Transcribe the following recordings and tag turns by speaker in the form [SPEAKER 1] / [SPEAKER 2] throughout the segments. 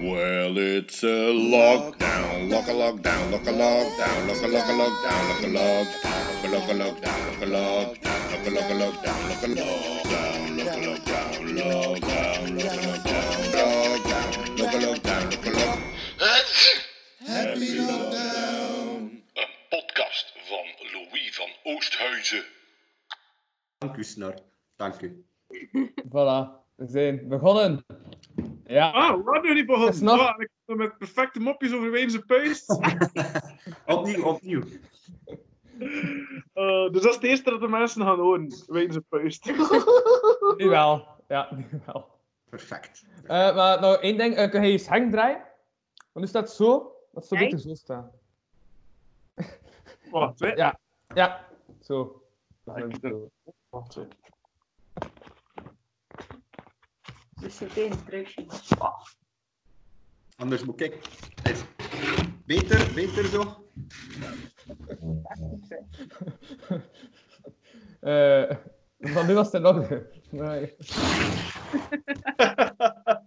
[SPEAKER 1] Well, it's a lockdown, lock a lockdown, lock a lockdown, lock a lock a lockdown, lock a lockdown, lock a lock a lockdown, lock a lock a lockdown, lock a lockdown, lock a lockdown, lockdown, lock a lockdown, lockdown, lock a lockdown, lock a lock. Happy lockdown.
[SPEAKER 2] Een podcast van Louis van Oosthuizen.
[SPEAKER 3] Dank u, Snor. Dank u.
[SPEAKER 4] Voilà, we zijn begonnen. Ja,
[SPEAKER 5] Ah, wat nu niet
[SPEAKER 4] Het is
[SPEAKER 5] begonnen?
[SPEAKER 4] nog-
[SPEAKER 5] Ah, ik kom met perfecte mopjes over Wayne zijn puist.
[SPEAKER 3] Opnieuw, opnieuw.
[SPEAKER 5] Eh, dus dat is het eerste dat de mensen gaan horen. Wayne zijn puist.
[SPEAKER 4] nu wel. Ja, nu wel.
[SPEAKER 3] Perfect.
[SPEAKER 4] Eh, maar nou, één ding. eh, kun je je hang draaien? Want nu staat het zo. Dat zou beter zo staan.
[SPEAKER 5] Wacht, hè.
[SPEAKER 4] Ja. Ja, zo. Dat is
[SPEAKER 5] ik-
[SPEAKER 4] zo.
[SPEAKER 5] Wacht, hè.
[SPEAKER 6] Dus het instructie.
[SPEAKER 3] Anders moet ik. Is- Beter, beter zo.
[SPEAKER 4] Eh, van nu was het in orde. Nee.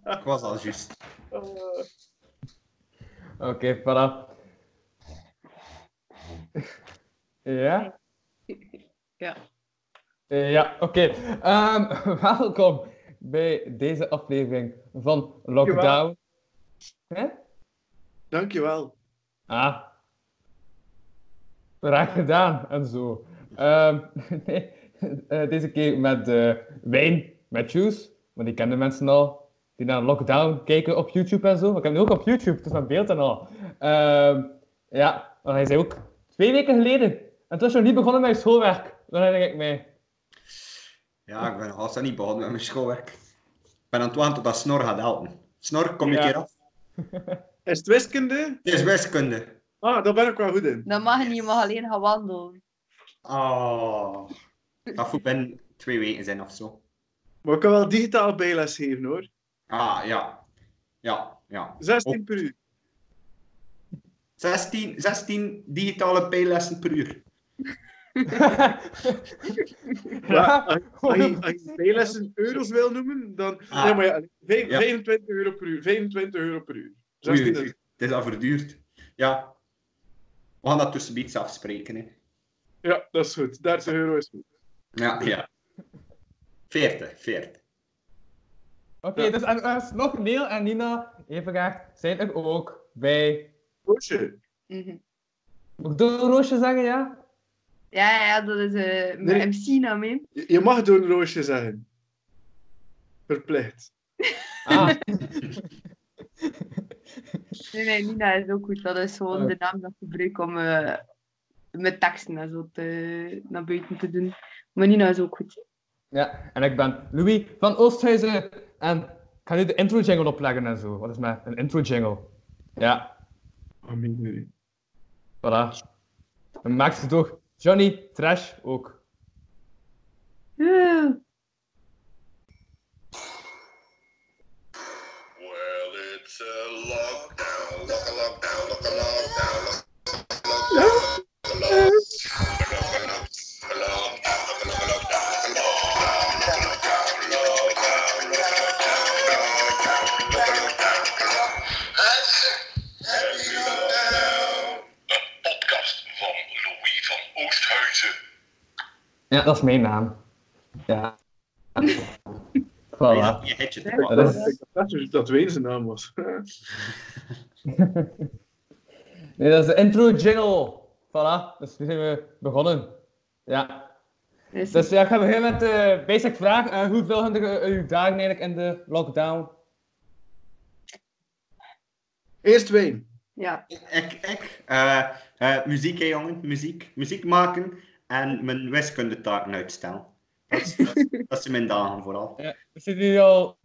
[SPEAKER 3] Ik was al juist.
[SPEAKER 6] Oh.
[SPEAKER 5] Eh,
[SPEAKER 4] Oké, voilà. Ja?
[SPEAKER 6] Ja.
[SPEAKER 4] Eh, Ja, oké. Ehm, welkom bij deze aflevering van Lockdown. Hè?
[SPEAKER 5] Dankjewel.
[SPEAKER 4] Ah. Raar gedaan en zo. Ehm, nee, eh, deze keer met eh, Wijn, met Juice. Want die kennen mensen al. Die naar Lockdown kijken op YouTube en zo. Maar ik heb nu ook op YouTube, dus met beeld en al. Ehm, ja, want hij zei ook twee weken geleden. En toen was je nog niet begonnen met je schoolwerk. Dan herinner ik mij.
[SPEAKER 3] Ja, ik ben alsnog niet begonnen met mijn schoolwerk. Ik ben aan het wachten tot dat Snor gaat helpen. Snor, kom je
[SPEAKER 5] Ja.
[SPEAKER 3] keer af.
[SPEAKER 5] Is het wiskunde?
[SPEAKER 3] Het is wiskunde.
[SPEAKER 5] Ah, daar ben ik wel goed in.
[SPEAKER 6] Dat mag niet, je mag alleen gaan wandelen.
[SPEAKER 3] Oh. Dat moet binnen twee weken zijn of zo.
[SPEAKER 5] Maar ik kan wel digitaal bijles geven hoor.
[SPEAKER 3] Ah, ja. Ja, ja.
[SPEAKER 5] 16 per uur.
[SPEAKER 3] 16, 16 digitale pijlessen per uur.
[SPEAKER 5] Ja, als, als je,
[SPEAKER 4] Gewoon-
[SPEAKER 5] als je bijlessen euro's wil noemen, dan.
[SPEAKER 3] Ah.
[SPEAKER 5] Nee, maar ja, vijf-
[SPEAKER 3] Ja.
[SPEAKER 5] 25 euro per uur. 25 euro per uur.
[SPEAKER 3] Oei,
[SPEAKER 5] 16
[SPEAKER 3] oei, oei.
[SPEAKER 5] is-
[SPEAKER 3] Het is al verduurd. Ja. We gaan dat tussenbiets afspreken. Hè.
[SPEAKER 5] Ja, dat is goed. 30 euro is goed.
[SPEAKER 3] Ja, ja. 40, 40.
[SPEAKER 4] Oké, dus en, er is nog Neil en Nina even graag zijn er ook bij.
[SPEAKER 5] Roosje.
[SPEAKER 6] Mhm.
[SPEAKER 4] Moet ik door Roosje zeggen, ja?
[SPEAKER 6] Ja, ja, dat is eh mijn
[SPEAKER 5] Nee.
[SPEAKER 6] MC-naam, hè.
[SPEAKER 5] Je je mag door een roosje zeggen. Verplicht.
[SPEAKER 4] Ah,
[SPEAKER 6] Nee, nee, Nina is ook goed. Dat is gewoon
[SPEAKER 4] Ah.
[SPEAKER 6] de naam dat ik gebruik om eh, met teksten en zo te, naar buiten te doen. Maar Nina is ook goed.
[SPEAKER 4] ja. En ik ben Louis van Oosthuizen. En ik ga nu de intro jingle opleggen en zo. Wat is mijn een intro jingle? Ja,
[SPEAKER 5] Amen.
[SPEAKER 4] voilà. En maakt het door Johnny Trash ook.
[SPEAKER 6] Oeh.
[SPEAKER 1] Well, it's a lockdown, lock a lockdown, lock a lockdown, lock a lockdown, lock a lockdown, lock a lockdown, lock a lockdown, lock a lockdown.
[SPEAKER 2] Een podcast van Louis van Oosthuizen.
[SPEAKER 4] Ja, dat is mijn naam. Ja. voilà.
[SPEAKER 3] Je hitje
[SPEAKER 6] Ja.
[SPEAKER 3] toch wel.
[SPEAKER 4] Dat is-
[SPEAKER 5] Ik dacht dus dat Wayne zijn naam was.
[SPEAKER 4] Nee, dat is de intro jingle. Voilà, dus nu zijn we begonnen. Ja.
[SPEAKER 6] Dus,
[SPEAKER 4] Dus ja, ik ga beginnen met de basic vraag. Eh, hoeveel zijn er eh, uw dagen eigenlijk in de lockdown?
[SPEAKER 5] Eerst Wayne.
[SPEAKER 6] ja.
[SPEAKER 3] Ik, ik eh, eh, muziek, hè, jongen, muziek. Muziek maken en mijn wiskundetaken uitstellen. Dat, is- dat, is- dat zijn mijn dagen vooral.
[SPEAKER 4] Ja, we zitten nu al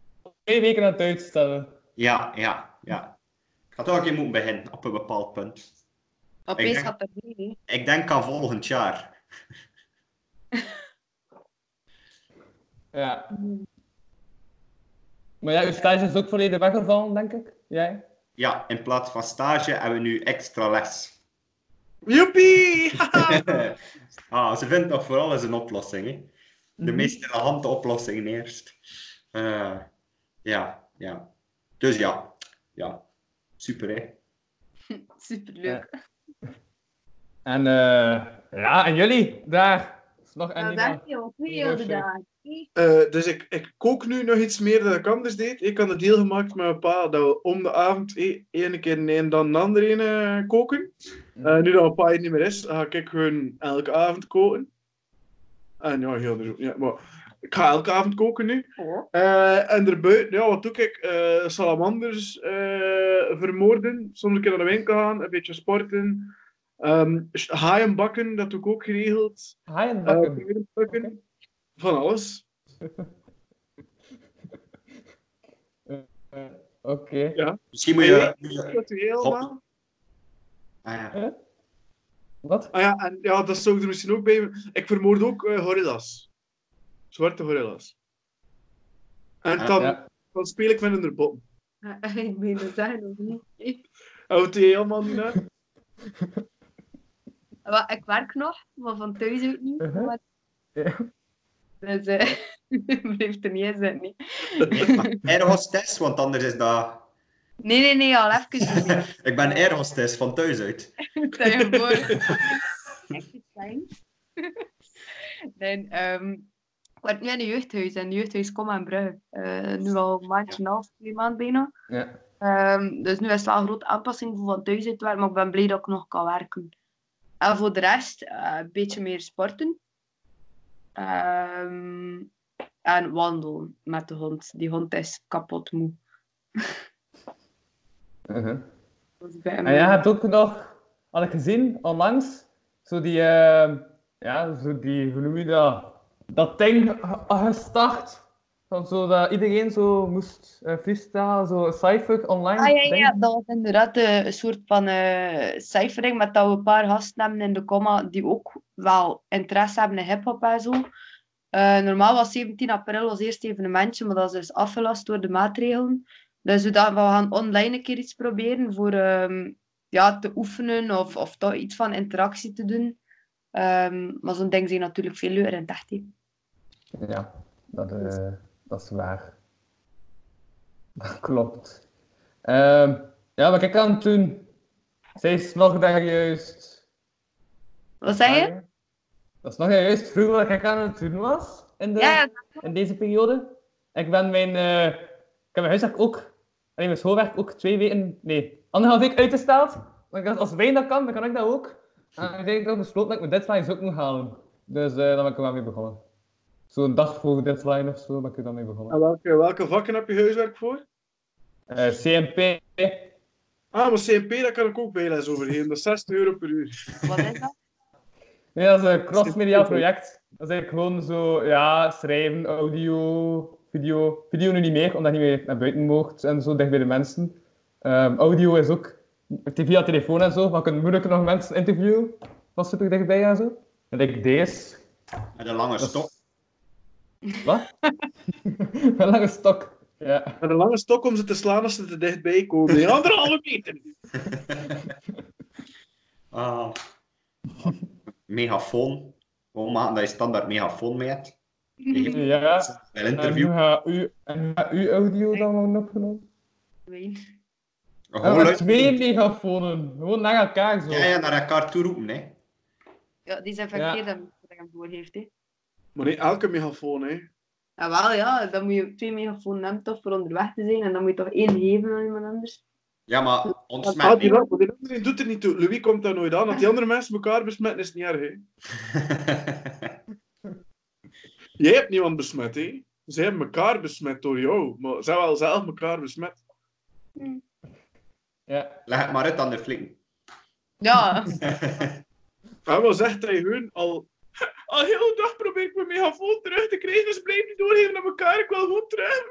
[SPEAKER 4] twee weken aan het uitstellen.
[SPEAKER 3] Ja, ja, ja. Ik ga toch een keer moeten beginnen op een bepaald punt. Ik
[SPEAKER 6] Opeens
[SPEAKER 3] denk-
[SPEAKER 6] gaat dat niet, hè.
[SPEAKER 3] Ik denk aan volgend jaar.
[SPEAKER 4] Ja. Maar ja, uw stage is ook volledig weggevallen, denk ik. Jij?
[SPEAKER 3] Ja, in plaats van stage hebben we nu extra les.
[SPEAKER 5] Joepie!
[SPEAKER 3] ah, ze vindt dat voor alles een oplossing. Hè?
[SPEAKER 4] Mhm.
[SPEAKER 3] De meest in de hand de oplossing eerst. Eh, ja, ja. Dus ja, ja, super hè.
[SPEAKER 6] Superleuk.
[SPEAKER 4] En eh, ja, en jullie daar? Slag en
[SPEAKER 6] Nou,
[SPEAKER 4] Nina.
[SPEAKER 6] dank je wel. Goeie
[SPEAKER 4] Roosje.
[SPEAKER 6] dag.
[SPEAKER 5] Eh, dus ik, ik kook nu nog iets meer dan ik anders deed. Ik had een deal gemaakt met mijn pa dat we om de avond e- ene keer een en dan een ander een eh, koken. Eh, nu dat mijn pa hier niet meer is, ga ik gewoon elke avond koken. En ja, heel de zo- ja, maar Ik ga elke avond koken nu.
[SPEAKER 6] Oh.
[SPEAKER 5] Eh, en daarbuiten, ja, wat doe ik? Eh, salamanders eh, vermoorden. Soms een keer naar de winkel gaan, een beetje sporten. Ehm haaien bakken, dat doe ik ook geregeld.
[SPEAKER 4] Haaien
[SPEAKER 5] Eh,
[SPEAKER 4] bakken.
[SPEAKER 5] kleren plukken.
[SPEAKER 4] Oké.
[SPEAKER 5] Van alles.
[SPEAKER 4] Eh, Oké.
[SPEAKER 3] Misschien moet je...
[SPEAKER 5] Cultureel,
[SPEAKER 3] Hop.
[SPEAKER 5] wel.
[SPEAKER 3] Ah, ja.
[SPEAKER 4] Wat?
[SPEAKER 5] Ah ja, en ja, dat zou ik er misschien ook bij... Ik vermoord ook eh, gorillas. Zwarte gorillas. En
[SPEAKER 3] Ah,
[SPEAKER 5] dan,
[SPEAKER 4] ja.
[SPEAKER 5] dan speel ik met hun bot.
[SPEAKER 6] Ik ben het daar nog niet.
[SPEAKER 5] Houdt die helemaal niet uit?
[SPEAKER 6] Wel, Ik werk nog, maar van thuis uit niet.
[SPEAKER 4] Uh-huh.
[SPEAKER 6] maar-
[SPEAKER 4] Ja.
[SPEAKER 6] Dus eh blijft er niet in zitten. nee.
[SPEAKER 3] Airhostess, want anders is dat...
[SPEAKER 6] Nee, nee, nee, al even. niet.
[SPEAKER 3] Ik ben airhostess van thuis uit.
[SPEAKER 6] Stel je voor. Echt iets kleins. Dan, ehm, ik werk nu in een jeugdhuis. En jeugdhuis kom aan Brugge. Eh, nu al een maandje en een half, twee maanden bijna.
[SPEAKER 4] Ja.
[SPEAKER 6] Ehm, dus nu is het wel een grote aanpassing voor van thuis uit te werken. Maar ik ben blij dat ik nog kan werken. En voor de rest, eh, een beetje meer sporten. Ehm, en wandelen met de hond. Die hond is kapot moe.
[SPEAKER 4] Uh-huh.
[SPEAKER 6] Dat is bij hem.
[SPEAKER 4] En jij hebt ook nog, had ik gezien, onlangs, zo die, eh, ja, zo die, hoe noem je dat, dat ding ge- gestart. Van zo dat iedereen zo moest eh freestyle, zo cijfer online.
[SPEAKER 6] Ah, ja, ja,
[SPEAKER 4] ding.
[SPEAKER 6] ja, dat was inderdaad eh, een soort van eh, cijfering, met dat we een paar gasten hebben in de comma die ook wel interesse hebben in hip-hop en zo. Eh, normaal was 17 april ons eerste evenementje, maar dat is dus afgelast door de maatregelen. Dus we dachten, we gaan online een keer iets proberen voor ehm, ja, te oefenen of, of toch iets van interactie te doen. Ehm, maar zo'n ding zijn natuurlijk veel leuker in het echt. hè.
[SPEAKER 4] Ja, dat, eh, dat is waar. Dat klopt. Ehm, ja, wat ik aan het doen. Zij is nog daar juist.
[SPEAKER 6] Wat zei je?
[SPEAKER 4] Dat is nog daar juist vroeger wat ik aan het doen was. In, de,
[SPEAKER 6] Ja, ja,
[SPEAKER 4] in deze periode. Ik ben mijn... eh, ik heb mijn huiswerk ook... En mijn schoolwerk ook twee weken... Nee, anderhalf week uitgesteld. Want ik dacht, als Wijn dat kan, dan kan ik dat ook. En ik heb ik besloten dat ik mijn deadlines ook moet halen. Dus eh daar ben ik er wel mee begonnen. Zo'n dag voor de deadline of zo ben ik er dan mee begonnen.
[SPEAKER 5] En welke, welke vakken heb je huiswerk voor?
[SPEAKER 4] Eh, CMP.
[SPEAKER 5] Ah, maar CMP, daar kan ik ook bijles over geven. Dat is 60 euro per uur.
[SPEAKER 6] wat is dat?
[SPEAKER 4] Nee, dat is een crossmediaal project. Dat is eigenlijk gewoon zo, ja, schrijven, audio, video. Video nu niet meer, omdat je niet meer naar buiten mocht en zo, dicht bij de mensen. Ehm, audio is ook via telefoon en zo, maar je kunt moeilijk nog mensen interviewen. Van super dichtbij en zo. En ik deze.
[SPEAKER 3] Met een lange stok.
[SPEAKER 4] Wat? Een lange stok. Ja.
[SPEAKER 5] Met een lange stok om ze te slaan als ze te dichtbij komen. Een anderhalve meter.
[SPEAKER 3] Ah. Megafoon. Gewoon maken dat je standaard megafoon mee hebt. Je geeft
[SPEAKER 4] ja.
[SPEAKER 3] een
[SPEAKER 4] En hoe
[SPEAKER 3] interview.
[SPEAKER 4] gaat u- en hoe gaat uw audio dan worden opgenomen?
[SPEAKER 6] Wijn.
[SPEAKER 4] Ja,
[SPEAKER 3] Gewoon
[SPEAKER 4] met
[SPEAKER 3] luisteren.
[SPEAKER 4] twee megafonen, gewoon naar elkaar zo.
[SPEAKER 3] Ja, ja, naar elkaar toe roepen, hè.
[SPEAKER 6] Ja, die zijn verkeerd dat hij hem voor heeft. Hè.
[SPEAKER 5] Maar nee, elke megafoon, hè.
[SPEAKER 6] Ja, wel ja, dan moet je twee megafoon hebben toch voor onderweg te zijn en dan moet je toch één geven aan iemand anders.
[SPEAKER 3] Ja, maar ons
[SPEAKER 5] Ah,
[SPEAKER 3] met...
[SPEAKER 5] die, maar die andere doet er niet toe. Louis komt daar nooit aan. Dat die andere mensen elkaar besmetten is niet erg, hè. Jij hebt niemand besmet, hè. Zij hebben elkaar besmet door jou. Maar zij wel zelf elkaar besmet.
[SPEAKER 4] Ja.
[SPEAKER 3] Leg het maar uit aan de flikken.
[SPEAKER 6] Ja,
[SPEAKER 5] Hij was echt tegen hun al. Al heel de dag probeer ik mijn megafoon terug te krijgen, dus blijf niet doorgeven naar elkaar. Ik wil gewoon terug.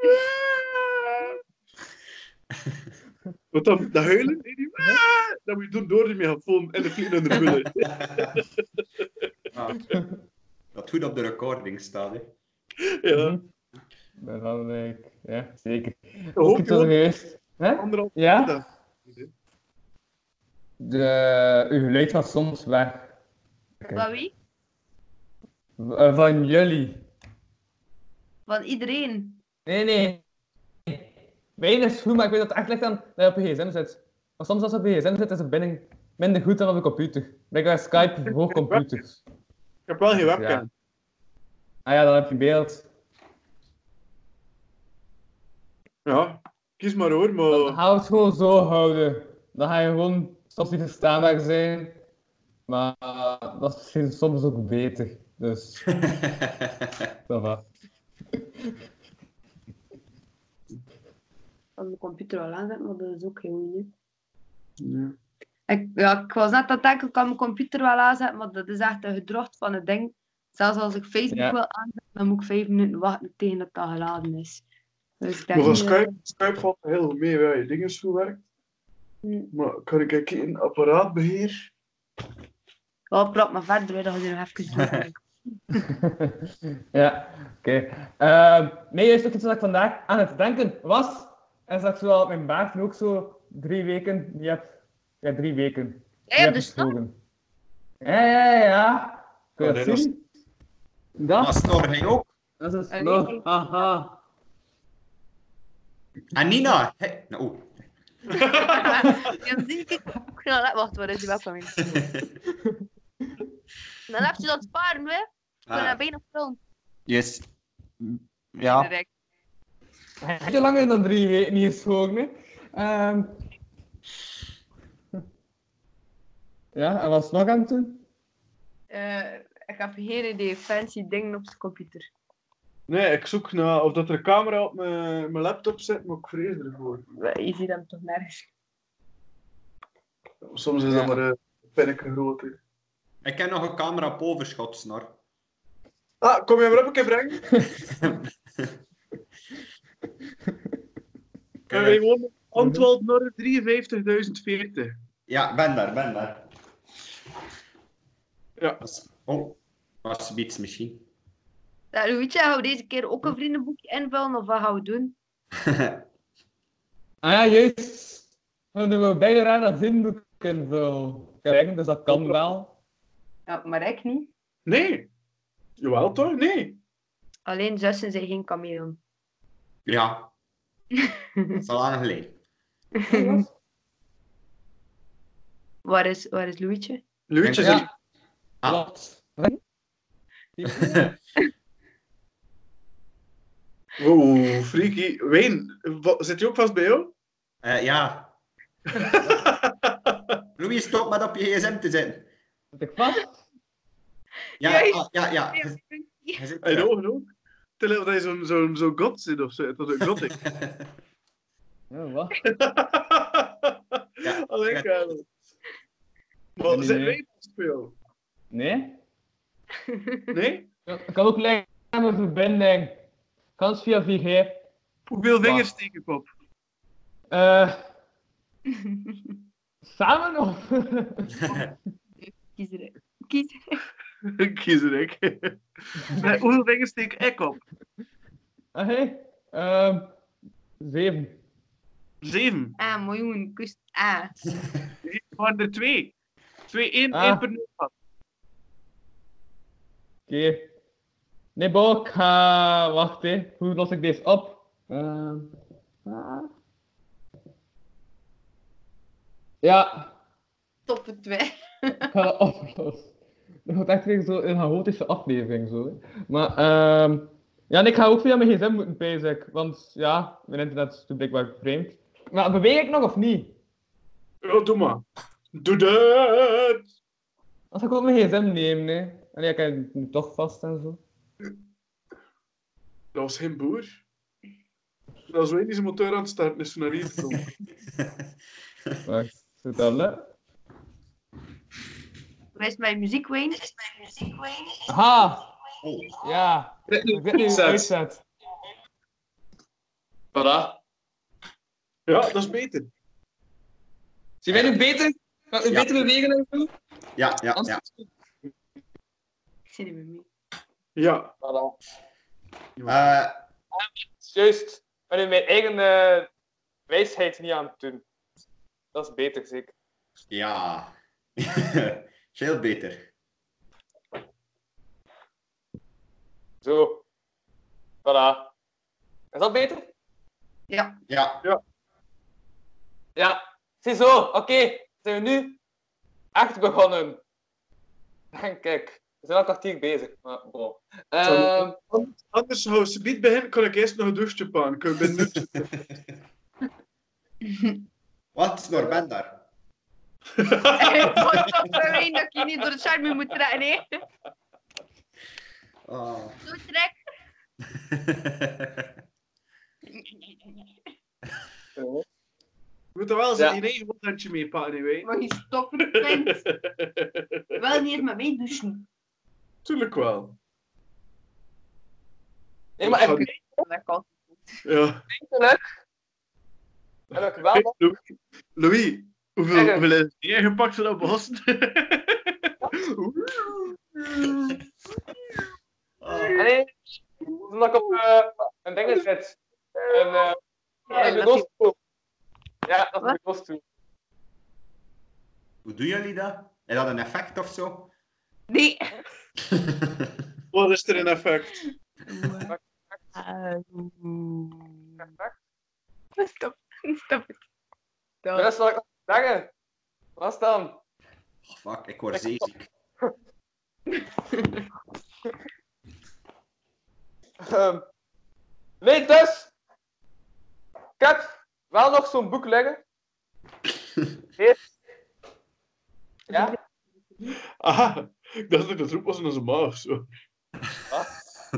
[SPEAKER 5] Wat dan? Dat huilen? Nee, die- Ah! Dat moet je doen door die megafoon en de vliegen in de bullen.
[SPEAKER 3] Ah. Dat goed op de recording staat, hè.
[SPEAKER 5] Ja.
[SPEAKER 4] Dat had ik, ja, zeker.
[SPEAKER 5] hoop
[SPEAKER 4] Ook
[SPEAKER 5] je
[SPEAKER 4] iets was
[SPEAKER 5] ook-
[SPEAKER 4] geweest. Hè?
[SPEAKER 5] Anderhalf
[SPEAKER 4] Ja?
[SPEAKER 5] dag.
[SPEAKER 4] De, uw geluid was soms weg.
[SPEAKER 6] van wie?
[SPEAKER 4] V- eh, Van jullie.
[SPEAKER 6] Van iedereen.
[SPEAKER 4] Nee, nee. Mijn is goed, maar ik weet dat het echt ligt aan dat je op je gsm zit. Want soms als je op je gsm zit, is het binnen, minder goed dan op je computer. Blijkbaar Skype voor computers.
[SPEAKER 5] Ik heb wel geen webcam.
[SPEAKER 4] Ah ja, dan heb je beeld.
[SPEAKER 5] Ja. Kies maar hoor,
[SPEAKER 4] Dan
[SPEAKER 5] maar...
[SPEAKER 4] gaan we het gewoon zo houden. Dan ga je gewoon soms niet verstaanbaar zijn. Maar eh, dat is misschien soms ook beter. Dus, dat va.
[SPEAKER 6] van de computer al aanzetten, maar dat is ook heel nieuw.
[SPEAKER 5] Ja.
[SPEAKER 6] Ik, ja, ik was net aan het denken, ik kan mijn computer wel aanzetten, maar dat is echt een gedrocht van het ding. Zelfs als ik Facebook
[SPEAKER 4] Ja.
[SPEAKER 6] wil aanzetten, dan moet ik vijf minuten wachten tegen dat dat geladen is. Dus ik denk,
[SPEAKER 5] Maar van
[SPEAKER 6] eh,
[SPEAKER 5] Skype, Skype valt heel goed mee waar je dingen zo werkt.
[SPEAKER 6] Hm.
[SPEAKER 5] Maar kan ik kijken in apparaatbeheer?
[SPEAKER 6] wel, praat maar verder, hè, dan ga je nog even doen.
[SPEAKER 4] ja, oké. Ehm, nee, juist ook iets wat ik vandaag aan het denken was. En zag ik zo al mijn baard nu ook zo drie weken. Die heb, ja, drie weken. Die
[SPEAKER 6] Jij hebt
[SPEAKER 4] heb
[SPEAKER 6] de snor.
[SPEAKER 4] gestoken. Ja, ja, ja, ja. Kun je
[SPEAKER 5] Oh,
[SPEAKER 4] dat
[SPEAKER 5] nee,
[SPEAKER 4] zien? Dat, Ah.
[SPEAKER 3] Maar snor hij ook.
[SPEAKER 4] dat is een
[SPEAKER 6] Eh,
[SPEAKER 4] snor.
[SPEAKER 6] nee.
[SPEAKER 4] Haha.
[SPEAKER 3] En Nina. Hey. Nou, oeh.
[SPEAKER 6] Ja, zie ik. ook snel uit. Wacht, waar is die welkom in? Dan heb je dat sparen, hè? Ik ben
[SPEAKER 3] Ah,
[SPEAKER 6] bijna rond.
[SPEAKER 3] yes. Ja.
[SPEAKER 4] Heb je langer dan drie weken niet geschoren, hè? Ehm. Ja, en wat is nog aan het doen?
[SPEAKER 6] Eh, ik heb geen idee, fancy dingen op de computer.
[SPEAKER 5] Nee, ik zoek naar of dat er een camera op mijn, mijn laptop zit, maar ik vrees ervoor.
[SPEAKER 6] Je ziet hem toch nergens.
[SPEAKER 5] Soms is
[SPEAKER 4] Ja.
[SPEAKER 5] dat maar eh, een pinnetje groter.
[SPEAKER 3] Ik heb nog een camera op overschot, snor.
[SPEAKER 5] Ah, kom jij maar op een keer brengen? En wij wonen in Antwoord Norre 53040.
[SPEAKER 3] Ja, ben daar, ben daar.
[SPEAKER 5] Ja.
[SPEAKER 3] Was- Oh, was iets misschien.
[SPEAKER 6] Ja, Louietje, gaan we deze keer ook een vriendenboekje invullen of wat gaan we doen?
[SPEAKER 4] Ah ja, juist. We doen bijna raar dat zinboek en zo. Kijk, dus dat kan wel.
[SPEAKER 6] Ja, maar ik niet.
[SPEAKER 5] Nee. Jawel toch? Nee.
[SPEAKER 6] Alleen zussen zijn geen kamelen.
[SPEAKER 3] ja. Dat is al lang geleden.
[SPEAKER 6] Waar is, waar is Louietje?
[SPEAKER 5] Luutje
[SPEAKER 3] Ja.
[SPEAKER 5] zegt
[SPEAKER 3] Ah.
[SPEAKER 4] Wat?
[SPEAKER 5] Wow, freaky. Wayne, wa- zit je ook vast bij jou?
[SPEAKER 3] Eh, ja. Louis, stop met op je gsm te zitten.
[SPEAKER 4] Zit ik vast?
[SPEAKER 3] Ja,
[SPEAKER 6] Juist.
[SPEAKER 3] ah, ja, ja. Je- je zit
[SPEAKER 5] Hij
[SPEAKER 3] terug.
[SPEAKER 5] ogen ook. Terwijl hij zo'n zo'n zo'n god zit of zo. Dat is een god is.
[SPEAKER 4] Ja, wat?
[SPEAKER 3] Ja.
[SPEAKER 5] Alleen Karel.
[SPEAKER 4] Nee,
[SPEAKER 5] Maar
[SPEAKER 4] nee,
[SPEAKER 5] zit
[SPEAKER 4] nee.
[SPEAKER 5] Wayne vast bij jou?
[SPEAKER 4] Nee?
[SPEAKER 5] Nee?
[SPEAKER 4] Ik kan ook liggen aan mijn verbinding. Kans via 4G.
[SPEAKER 5] Hoeveel vingers steken ik op?
[SPEAKER 4] Eh, samen nog?
[SPEAKER 6] Kies er. Kies er.
[SPEAKER 5] Kies er ik. Nee, hoeveel vingers steek ik op?
[SPEAKER 4] Ah, hey. Ehm, zeven.
[SPEAKER 5] Zeven.
[SPEAKER 6] Ah, mooi jongen, kus. Ah.
[SPEAKER 5] Er waren er twee. Twee, één,
[SPEAKER 4] Ah.
[SPEAKER 5] één per nul.
[SPEAKER 4] Oké. Nee, Bo, ik ga... Wacht, hè. Hoe los ik deze op? Ehm, ah. Ja,
[SPEAKER 6] Top het weg.
[SPEAKER 4] ik ga dat oplossen. Dat wordt echt weer zo een chaotische aflevering, zo. hè. Maar, ehm... Ja, en ik ga ook via mijn gsm moeten, pijs ik. Want, ja, mijn internet is blijkbaar vreemd. Maar beweeg ik nog of niet? Oh,
[SPEAKER 5] Ja, doe maar. Doe dat!
[SPEAKER 4] Als ik ook mijn gsm neem, nee. En ja, ik heb het nu toch vast en zo.
[SPEAKER 5] Dat was geen boer. Dat was Wayne die zijn motor aan het starten is toen naar hier gekomen.
[SPEAKER 4] Wacht, zit dat leuk?
[SPEAKER 6] Waar is mijn muziek, Wayne?
[SPEAKER 4] Ha!
[SPEAKER 3] Oh,
[SPEAKER 4] Ja! Ik zit nu in de uitzet.
[SPEAKER 5] Voilà. Ja, dat is beter.
[SPEAKER 4] Zie wij nu beter? Kan ik nu
[SPEAKER 3] Ja.
[SPEAKER 4] beter bewegen en zo?
[SPEAKER 3] ja, ja, ja.
[SPEAKER 4] Anders-
[SPEAKER 6] Ik zit niet meer mee.
[SPEAKER 5] Ja.
[SPEAKER 3] Eh,
[SPEAKER 4] Juist. Ik ben nu mijn eigen eh, wijsheid niet aan het doen. Dat is beter, zeker.
[SPEAKER 3] ja. Veel beter.
[SPEAKER 4] Zo. Voilà. Is dat beter?
[SPEAKER 6] Ja.
[SPEAKER 3] Ja.
[SPEAKER 4] Ja, ziezo, oké. Zijn we nu echt begonnen? Denk ik. We zijn al een kwartier bezig, maar bon. Ehm,
[SPEAKER 5] Anders zou ze niet beginnen, kan ik eerst nog een douche pakken. Ik ben nu...
[SPEAKER 3] Wat is Norben daar?
[SPEAKER 6] weet dat ik je niet door de charme moet trekken, hè?
[SPEAKER 3] Oh.
[SPEAKER 6] Zo trek.
[SPEAKER 5] Je moet er wel
[SPEAKER 4] Ja.
[SPEAKER 5] zijn één eigen handje mee pakken, hè, weet je.
[SPEAKER 6] Maar je stokverkend. Wel niet eens met mij douchen.
[SPEAKER 5] Tuurlijk wel.
[SPEAKER 4] nee, maar ik
[SPEAKER 5] Sorry.
[SPEAKER 4] weet
[SPEAKER 6] Dat kan.
[SPEAKER 5] Ja.
[SPEAKER 4] natuurlijk... Heb ik wel nog...
[SPEAKER 5] Louis, hoeveel,
[SPEAKER 4] Erg.
[SPEAKER 5] hoeveel is jij gepakt van op Boston?
[SPEAKER 3] Oh.
[SPEAKER 4] Nee, omdat ik op eh, een ding zit. Een, eh
[SPEAKER 6] Ja,
[SPEAKER 4] een
[SPEAKER 6] dat-
[SPEAKER 4] bureaustoel. Ja, dat is
[SPEAKER 6] Wat?
[SPEAKER 4] een bureaustoel.
[SPEAKER 3] Hoe doen jullie dat? Is dat een effect of zo? Oh,
[SPEAKER 6] Nee.
[SPEAKER 5] Wat is er in effect?
[SPEAKER 6] Stop. Stop het.
[SPEAKER 4] De
[SPEAKER 6] Stop.
[SPEAKER 4] rest wil ik nog zeggen. Wat is dan?
[SPEAKER 3] Oh, fuck, ik word zeeziek.
[SPEAKER 4] Ehm, nee, dus... Ik heb wel nog zo'n boek liggen. Dit. Ja?
[SPEAKER 5] Aha, ik dacht dat de troep was in onze maag. Zo.
[SPEAKER 4] Wat?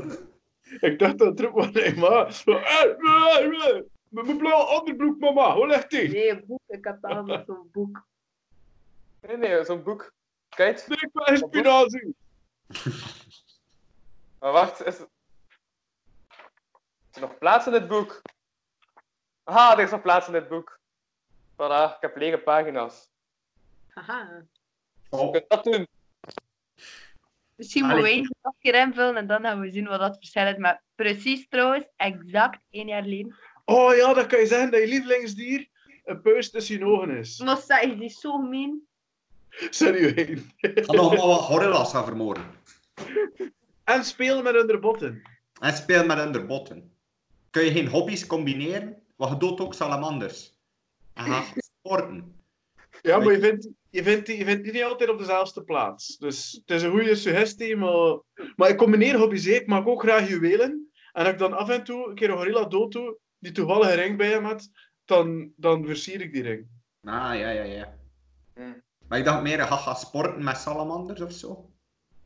[SPEAKER 5] Ik dacht dat de troep was in mijn maag. Zo. eh, eh, eh. Met mijn blauwe onderbroek, mama. Hoe legt die?
[SPEAKER 6] Nee, een boek. Ik heb allemaal zo'n boek.
[SPEAKER 4] Nee, nee, zo'n boek. Kijk.
[SPEAKER 5] Nee, ik wil geen spinazie.
[SPEAKER 4] Maar wacht, is... Is er nog plaats in dit boek? Ah, er is nog plaats in dit boek. Voilà, ik heb lege pagina's.
[SPEAKER 6] Haha.
[SPEAKER 4] Je
[SPEAKER 3] Oh,
[SPEAKER 4] kunt dat doen.
[SPEAKER 6] Misschien
[SPEAKER 3] Allee.
[SPEAKER 6] moeten we één nog keer invullen en dan gaan we zien wat dat verschil is. Maar precies trouwens, exact één jaar geleden.
[SPEAKER 5] Oh ja, dan kan je zeggen dat je lievelingsdier een puis tussen je ogen is.
[SPEAKER 6] Mossa is die zo gemeen.
[SPEAKER 5] Serieus.
[SPEAKER 3] kan nog maar wat gorilla's gaan vermoorden.
[SPEAKER 5] En spelen met hun botten.
[SPEAKER 3] En speel met hun botten. Kun je geen hobby's combineren? Want je doodt ook salamanders. En gaat geen sporten.
[SPEAKER 5] Ja, maar je vindt, je, vindt die, je vindt die niet altijd op dezelfde plaats. Dus het is een goede suggestie, maar... Maar ik combineer hobby's, hè. ik maak ook graag juwelen. En als ik dan af en toe een keer een gorilla dood doe, die toevallig een ring bij hem had, dan, dan versier ik die ring.
[SPEAKER 3] Ah, ja, ja, ja.
[SPEAKER 4] Hm.
[SPEAKER 3] Maar ik dacht meer, je gaat gaan sporten met salamanders of zo.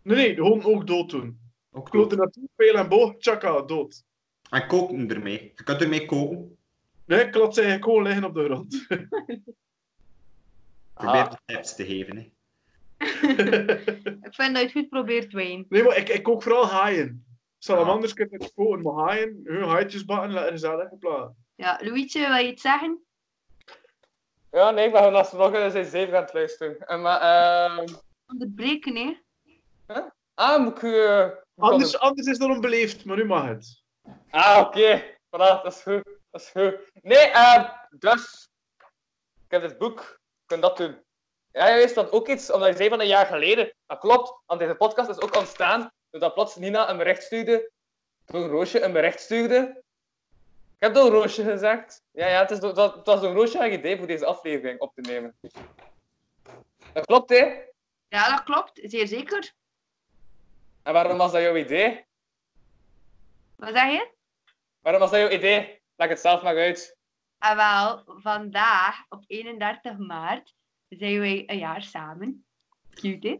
[SPEAKER 5] Nee, nee, gewoon ook dood doen.
[SPEAKER 3] Ook
[SPEAKER 5] Klote natuur, pijl en boog, tjaka, dood.
[SPEAKER 3] En koken ermee. Je kunt ermee koken.
[SPEAKER 5] Nee, ik laat ze eigenlijk gewoon liggen op de grond.
[SPEAKER 3] Probeer
[SPEAKER 4] Ah.
[SPEAKER 3] de tips te geven. Hè.
[SPEAKER 6] Ik vind dat je het goed probeert, Wayne.
[SPEAKER 5] nee, maar ik, ik kook vooral haaien. Salamanders kunnen het koken, maar haaien, hun haaitjes bakken, laten er zelf op plaatsen.
[SPEAKER 6] Ja, Luietje, wil je iets zeggen?
[SPEAKER 4] Ja, nee, ik ben gewoon alsnog eh, zijn zeven aan het luisteren. En maar, ehm
[SPEAKER 6] Onderbreken, hè?
[SPEAKER 4] Ah, moet ik u... eh,
[SPEAKER 5] Anders, anders is dat onbeleefd, maar nu mag het.
[SPEAKER 4] Ah, oké. Voilà, dat is goed. Dat is goed. Nee, ehm dus... Ik heb dit boek. Ik kan dat doen. Ja, je wist dat ook iets, omdat je zei van een jaar geleden. Dat klopt, want deze podcast is ook ontstaan doordat plots Nina een bericht stuurde. Toen Roosje een bericht stuurde. Ik heb door Roosje gezegd. Ja, ja, het, is door, dat, het was door Roosje haar idee voor deze aflevering op te nemen. Dat klopt, hè?
[SPEAKER 6] Ja, dat klopt. Zeer zeker.
[SPEAKER 4] En waarom was dat jouw idee?
[SPEAKER 6] Wat zeg je?
[SPEAKER 4] Waarom was dat jouw idee? Leg het zelf maar uit.
[SPEAKER 6] En Ah, wel, vandaag, op 31 maart, zijn wij een jaar samen. Cute, hè?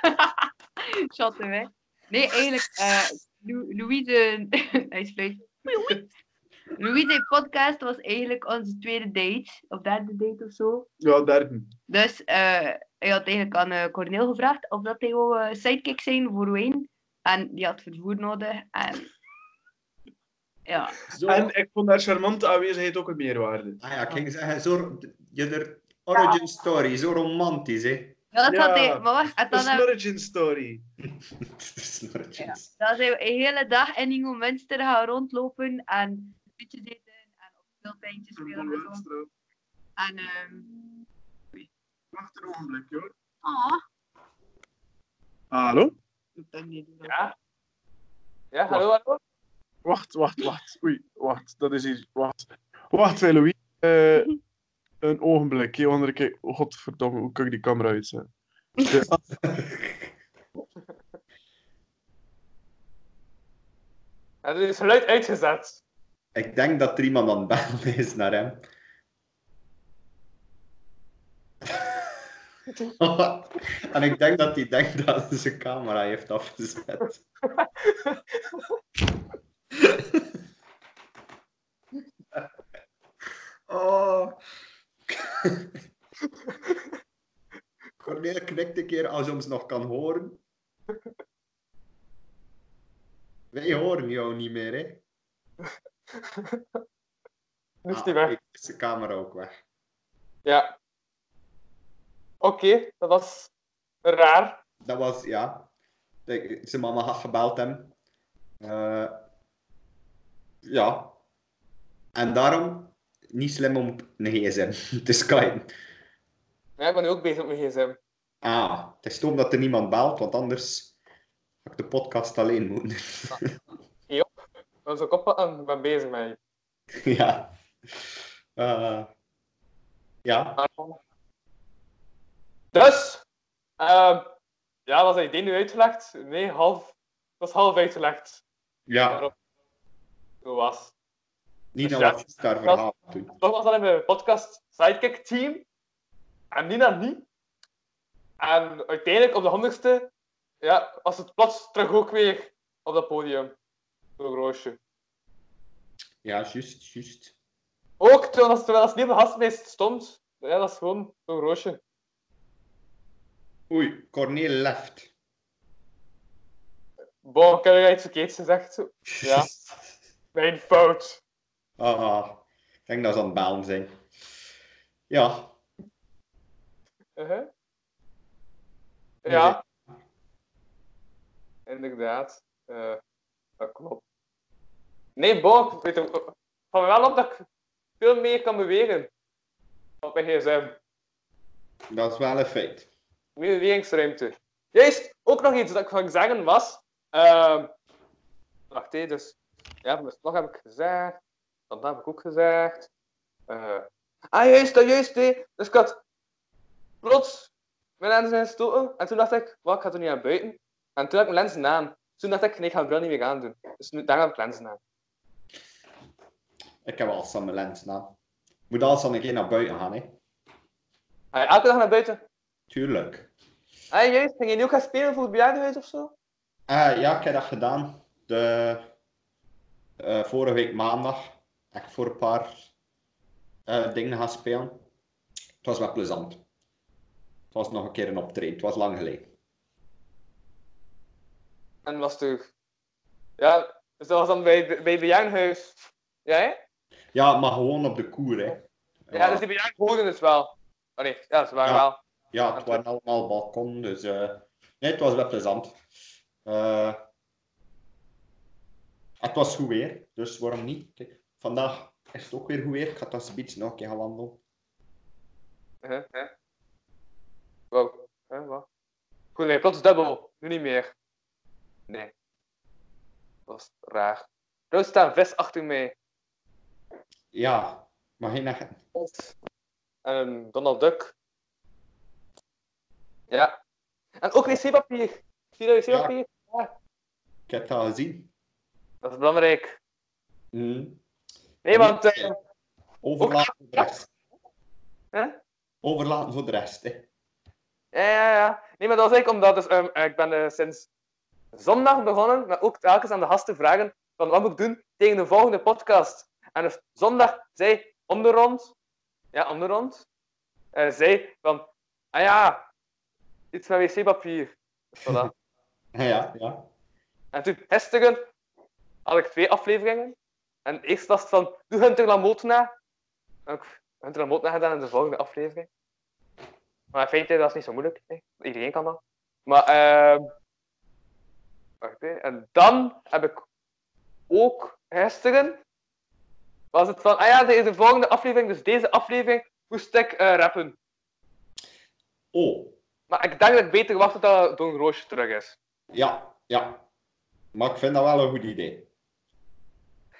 [SPEAKER 6] Shotten weg. Nee, eigenlijk, eh Lou- Louis de... Hij fluit. Louis de podcast was eigenlijk onze tweede date, of derde date of zo.
[SPEAKER 5] Ja, derde.
[SPEAKER 6] Dus eh, hij had eigenlijk aan eh, Corneel gevraagd of dat hij wou eh, sidekick zijn voor Wayne. En die had vervoer nodig. En... Ja.
[SPEAKER 3] Zo.
[SPEAKER 5] En ik vond haar charmante aanwezigheid ook een meerwaarde.
[SPEAKER 3] Ah ja, ik ging zeggen, zo, je er origin story, zo romantisch, hè.
[SPEAKER 6] Ja, dat
[SPEAKER 5] Ja.
[SPEAKER 6] had hij... Maar wacht, en
[SPEAKER 5] Een
[SPEAKER 6] dan hebben-
[SPEAKER 5] origin story.
[SPEAKER 3] Snorretjes.
[SPEAKER 6] dan zijn we een hele dag in Ingo Munster gaan rondlopen en liedjes eten en op speelpijntjes spelen en zo. En, ehm,
[SPEAKER 5] Wacht een ogenblik, hoor.
[SPEAKER 6] ah,
[SPEAKER 5] Hallo?
[SPEAKER 6] ik ben niet-
[SPEAKER 4] Ja, hallo, hallo.
[SPEAKER 5] Wacht, wacht, wacht. Oei, wacht, dat is hier. Wacht, wacht hey, Louis. Eh, een ogenblik. Hier onder keer. Godverdomme, hoe kan ik die camera uitzetten? Ja.
[SPEAKER 4] En er is geluid uitgezet.
[SPEAKER 3] Ik denk dat er iemand aan het bellen is naar hem. en ik denk dat hij denkt dat hij zijn camera heeft afgezet. oh. Cornel knikt een keer als je ons nog kan horen. Wij horen jou niet meer, hè?
[SPEAKER 4] Nu is
[SPEAKER 3] Ah,
[SPEAKER 4] die weg.
[SPEAKER 3] kijk, is de camera ook weg.
[SPEAKER 4] Ja. Oké, dat was raar.
[SPEAKER 3] Dat was, ja. Ik- Zijn mama had gebeld hem. Eh, ja. En daarom niet slim om op een gsm te skypen.
[SPEAKER 4] Ja, ik ben nu ook bezig met mijn gsm.
[SPEAKER 3] Ah, het is stom dat er niemand belt, want anders had ik de podcast alleen moeten doen.
[SPEAKER 4] Dan zou ik oppakken, ik ben bezig met je.
[SPEAKER 3] ja. Eh, ja.
[SPEAKER 4] Dus, ehm, ja, was dat idee nu uitgelegd? Nee, half, het was half uitgelegd.
[SPEAKER 3] Ja.
[SPEAKER 4] Waarom Hoe was
[SPEAKER 3] Nina
[SPEAKER 4] Ja.
[SPEAKER 3] was daar verhaal toen.
[SPEAKER 4] Toch was dat in mijn podcast Sidekick Team. En Nina niet. En uiteindelijk op de handigste ja, was het plots terug ook weer op dat podium. Zo'n roosje.
[SPEAKER 3] Ja, juist, juist.
[SPEAKER 4] Ook terwijl als, terwijl als nieuwe gastmeest stond. Ja, dat is gewoon zo'n roosje.
[SPEAKER 3] Oei, Corneel left.
[SPEAKER 4] Bon, ik heb er iets verkeerds gezegd. Ja. Mijn fout.
[SPEAKER 3] Ah, ik denk dat ze aan het baan zijn. Ja,
[SPEAKER 4] Uh-huh. Ja. Inderdaad. Eh, dat klopt. Nee, Bo, ik weet het van wel op dat ik veel meer kan bewegen. Op mijn gsm.
[SPEAKER 3] dat is wel een feit.
[SPEAKER 4] Meer bewegingsruimte. Juist, ook nog iets dat ik van zeggen was. ehm, wacht hé, dus. Ja, van de slag heb ik gezegd. Dat heb ik ook gezegd. Eh, ah, juist, dat juist hé. Dus ik had plots mijn lenzen gestoten. En toen dacht ik, wat, ik ga er niet aan buiten. En toen had ik mijn lenzen aan. Toen dacht ik, nee, ik ga mijn bril niet meer aandoen. Dus nu, daar heb ik lenzen aan.
[SPEAKER 3] Ik heb al aan mijn lens na. Moet alles dan een keer naar buiten gaan, hè?
[SPEAKER 4] Ga je elke dag naar buiten?
[SPEAKER 3] Tuurlijk.
[SPEAKER 4] Ah, juist, ging je nu ook gaan spelen voor het bejaardenhuis of zo?
[SPEAKER 3] Ah, ja, ik heb dat gedaan. De, eh, vorige week maandag heb ik voor een paar eh, dingen gaan spelen. Het was wel plezant. Het was nog een keer een optreden. Het was lang geleden.
[SPEAKER 4] En was terug. Ja, dus dat was dan bij, bij het bejaardenhuis. Ja, hè?
[SPEAKER 3] Ja, maar gewoon op de koer, hè?
[SPEAKER 4] Ja, dus die bejaarden hoorden het wel. Oh nee, ja, ze waren
[SPEAKER 3] Ja.
[SPEAKER 4] wel.
[SPEAKER 3] Ja, het waren allemaal balkon, dus eh, nee, het was wel plezant. Eh, het was goed weer, dus waarom niet? Kijk, vandaag is het ook weer goed weer. Ik ga dat speech nog een keer gaan wandelen.
[SPEAKER 4] Huh, huh. Uh-huh, Wow. Huh, wat? Goed, nee, plots dubbel. Nu niet meer. Nee. Dat was raar. Er staat een vest achter mij.
[SPEAKER 3] Ja, maar geen agent.
[SPEAKER 4] En een Donald Duck. Ja. En ook wc-papier. Zie je dat wc-papier?
[SPEAKER 3] Ik heb dat gezien.
[SPEAKER 4] Dat is belangrijk.
[SPEAKER 3] Mm.
[SPEAKER 4] Nee, want... eh,
[SPEAKER 3] Overlaten voor de rest.
[SPEAKER 4] Huh?
[SPEAKER 3] Overlaten voor de rest, hè.
[SPEAKER 4] Ja, ja, ja. Nee, maar dat was eigenlijk omdat dus, ehm, eh, ik ben eh, sinds zondag begonnen, maar ook telkens aan de gasten vragen van wat moet ik doen tegen de volgende podcast. En dus zondag zei om de rond, ja, om de rond, eh, zei van, ah ja, iets met wc-papier. Dus Voilà.
[SPEAKER 3] Ja, ja, ja.
[SPEAKER 4] en toen gisteren had ik twee afleveringen. En eerst was het van, doe Hunter Lamoot na. Dan heb ik Hunter Lamoot na gedaan in de volgende aflevering. Maar in feite, dat is niet zo moeilijk. Hè. Iedereen kan dat. Maar, ehm Wacht hè. En dan heb ik ook gisteren... Was het van, ah ja, de, de volgende aflevering, dus deze aflevering, moest ik eh, rappen.
[SPEAKER 3] Oh,
[SPEAKER 4] Maar ik denk dat ik beter wacht tot Don Roosje terug is.
[SPEAKER 3] ja, ja. Maar ik vind dat wel een goed idee.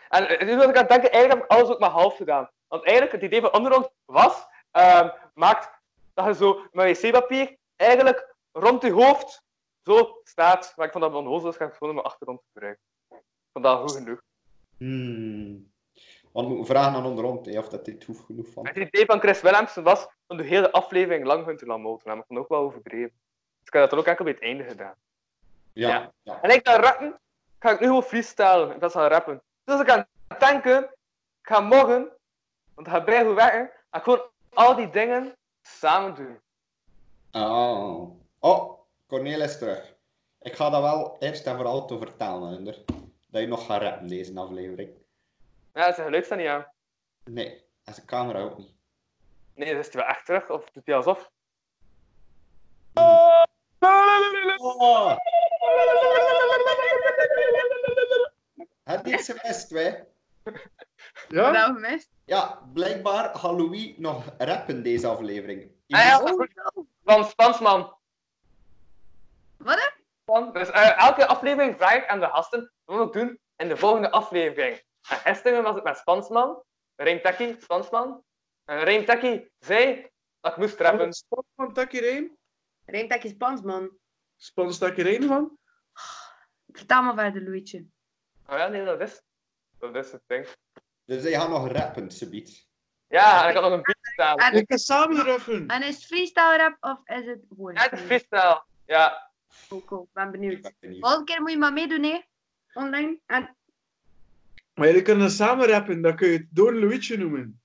[SPEAKER 4] En eh, nu was ik aan het denken, eigenlijk heb ik alles ook maar half gedaan. Want eigenlijk, het idee van Underground was, ehm, maakt dat je zo met wc-papier eigenlijk rond je hoofd zo staat. Maar ik vond dat onhozel, dus ga ik gewoon mijn achtergrond gebruiken. Vandaag goed genoeg.
[SPEAKER 3] Hmm. Want we moeten vragen aan onderhand hè, of dat dit hoeft genoeg van.
[SPEAKER 4] Het idee van Chris Willemsen was om de hele aflevering lang hun te laten motoren. Maar ik vond het ook wel overdreven. Dus ik heb dat dan ook enkel bij het einde gedaan.
[SPEAKER 3] Ja, ja.
[SPEAKER 4] En ik ga rappen, ga ik nu gewoon freestylen in plaats van rappen. Dus ik ga tanken, ik ga morgen, want ik ga bij goed werken, ga ik gewoon al die dingen samen doen.
[SPEAKER 3] Oh. oh, Cornelis terug. Ik ga dat wel eerst en vooral te vertalen, Hunder. Dat je nog gaat rappen deze aflevering.
[SPEAKER 4] Ja, zijn geluid staat niet aan.
[SPEAKER 3] Nee, als de camera ook niet.
[SPEAKER 4] Nee, dat is hij wel echt terug, of doet hij alsof?
[SPEAKER 3] Oh. Heb je iets gemist, wij?
[SPEAKER 5] Ja?
[SPEAKER 6] Nou, gemist.
[SPEAKER 3] Ja, blijkbaar gaat Louis nog rappen deze aflevering.
[SPEAKER 4] Ah ja,
[SPEAKER 3] Iemand-
[SPEAKER 4] dat is goed. van Spansman.
[SPEAKER 6] Wat, hè?
[SPEAKER 4] Van- Dus eh, elke aflevering vraag ik aan de gasten wat we doen in de volgende aflevering. En gisteren was ik met Spansman, Reintaki, Spansman. En Reintaki zei dat ik moest rappen.
[SPEAKER 5] Spans van Takireen?
[SPEAKER 6] Rijmt dat je Spans, man.
[SPEAKER 5] Spans Takireen van?
[SPEAKER 6] Vertel maar verder, Louietje.
[SPEAKER 4] Oh ja, nee, dat is, dat is het ding.
[SPEAKER 3] Dus hij gaat nog rappen, subiet.
[SPEAKER 4] Ja, en ik had nog een freestyle.
[SPEAKER 6] En,
[SPEAKER 5] Ik ga samen ruffen.
[SPEAKER 6] en is het freestyle rap of is het woord?
[SPEAKER 4] Ja, het is freestyle. Ja,
[SPEAKER 6] Cool, cool. Ik ben
[SPEAKER 3] Ik
[SPEAKER 6] benieuwd.
[SPEAKER 3] ben
[SPEAKER 4] Ah.
[SPEAKER 3] benieuwd.
[SPEAKER 6] Volgende keer moet je maar meedoen, hè? Online. En
[SPEAKER 5] Maar jullie kunnen samen rappen, dan kun je het Don Luigi noemen.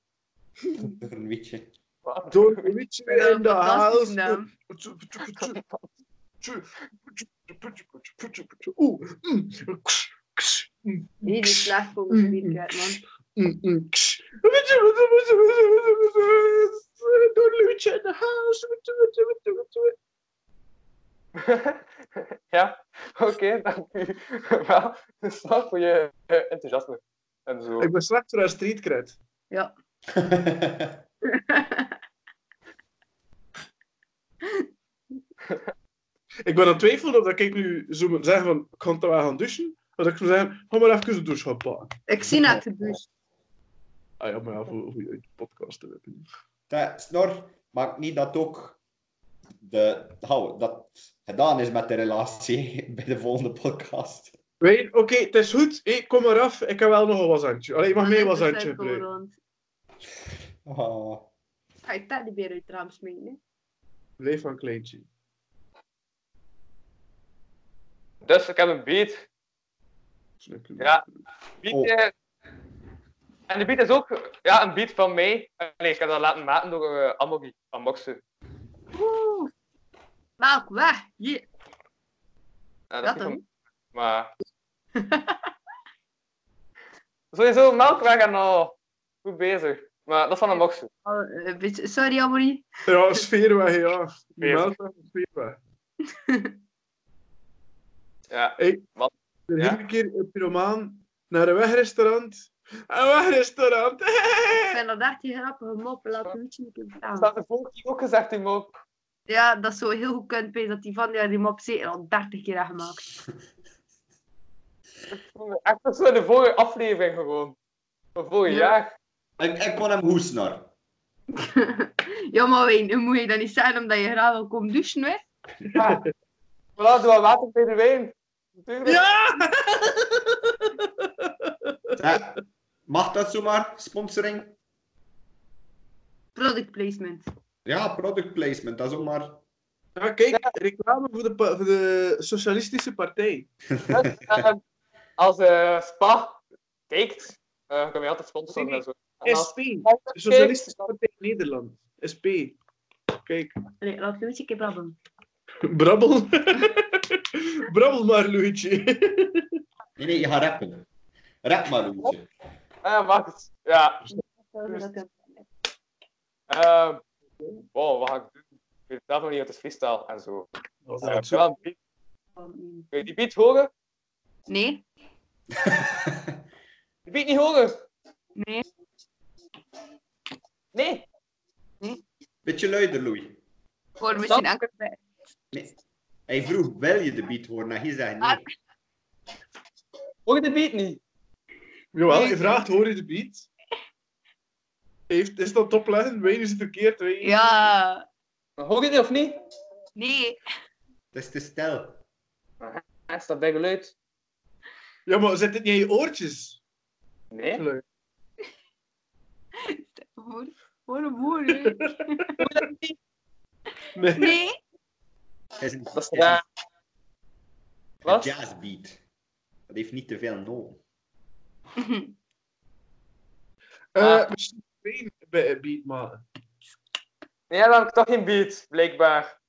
[SPEAKER 3] Een beetje.
[SPEAKER 4] wat?
[SPEAKER 5] Don Luigi in de
[SPEAKER 6] fantastische
[SPEAKER 5] house.
[SPEAKER 6] naam.
[SPEAKER 5] Oeh. mm, kss, kss, mm,
[SPEAKER 6] Niet die slecht volgens de bierkaart, man.
[SPEAKER 5] mm, mm, kss. Don Luigi in de house.
[SPEAKER 4] ja, oké, dank u. Wel, snap voor je eh, enthousiasme. En zo.
[SPEAKER 5] Ik ben slecht voor haar street cred. Ik ben aan het twijfelen of dat ik nu zo moet zeggen van, ik ga het wel gaan douchen. Of dat ik zou zeggen, ga maar even de douche gaan pakken.
[SPEAKER 6] Ik zie net de bus.
[SPEAKER 5] Ah ja, maar ja, voor, voor je podcast te hebben.
[SPEAKER 3] Dat- Snor, maakt niet dat ook de, hou, dat gedaan is met de relatie bij de volgende podcast.
[SPEAKER 5] Weet, oké, het is goed. Ik kom eraf. Ik heb wel nog een washandje. Allee, je mag mee een
[SPEAKER 6] was
[SPEAKER 5] washandje gebruiken.
[SPEAKER 3] Oh.
[SPEAKER 6] Ga je dat niet meer uit het raam smijten, hè?
[SPEAKER 5] Leef van kleintje.
[SPEAKER 4] Dus ik heb een beat.
[SPEAKER 5] Snukken.
[SPEAKER 4] Ja. beat
[SPEAKER 3] Oh.
[SPEAKER 4] eh, en de beat is ook ja, een beat van mij. Eh, Nee, ik heb dat laten maken door eh Amogi, Amoxe.
[SPEAKER 6] Oeh. Welk weg? Hier.
[SPEAKER 4] Ja,
[SPEAKER 6] Dat
[SPEAKER 4] is niet
[SPEAKER 6] hem.
[SPEAKER 4] van- Maar... Sowieso, melkweg en al. Goed bezig. Maar dat is van een mokse.
[SPEAKER 6] Oh, een beetje- Sorry, Amory.
[SPEAKER 5] Ja, sfeer weg, ja.
[SPEAKER 4] Sfeer.
[SPEAKER 5] Meld weg, sfeer weg.
[SPEAKER 4] Ja.
[SPEAKER 5] De
[SPEAKER 4] Ja.
[SPEAKER 5] hele keer een pyromaan naar een wegrestaurant. Een wegrestaurant.
[SPEAKER 6] Ik vind dat echt die grappige mop. Laat het niet in
[SPEAKER 4] Dat
[SPEAKER 6] staan.
[SPEAKER 4] had de vorige keer ook gezegd, die mop.
[SPEAKER 6] Ja, dat is zo heel goed kunt Pees, dat die van ja, die mop zeker al 30 keer heeft gemaakt.
[SPEAKER 4] Echt, dat is wel de vorige aflevering gewoon. Van vorig
[SPEAKER 6] Ja.
[SPEAKER 4] jaar.
[SPEAKER 3] Ik, ik kon hem goed, Snor.
[SPEAKER 6] Ja, maar Wijn, nu moet je dat niet zeggen omdat je graag wil komen douchen, hè?
[SPEAKER 4] Ja. Voilà, doe wat water bij de wijn. Natuurlijk.
[SPEAKER 5] Ja!
[SPEAKER 3] Ja. Mag dat zomaar? Sponsoring?
[SPEAKER 6] Product placement.
[SPEAKER 3] Ja, product placement, dat is ook maar...
[SPEAKER 5] Ja, kijk, reclame voor de, pa- voor de Socialistische Partij.
[SPEAKER 4] Dus, eh, als eh, Spa kijkt, eh kan je altijd sponsoren en zo. En als
[SPEAKER 5] SP.
[SPEAKER 4] Spa
[SPEAKER 5] Socialistische
[SPEAKER 4] kijkt, dan-
[SPEAKER 5] Partij Nederland. SP. Kijk.
[SPEAKER 6] Nee, laat Louis een keer brabbelen.
[SPEAKER 5] Brabbel. Brabbel maar, Luigi.
[SPEAKER 3] Nee, nee, je gaat rappen. Rap maar, Loentje.
[SPEAKER 4] Eh, wacht. Ja. Ehm, wow, wat ga ik doen? Ik weet zelf nog niet wat het is freestyle en zo. Eh, ik wil een beat. Kun je die beat horen?
[SPEAKER 6] Nee?
[SPEAKER 4] Die beat niet horen?
[SPEAKER 6] Nee?
[SPEAKER 4] Nee.
[SPEAKER 3] Beetje luider, Louis.
[SPEAKER 6] Voor misschien enkel bij.
[SPEAKER 3] Nee. Hij vroeg, wil je de beat horen? Nou, hij zei nee.
[SPEAKER 4] Hoor je de beat niet?
[SPEAKER 5] Jawel,
[SPEAKER 6] Nee.
[SPEAKER 5] je vraagt, hoor je de beat? Heeft, is dat toplessen? Ween is het verkeerd? Ween?
[SPEAKER 6] Ja,
[SPEAKER 4] Hoor je die of niet?
[SPEAKER 6] nee.
[SPEAKER 3] Het is te stil.
[SPEAKER 4] Ah, Is dat bij geluid?
[SPEAKER 5] ja, maar zit dit niet in je oortjes?
[SPEAKER 4] Nee.
[SPEAKER 5] Leuk.
[SPEAKER 6] Voor, voor een moeilijk.
[SPEAKER 5] Nee.
[SPEAKER 6] Nee.
[SPEAKER 3] Het is een,
[SPEAKER 4] Dat is
[SPEAKER 3] het is een-
[SPEAKER 4] raar.
[SPEAKER 3] een
[SPEAKER 4] Wat?
[SPEAKER 3] jazzbeat. Dat heeft niet te veel noten.
[SPEAKER 5] Eh,
[SPEAKER 4] Ah.
[SPEAKER 5] misschien Ween bij een beat maken.
[SPEAKER 4] Nee, dan heb ik toch geen beat, blijkbaar.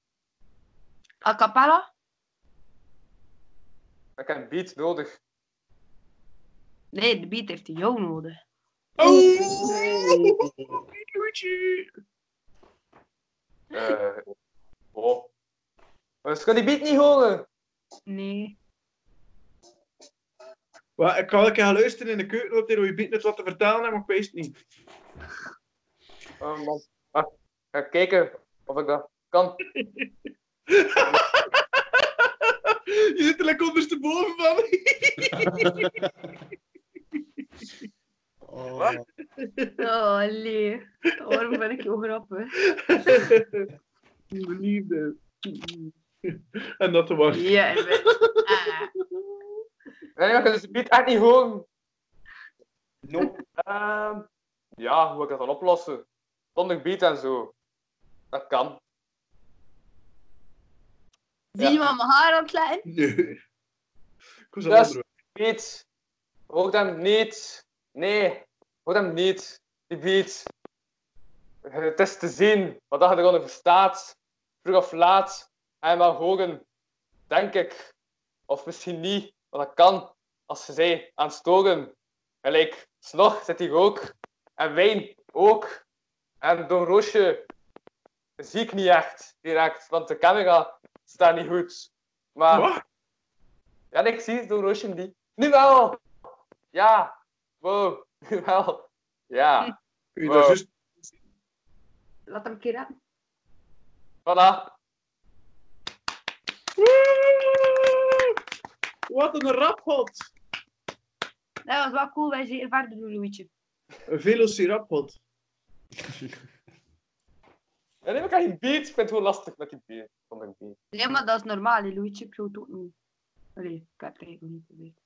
[SPEAKER 6] A cappella?
[SPEAKER 4] Ik heb een beat nodig.
[SPEAKER 6] Nee, de beat heeft jou nodig.
[SPEAKER 5] Oh!
[SPEAKER 4] Eh oh. Maar ze kunnen die beat niet horen.
[SPEAKER 6] Nee.
[SPEAKER 5] Wel, ik ga wel een keer gaan luisteren in de keuken wat er je beat net wat te vertalen heeft, maar ik weet het niet.
[SPEAKER 4] Oh, man. Maar ik ga kijken of ik dat kan.
[SPEAKER 5] Je zit er lekker ondersteboven van.
[SPEAKER 3] Oh,
[SPEAKER 4] Wat?
[SPEAKER 6] Oh, nee. Waarom ben ik zo grappig?
[SPEAKER 5] Mijn Liefde. En dat was.
[SPEAKER 6] Ja, ik ben... Ah.
[SPEAKER 4] Nee, maar ik kan dus de beat echt niet horen.
[SPEAKER 3] no.
[SPEAKER 4] Ehm, ja, hoe ga ik dat dan oplossen? Zonder beat en zo. Dat kan.
[SPEAKER 6] Zie je wat mijn haar aan het letten?
[SPEAKER 5] Nee. Ik was al
[SPEAKER 4] Dat is-
[SPEAKER 5] onderweg.
[SPEAKER 4] Beat. Hoor hem niet. Nee, hoor hem niet. Die beat. Het is te zien wat dat je eronder verstaat. Vroeg of laat. Ga je maar horen. Denk ik. Of misschien niet. Want dat kan. Als ze zij aan het storen. Gelijk, Snog zit hier ook. En Wijn ook. En Don Roosje zie ik niet echt direct. Want de camera staat niet goed. Maar...
[SPEAKER 5] Wat?
[SPEAKER 4] Ja, nee, ik zie het door Ocean die. Nu wel! Ja! Wow, nu wel. Ja,
[SPEAKER 5] Kun je
[SPEAKER 4] Wow.
[SPEAKER 5] dat juist-
[SPEAKER 6] Laat hem een keer rappen.
[SPEAKER 4] voilà.
[SPEAKER 5] Woe! Wat een raphot.
[SPEAKER 6] Dat was wel cool, wij zeker verder doen, Louietje.
[SPEAKER 5] Een velociraptor.
[SPEAKER 4] Ja, nee, maar ik heb geen beat. Ik vind het gewoon lastig met die beat. Zonder een beat.
[SPEAKER 6] Nee, maar dat is normaal, hè, Louietje. Ik zou het ook niet... Allee, ik heb het eigenlijk niet geprobeerd.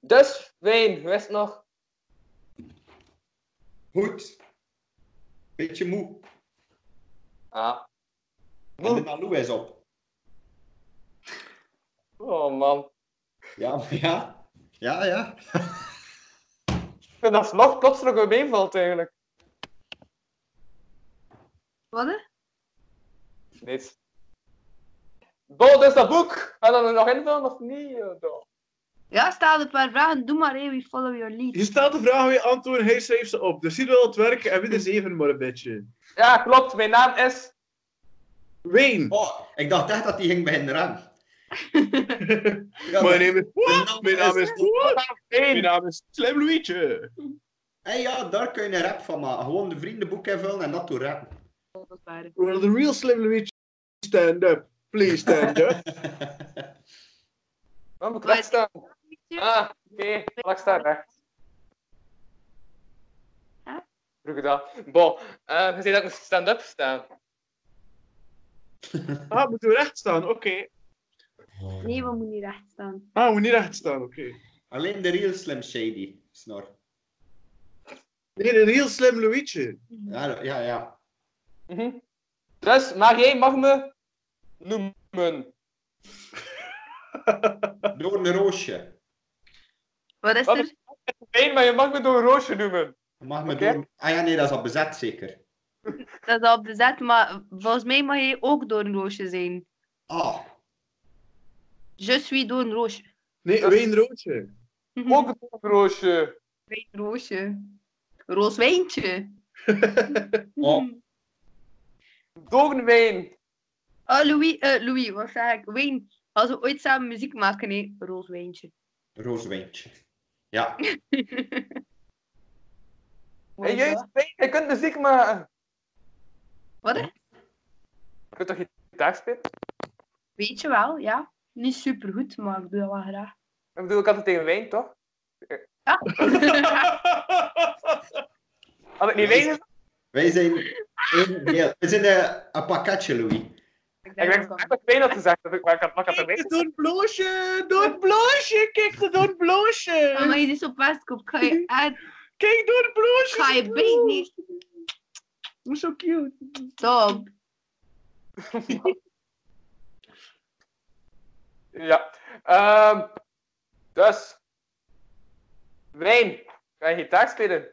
[SPEAKER 4] Dus, Wijn, wist nog?
[SPEAKER 3] Goed. Beetje moe.
[SPEAKER 4] Ah.
[SPEAKER 3] En de
[SPEAKER 4] Moe.
[SPEAKER 3] Naloo is op.
[SPEAKER 4] Oh man.
[SPEAKER 3] Ja, maar ja. Ja, ja.
[SPEAKER 4] Ik vind dat nog plotseling weer meevalt eigenlijk.
[SPEAKER 6] Wat, hè?
[SPEAKER 4] Niets. Bo, dus dat boek. Ga je dat er nog invullen of niet? eh, Bo?
[SPEAKER 6] Ja, stel een paar vragen. Doe maar, hè. We follow your lead.
[SPEAKER 5] Je stelt de vraag weer antwoord, hij schreef ze op. Dus hier wil het werken en wie is even maar een beetje.
[SPEAKER 4] Ja, klopt. Mijn naam is...
[SPEAKER 5] Ween.
[SPEAKER 3] Oh, ik dacht echt dat die ging bij een ram. Ja,
[SPEAKER 5] Mijn naam is...
[SPEAKER 3] naam
[SPEAKER 5] Mijn naam
[SPEAKER 3] is-
[SPEAKER 5] is... Wat? Mijn
[SPEAKER 4] Wijn.
[SPEAKER 5] naam is Slim Louietje.
[SPEAKER 3] Hey, ja, daar kun je een rap van maken. Gewoon de vriendenboek invullen en dat door rappen.
[SPEAKER 6] Dat is waar.
[SPEAKER 5] Well, the real Slim Louietje. Stand up. Please stand up.
[SPEAKER 4] Wat moet ik recht staan? Ah, oké. Laat ik staan recht.
[SPEAKER 6] Huh?
[SPEAKER 4] Vroeg ik dat. Bon, eh, je zei dat ik moest stand-up staan.
[SPEAKER 5] Ah, moeten we recht staan? Oké.
[SPEAKER 6] Nee, we moeten niet recht staan.
[SPEAKER 5] Ah, we moeten niet recht staan, oké.
[SPEAKER 3] Alleen de real Slim Shady, snor.
[SPEAKER 5] Nee, de real Slim Louietje.
[SPEAKER 3] Ja, ja, ja.
[SPEAKER 4] Mhm. Dus, maar jij mag me noemen.
[SPEAKER 3] Door een roosje.
[SPEAKER 6] Wat is
[SPEAKER 4] Wat
[SPEAKER 6] er?
[SPEAKER 4] Nee, maar je mag me door Roosje noemen.
[SPEAKER 3] Je Mag me
[SPEAKER 4] Oké.
[SPEAKER 3] door... Ah ja, nee, dat is al bezet zeker.
[SPEAKER 6] Dat is al bezet, maar volgens mij mag je ook door een roosje zijn.
[SPEAKER 3] Ah,
[SPEAKER 6] Je suis door een roosje.
[SPEAKER 5] Nee,
[SPEAKER 4] Dat-
[SPEAKER 5] Ween Roodje.
[SPEAKER 4] Ook door Roosje.
[SPEAKER 6] Wijn roosje. Roos wijntje.
[SPEAKER 3] Oh.
[SPEAKER 4] Doornwijn.
[SPEAKER 6] Oh, Louis, eh, Louis, wat zeg ik? Wijn. Als we ooit samen muziek maken, nee, roos wijntje.
[SPEAKER 3] rooswijntje. Ja,
[SPEAKER 4] En juist, Wijn, je kunt dus muziek maken.
[SPEAKER 6] Wat? hè?
[SPEAKER 4] Je kunt toch gitaar spelen?
[SPEAKER 6] Weet je wel, ja. Niet supergoed, maar ik doe dat wel graag.
[SPEAKER 4] Ik bedoel, ik had het tegen Wijn, toch? Had ik niet weten?
[SPEAKER 3] Wij zijn één deel. We zijn eh, een pakketje, Louis.
[SPEAKER 6] Ik
[SPEAKER 4] Ik denk dat ik weet dat ze zegt, dat ik- maar ik had maar ik had het
[SPEAKER 5] Kijk,
[SPEAKER 4] weten.
[SPEAKER 5] het doet bloosje, doet bloosje, kijk, het doet
[SPEAKER 6] Maar als
[SPEAKER 5] bloosje.
[SPEAKER 6] je dit op vastkoopt, ga je uit,
[SPEAKER 5] Kijk, doet bloosje.
[SPEAKER 6] ga je beet niet.
[SPEAKER 5] Hoe zo cute.
[SPEAKER 6] Top.
[SPEAKER 4] Ja. Ehm, dus. Wijn, kan je gitaar spelen?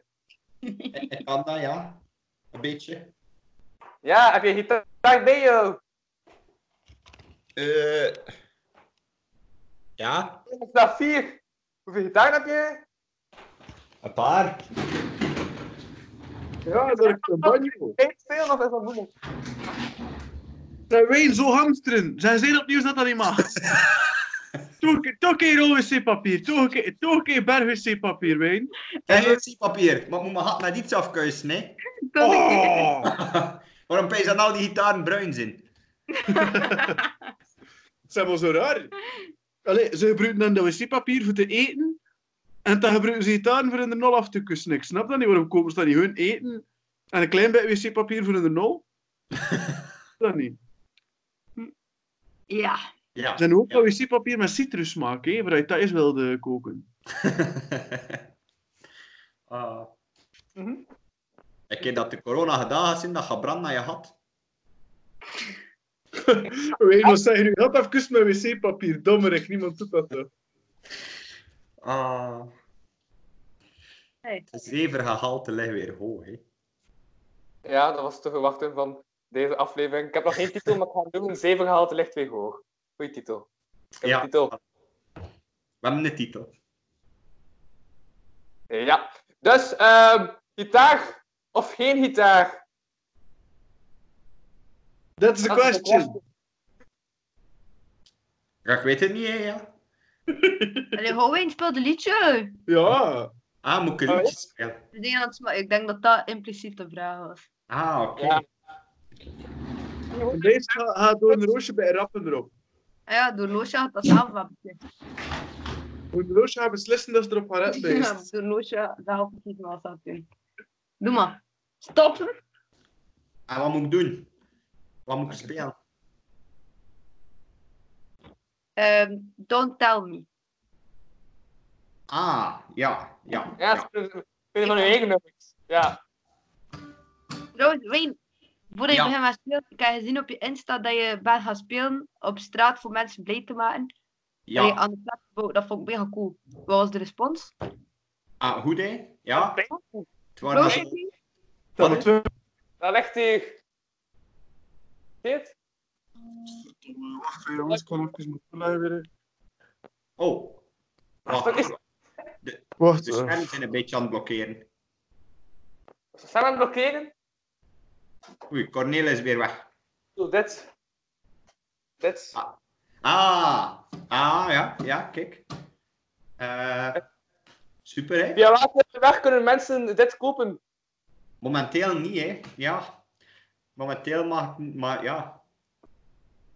[SPEAKER 3] Ik ik kan dat, ja. Een beetje.
[SPEAKER 4] Ja, heb je gitaar bij jou?
[SPEAKER 3] Eh, ja,
[SPEAKER 4] Ik sta vier. Hoeveel gitaar heb je?
[SPEAKER 3] een paar.
[SPEAKER 5] Ja, dat is een banjo.
[SPEAKER 4] Eén spelen of is dat moeilijk?
[SPEAKER 5] Zijn wij zo hamsteren? Zijn zij opnieuw dat dat niet mag? Toch een keer- toch een keer OWC-papier, toch een keer- toch een keer berg-wc-papier, Wijn.
[SPEAKER 3] En papier. Maar ik moet mijn hart naar iets afkuisen, hè.
[SPEAKER 6] Kom ik.
[SPEAKER 5] Oh!
[SPEAKER 3] Waarom pees dat al die gitaren bruin zijn?
[SPEAKER 5] Zijn wel zo raar. Allee, ze gebruiken dan dat wc-papier voor te eten. En dan gebruiken ze gitaren voor in de nul af te kussen. Ik snap dat niet, waarom kopen ze dan niet hun eten? En een klein beetje wc-papier voor in de nul? dat niet.
[SPEAKER 6] Ja.
[SPEAKER 3] Ja.
[SPEAKER 5] Er zijn ook wel wc-papier met citrussmaak, hè, waaruit dat is wilde koken.
[SPEAKER 3] Ah.
[SPEAKER 4] Mhm.
[SPEAKER 3] Ik heb dat de corona gedaan is, dat je brand naar je had.
[SPEAKER 5] Wijn, wat zei je nu? Had even met wc-papier, dommerig, niemand doet dat toch?
[SPEAKER 3] Ah.
[SPEAKER 6] Hey.
[SPEAKER 3] Het zevergehalte ligt weer hoog, hè.
[SPEAKER 4] Ja, dat was te verwachten van deze aflevering. Ik heb nog geen titel, maar ik ga het doen. Zeven gehaald ligt weer hoog. Goeie titel. Ik heb
[SPEAKER 3] Ja.
[SPEAKER 4] een titel.
[SPEAKER 3] We hebben een titel.
[SPEAKER 4] Ja. Dus, ehm, gitaar of geen gitaar?
[SPEAKER 5] That's the
[SPEAKER 4] Dat is de
[SPEAKER 5] question.
[SPEAKER 3] Ja, ik weet het niet, hè, ja.
[SPEAKER 6] Allee, hou eens, speel de liedje.
[SPEAKER 5] Ja.
[SPEAKER 3] Ah, moet ik een
[SPEAKER 4] Oh, ja.
[SPEAKER 3] liedje spelen?
[SPEAKER 6] Ik denk dat, het sma- ik denk dat dat impliciet de vraag was.
[SPEAKER 3] Ah, oké.
[SPEAKER 4] Ja.
[SPEAKER 5] Deze gaat gaat door een roosje bij rappen erop.
[SPEAKER 6] Ah ja, door Loosje had dat zelf wel beslist.
[SPEAKER 5] Moet een roosje gaan beslissen dat ze erop gaan rappen.
[SPEAKER 6] Ja, Door Loosje zelf niet wat dat doen. Doe maar. Stop.
[SPEAKER 3] En Ah, wat moet ik doen? Wat moet ik spelen?
[SPEAKER 6] Ehm, don't tell me.
[SPEAKER 3] Ah, ja, ja.
[SPEAKER 4] Ja,
[SPEAKER 3] ja.
[SPEAKER 4] spelen spelen van uw eigen nummers. Ja.
[SPEAKER 6] Trouwens, Wayne, voordat je
[SPEAKER 3] Ja.
[SPEAKER 6] begint met spelen, ik heb gezien op je Insta dat je bent gaan spelen op straat voor mensen blij te maken.
[SPEAKER 3] ja.
[SPEAKER 6] Allee, aan de plaats gebouwd. Dat vond ik mega cool. Wat was de respons?
[SPEAKER 3] Ah, goed, hè? Ja. Het waren
[SPEAKER 6] Loosje,
[SPEAKER 3] maar-
[SPEAKER 5] Dan moeten we-
[SPEAKER 4] Daar ligt hij. Zie je het?
[SPEAKER 5] Wacht jongens, ik ga even moeten luisteren.
[SPEAKER 3] Oh.
[SPEAKER 4] Dat is
[SPEAKER 3] Wacht,
[SPEAKER 5] Wacht,
[SPEAKER 3] de schermen zijn een beetje aan het blokkeren.
[SPEAKER 4] Ze zijn aan het blokkeren.
[SPEAKER 3] Oei, Cornelis is weer weg.
[SPEAKER 4] Doe dit. Dit.
[SPEAKER 3] Ah. Ah, ah ja, ja, kijk. Eh, super, hè?
[SPEAKER 4] Via welke weg kunnen mensen dit kopen?
[SPEAKER 3] Momenteel niet, hè? Ja. Momenteel mag ik niet, maar ja.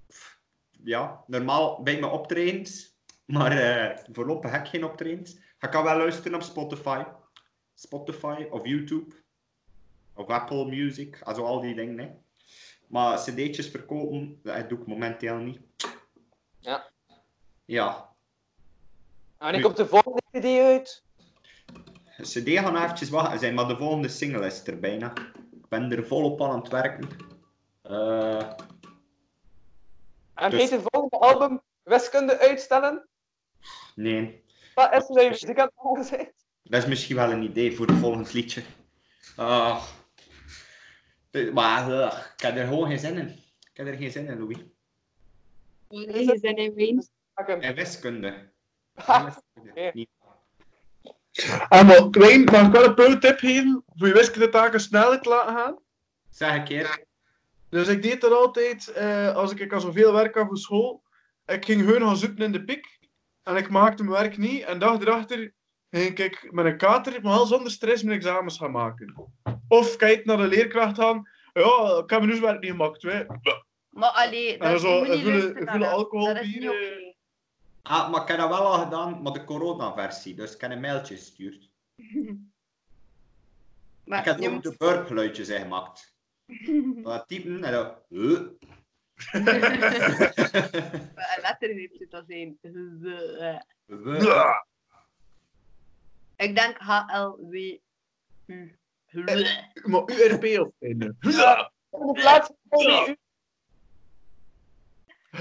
[SPEAKER 3] Pff, Ja, normaal ben ik mijn optredens, maar eh, voorlopig heb ik geen optredens. Ik kan wel luisteren op Spotify. Spotify of YouTube. Of Apple Music, also al die dingen, hè. Maar cd'tjes verkopen, dat doe ik momenteel niet.
[SPEAKER 4] Ja.
[SPEAKER 3] Ja,
[SPEAKER 4] En wanneer komt de volgende CD uit?
[SPEAKER 3] De CD gaan eventjes wachten zijn, maar de volgende single is er bijna. Ik ben er volop aan aan het werken. Eh,
[SPEAKER 4] En
[SPEAKER 3] Dus-
[SPEAKER 4] geeft het volgende album wiskunde uitstellen?
[SPEAKER 3] nee,
[SPEAKER 4] Dat is wat je muziek aan het maken bent.
[SPEAKER 3] dat is misschien wel een idee voor het volgend liedje. Ah. Eh, maar eh, ik heb er gewoon geen zin in. Ik heb er geen zin in, Louis.
[SPEAKER 6] je zijn in Wayne.
[SPEAKER 4] Maken.
[SPEAKER 3] En wiskunde. En
[SPEAKER 4] Ha,
[SPEAKER 3] wiskunde. Niet.
[SPEAKER 5] Ah, maar Wayne, mag ik wel een pro-tip geven? Voor je wiskundetaken sneller te laten gaan?
[SPEAKER 3] Zeg een keer.
[SPEAKER 5] Dus ik deed dat altijd, eh, als ik, ik al zoveel werk had voor school. Ik ging hun gaan zoeken in de pik. En ik maakte mijn werk niet. En dag erachter ging ik met een kater, maar al zonder stress, mijn examens gaan maken. Of kijk naar de leerkracht gaan. Ja, ik heb mijn huiswerk niet gemaakt. Hè.
[SPEAKER 6] Maar allee,
[SPEAKER 5] En
[SPEAKER 6] dat is
[SPEAKER 5] zo,
[SPEAKER 6] moet
[SPEAKER 5] een
[SPEAKER 6] niet
[SPEAKER 5] goede-
[SPEAKER 6] luisteren
[SPEAKER 5] een goede
[SPEAKER 6] naar dat.
[SPEAKER 5] alcohol
[SPEAKER 6] Dat is niet
[SPEAKER 5] bier,
[SPEAKER 6] oké.
[SPEAKER 3] Ah, maar ik heb dat wel al gedaan, maar de corona-versie. Dus ik heb een mailtje gestuurd.
[SPEAKER 5] eh,
[SPEAKER 6] Maar
[SPEAKER 3] ik heb
[SPEAKER 6] je
[SPEAKER 3] ook
[SPEAKER 6] moet-
[SPEAKER 3] de burpgeluidjes ingemaakt. Dat typen en dan...
[SPEAKER 6] Een lettergreepje dat zijn. Z- eh. Ik denk HLW.
[SPEAKER 3] Eh.
[SPEAKER 5] Maar URP of einde.
[SPEAKER 4] In de plaats van die u-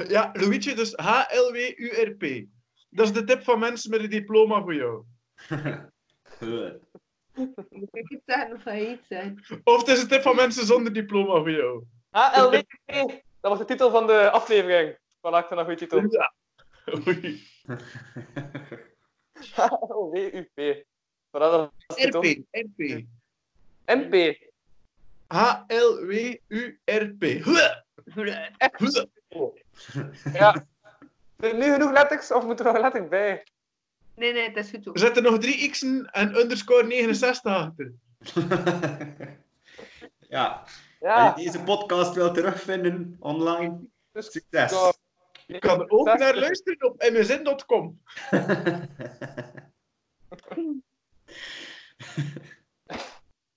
[SPEAKER 5] Ja, Luigi, dus HLW-URP. Dat is de tip van mensen met een diploma voor jou.
[SPEAKER 6] Moet ik het zeggen of ga je iets zeggen?
[SPEAKER 5] Of het is een tip van mensen zonder diploma voor jou.
[SPEAKER 4] HLWP. Dat was de titel van de aflevering. Voilà, ik vind dat een goede titel.
[SPEAKER 5] Ja. Oei.
[SPEAKER 4] HLWUP. Voilà, dat was de titel.
[SPEAKER 5] RP, RP.
[SPEAKER 4] MP.
[SPEAKER 5] H-L-W-U-R-P.
[SPEAKER 4] Ja. Zijn er nu genoeg letters of moet er nog een letter bij?
[SPEAKER 6] Nee, nee, het is goed. zo.
[SPEAKER 5] Er zitten nog drie x'en en underscore 69 achter.
[SPEAKER 3] ja, als
[SPEAKER 4] Ja.
[SPEAKER 3] je deze podcast wil terugvinden online,
[SPEAKER 4] Dus
[SPEAKER 3] succes.
[SPEAKER 4] Ja.
[SPEAKER 5] Je kan er ook naar luisteren op msn.com.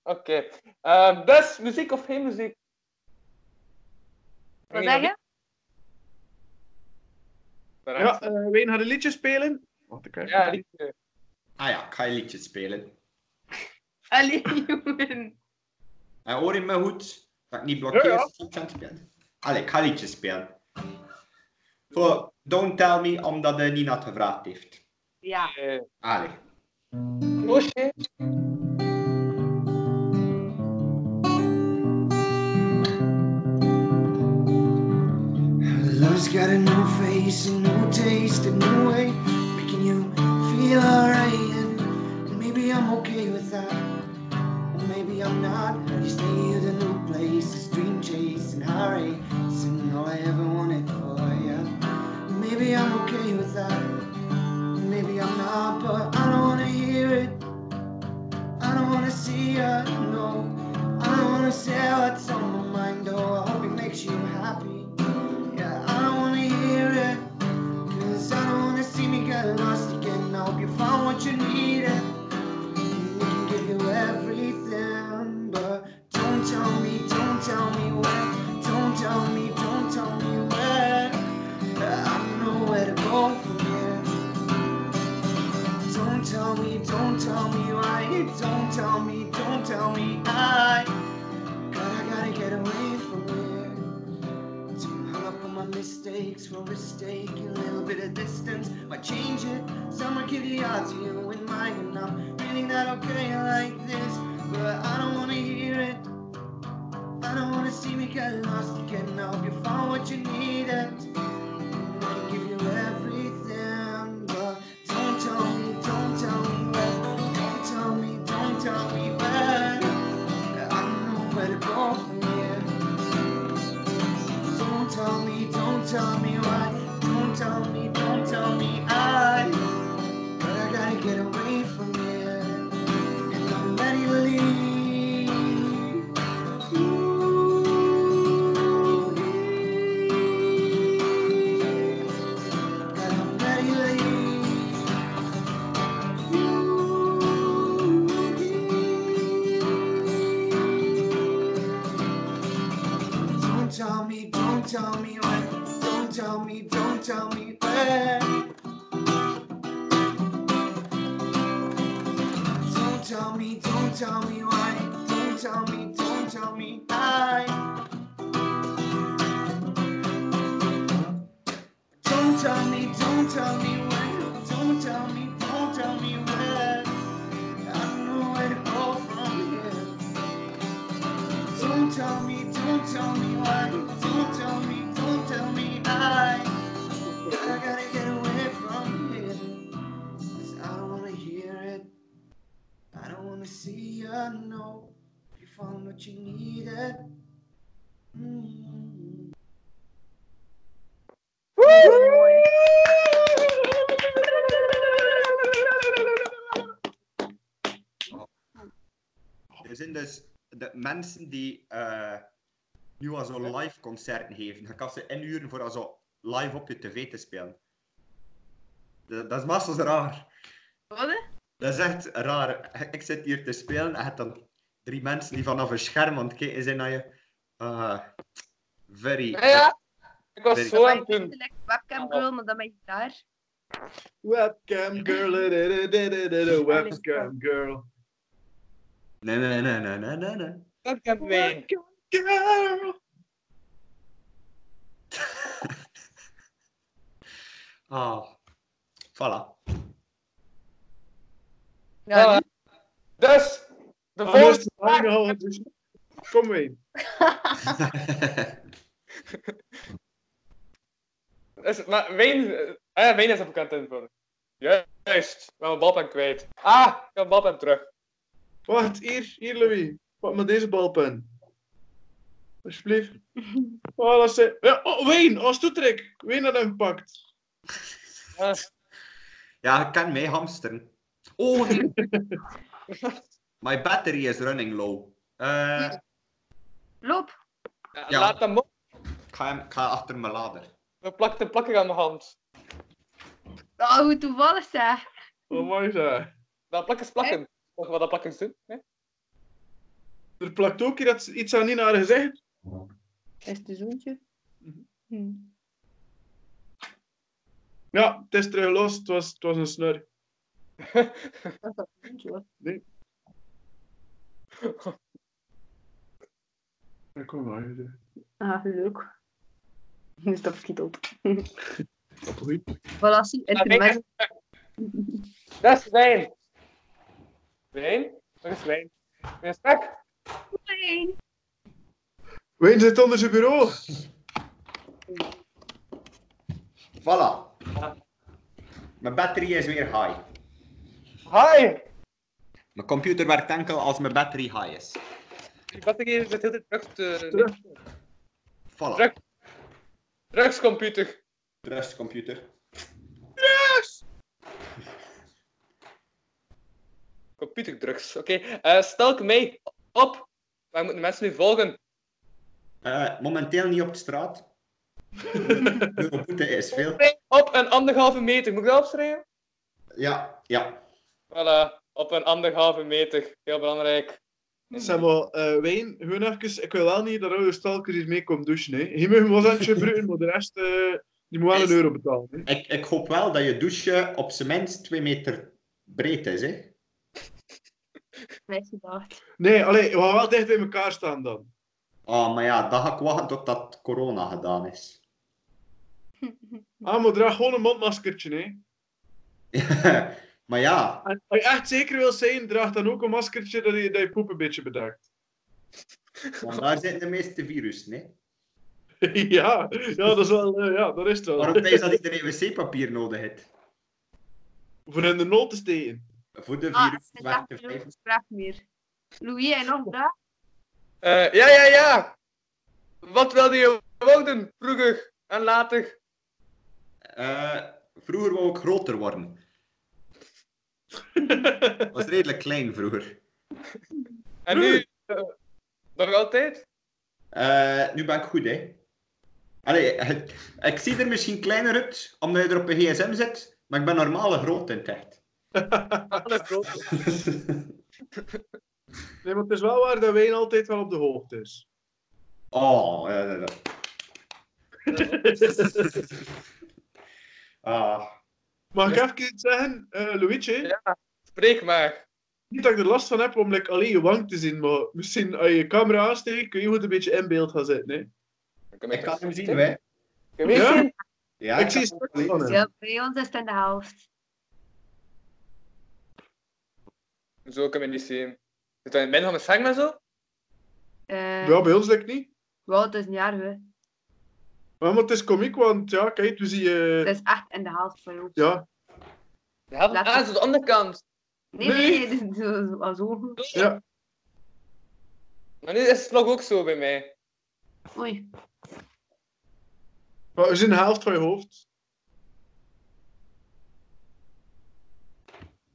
[SPEAKER 4] Oké. Ehm, dus, muziek of geen muziek?
[SPEAKER 6] Wat zeg je?
[SPEAKER 5] Ja, eh Wayne gaat een liedje spelen. Wat ik
[SPEAKER 4] Ja, liedje.
[SPEAKER 3] ah ja, ik ga je liedje spelen.
[SPEAKER 6] Allee, jongen.
[SPEAKER 3] En Eh, hoor je me goed? Dat ik niet blokkeer?
[SPEAKER 5] Ja, ja.
[SPEAKER 3] Ik aan het spelen. Allee, ik ga een liedje spelen. Voor Don't Tell Me, omdat eh, Nina het gevraagd heeft.
[SPEAKER 6] Ja.
[SPEAKER 4] Eh,
[SPEAKER 3] Allee.
[SPEAKER 4] Roosje.
[SPEAKER 7] Love's got a new face, a new taste, a new way, making you feel alright. And, and maybe I'm okay with that, or maybe I'm not. You stay at a new place, this dream chase and hurry, isn't all I ever wanted for you. Maybe I'm okay with that, and maybe I'm not, but I don't wanna hear it. I don't wanna see ya, no. I don't wanna say what's on my mind, oh, I hope it makes you happy. Yeah, I don't wanna hear it. Cause I don't wanna see me get lost again. I hope you found what you needed. And we can give you everything. But don't tell me, don't tell me where. Don't tell me, don't tell me where. I don't know where to go from here. Don't tell me, don't tell me why. Don't tell me, don't tell me I. God, I gotta get away from here. Too hung up on my mistakes, for mistake, a little bit of distance might change it. Some will give the odds of you in mine, and I'm really not okay like this. But I don't wanna hear it. I don't wanna see me get lost again. I hope you found what you needed. I can give you everything, but don't tell me, don't tell me where. Don't tell me, don't tell me where. I don't know where to go from here. Don't tell me, don't tell me why. Don't tell me, don't tell me I. But I gotta get away from here. And I'm ready to leave. And I'm ready to leave. Don't tell me, don't tell me when. Don't tell me, don't tell me when. Don't tell me, don't tell me why. Don't tell me, don't tell me I. Don't tell me, don't tell me when. Don't tell me, don't tell me when. I don't know where to go from here. Don't tell me, don't tell me why. Don't tell me, don't tell me I. I gotta get away from here. 'Cause I don't wanna hear it. I don't wanna see you, no. You found what you needed. Mm.
[SPEAKER 3] Er zijn dus de mensen die eh, nu al zo live concerten geven. Je kan ze inhuren voor al zo live op je tv te spelen. Dat dat is masters raar.
[SPEAKER 6] Wat? hè?
[SPEAKER 3] Dat is echt raar. Ik zit hier te spelen en je hebt dan drie mensen die vanaf een scherm aan het kijken zijn naar je. Ah, very.
[SPEAKER 4] Ja, Nou ja. Ik was
[SPEAKER 3] Weet
[SPEAKER 4] zo aan
[SPEAKER 6] Mijn
[SPEAKER 4] het doen.
[SPEAKER 6] intellect
[SPEAKER 5] Ah.
[SPEAKER 6] webcam girl, maar dan ben je daar.
[SPEAKER 5] Webcam girl, da, da, da, da, da, da, webcam girl.
[SPEAKER 3] Nee, nee, nee, nee, nee, nee, nee.
[SPEAKER 4] Dat kan mee.
[SPEAKER 5] Girl!
[SPEAKER 3] Ah, voilà.
[SPEAKER 6] Ja,
[SPEAKER 4] Ah.
[SPEAKER 6] nu-
[SPEAKER 4] Dus, de
[SPEAKER 5] Anders
[SPEAKER 4] volgende
[SPEAKER 5] hang je
[SPEAKER 4] vraag.
[SPEAKER 5] al dus. Kom mee.
[SPEAKER 4] Is, maar Wayne, eh, ah ja, Wayne is een bekend invoerder. Juist, ik ben mijn balpen kwijt. Ah, ik heb mijn balpen terug.
[SPEAKER 5] Wacht, hier, hier Louis. Pak maar deze balpen. Alsjeblieft. Oh, dat is het. Ja, oh, Wayne, als toetrek. Wayne had hem gepakt.
[SPEAKER 4] Ah.
[SPEAKER 3] ja, ik kan mij hamsteren. Oh, nee. My battery is running low. Eh,
[SPEAKER 6] Loop.
[SPEAKER 3] Ja.
[SPEAKER 4] Laat hem op,
[SPEAKER 3] ik, ga hem, ik ga achter mijn lader.
[SPEAKER 4] we plakken de plakker aan mijn hand.
[SPEAKER 6] Oh, hoe toevallig zeg.
[SPEAKER 5] Wat Oh, mooi zo.
[SPEAKER 4] Dat plakken is plakken. Of wat dat plakken is doen. Hè?
[SPEAKER 5] Er plakt ook hier dat- iets aan Nina haar gezegd.
[SPEAKER 6] Is het een zoontje?
[SPEAKER 5] Mhm.
[SPEAKER 6] Hm.
[SPEAKER 5] Ja, het is teruggelost. Het was, het was een snor.
[SPEAKER 6] Zoontje, hoor.
[SPEAKER 5] Ja, Kom maar. eh,
[SPEAKER 6] Ah, leuk. Dus dat schiet op.
[SPEAKER 5] dat is goed.
[SPEAKER 6] Voilà, zie, intermezzo.
[SPEAKER 4] Nou, Dat is Wijn. Wijn? Dat is Wijn. Ben je strak?
[SPEAKER 6] Nee.
[SPEAKER 5] Wayne zit onder zijn bureau.
[SPEAKER 3] Voilà. Mijn battery is weer high.
[SPEAKER 4] Hi!
[SPEAKER 3] Mijn computer werkt enkel als mijn battery high is.
[SPEAKER 4] Die batterij zit heel de drugs eh, te...
[SPEAKER 5] Terug.
[SPEAKER 3] Voilà.
[SPEAKER 4] Druk. Drugscomputer.
[SPEAKER 3] Rust, computer.
[SPEAKER 4] Computerdrugs, oké. Eh, stel ik mij op. Waar moeten mensen nu volgen?
[SPEAKER 3] Eh, momenteel niet op de straat. De boete is veel.
[SPEAKER 4] Mij Op een anderhalve meter. Moet ik dat opschrijven?
[SPEAKER 3] Ja, ja.
[SPEAKER 4] Voilà. Op een anderhalve meter. Heel belangrijk.
[SPEAKER 5] Zeg maar, eh Wayne, gewoon even. Ik wil wel niet dat oude stalker hier mee komt douchen. Hè. Hier mag je wel eens gebruiken, maar de rest. eh, die moet wel een euro betalen. Hè.
[SPEAKER 3] Ik, ik hoop wel dat je douche op zijn minst 2 meter breed is. Hè?
[SPEAKER 6] Nee, ze dacht.
[SPEAKER 5] Nee, allee, we gaan wel dicht bij elkaar staan dan.
[SPEAKER 3] Ah, maar ja, dan ga ik wachten tot dat corona gedaan is.
[SPEAKER 5] Ah, maar draag gewoon een mondmaskertje, hè.
[SPEAKER 3] maar ja,
[SPEAKER 5] En als je echt zeker wil zijn, draag dan ook een maskertje dat je, dat je poep een beetje bedekt.
[SPEAKER 3] want daar zitten de meeste virussen. Hè?
[SPEAKER 5] ja, ja, dat is wel, eh, ja, dat is het wel.
[SPEAKER 3] Waarom denk je dat iedereen wc-papier nodig heeft?
[SPEAKER 5] Voor in de nul te steken.
[SPEAKER 3] Voor de
[SPEAKER 6] Ah,
[SPEAKER 3] virus
[SPEAKER 6] ze
[SPEAKER 3] weg
[SPEAKER 6] dacht
[SPEAKER 3] te
[SPEAKER 6] geen
[SPEAKER 3] vijven.
[SPEAKER 6] gesprek meer. Louis, jij nog daar?
[SPEAKER 4] Eh, ja, ja, ja. Wat wilde je worden? Vroeger en later.
[SPEAKER 3] Eh, vroeger wou ik groter worden. Ik was redelijk klein vroeger.
[SPEAKER 4] En nu? eh, nog altijd?
[SPEAKER 3] Eh, nu ben ik goed, hè. Allee, het- ik zie er misschien kleiner uit, omdat je er op een gsm zit, maar ik ben normale groot in het echt.
[SPEAKER 4] Alles groot.
[SPEAKER 5] nee, maar het is wel waar dat Wijn altijd wel op de hoogte is.
[SPEAKER 3] oh, eh, ah.
[SPEAKER 5] Mag ik even iets zeggen, eh Luigi?
[SPEAKER 4] Ja. Spreek maar.
[SPEAKER 5] Niet dat ik er last van heb om like, alleen je wang te zien, maar misschien als je je camera aansteekt, kun je goed een beetje in beeld gaan zitten. Hè?
[SPEAKER 3] Ik kan hem zien, hè.
[SPEAKER 4] Kan je hem
[SPEAKER 5] Ja?
[SPEAKER 4] zien?
[SPEAKER 3] Ja,
[SPEAKER 5] ik zie een stuk van hem.
[SPEAKER 6] Ja, bij ons is het in de helft.
[SPEAKER 4] Zo kan je niet zien. Zit dat in het midden van mijn scherm en zo?
[SPEAKER 6] Eh
[SPEAKER 5] Ja, bij ons lukt niet.
[SPEAKER 6] Wauw, het is niet erg, hè.
[SPEAKER 5] Maar, maar het is komiek, want ja, kijk, we zien
[SPEAKER 6] Het
[SPEAKER 5] je...
[SPEAKER 6] is echt in de helft van jou.
[SPEAKER 5] Ja,
[SPEAKER 4] Ja, van-
[SPEAKER 6] Laat
[SPEAKER 4] ah,
[SPEAKER 6] het.
[SPEAKER 4] zo de andere kant.
[SPEAKER 6] Nee, nee, nee, dit is zo- zo.
[SPEAKER 5] ja.
[SPEAKER 4] Maar nu is het vlog ook zo bij mij.
[SPEAKER 6] Oei.
[SPEAKER 5] Maar we zien de helft van je hoofd.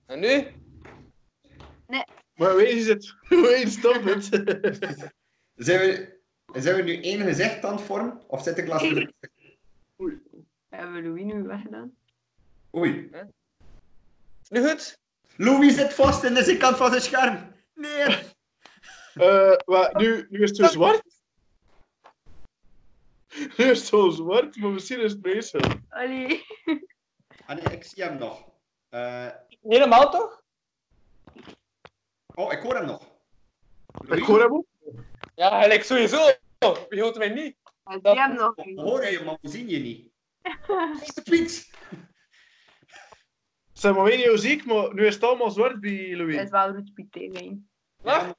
[SPEAKER 4] En nu?
[SPEAKER 5] Maar wees het. Wees stop het.
[SPEAKER 3] Zijn we, zijn we nu één gezicht aan het vormen? Of zit ik last
[SPEAKER 6] Hebben we Louis nu weggedaan?
[SPEAKER 3] Oei.
[SPEAKER 4] Is Nu goed?
[SPEAKER 3] Louis zit vast in de kant van zijn scherm. Nee.
[SPEAKER 5] Eh, maar nu, nu is het zo
[SPEAKER 4] Dat
[SPEAKER 5] zwart. Nu is het zo zwart, maar misschien is het meestal.
[SPEAKER 6] Allee.
[SPEAKER 3] Ah, nee, ik zie hem nog. Eh,
[SPEAKER 4] Niet helemaal toch?
[SPEAKER 3] oh, ik hoor hem nog. Louis,
[SPEAKER 5] Ik hoor hem ook.
[SPEAKER 4] Ja, hij lijkt sowieso. Wie hoort mij niet?
[SPEAKER 6] Ik
[SPEAKER 4] Dat-
[SPEAKER 6] zie hem nog
[SPEAKER 3] we
[SPEAKER 6] niet.
[SPEAKER 3] horen je, maar we zien je niet. Waar is de fiets?
[SPEAKER 5] Zijn maar weer ziek, maar nu is het allemaal zwart bij
[SPEAKER 6] Het
[SPEAKER 5] Louis.
[SPEAKER 6] is wel roetpiet tegen.
[SPEAKER 4] Wacht.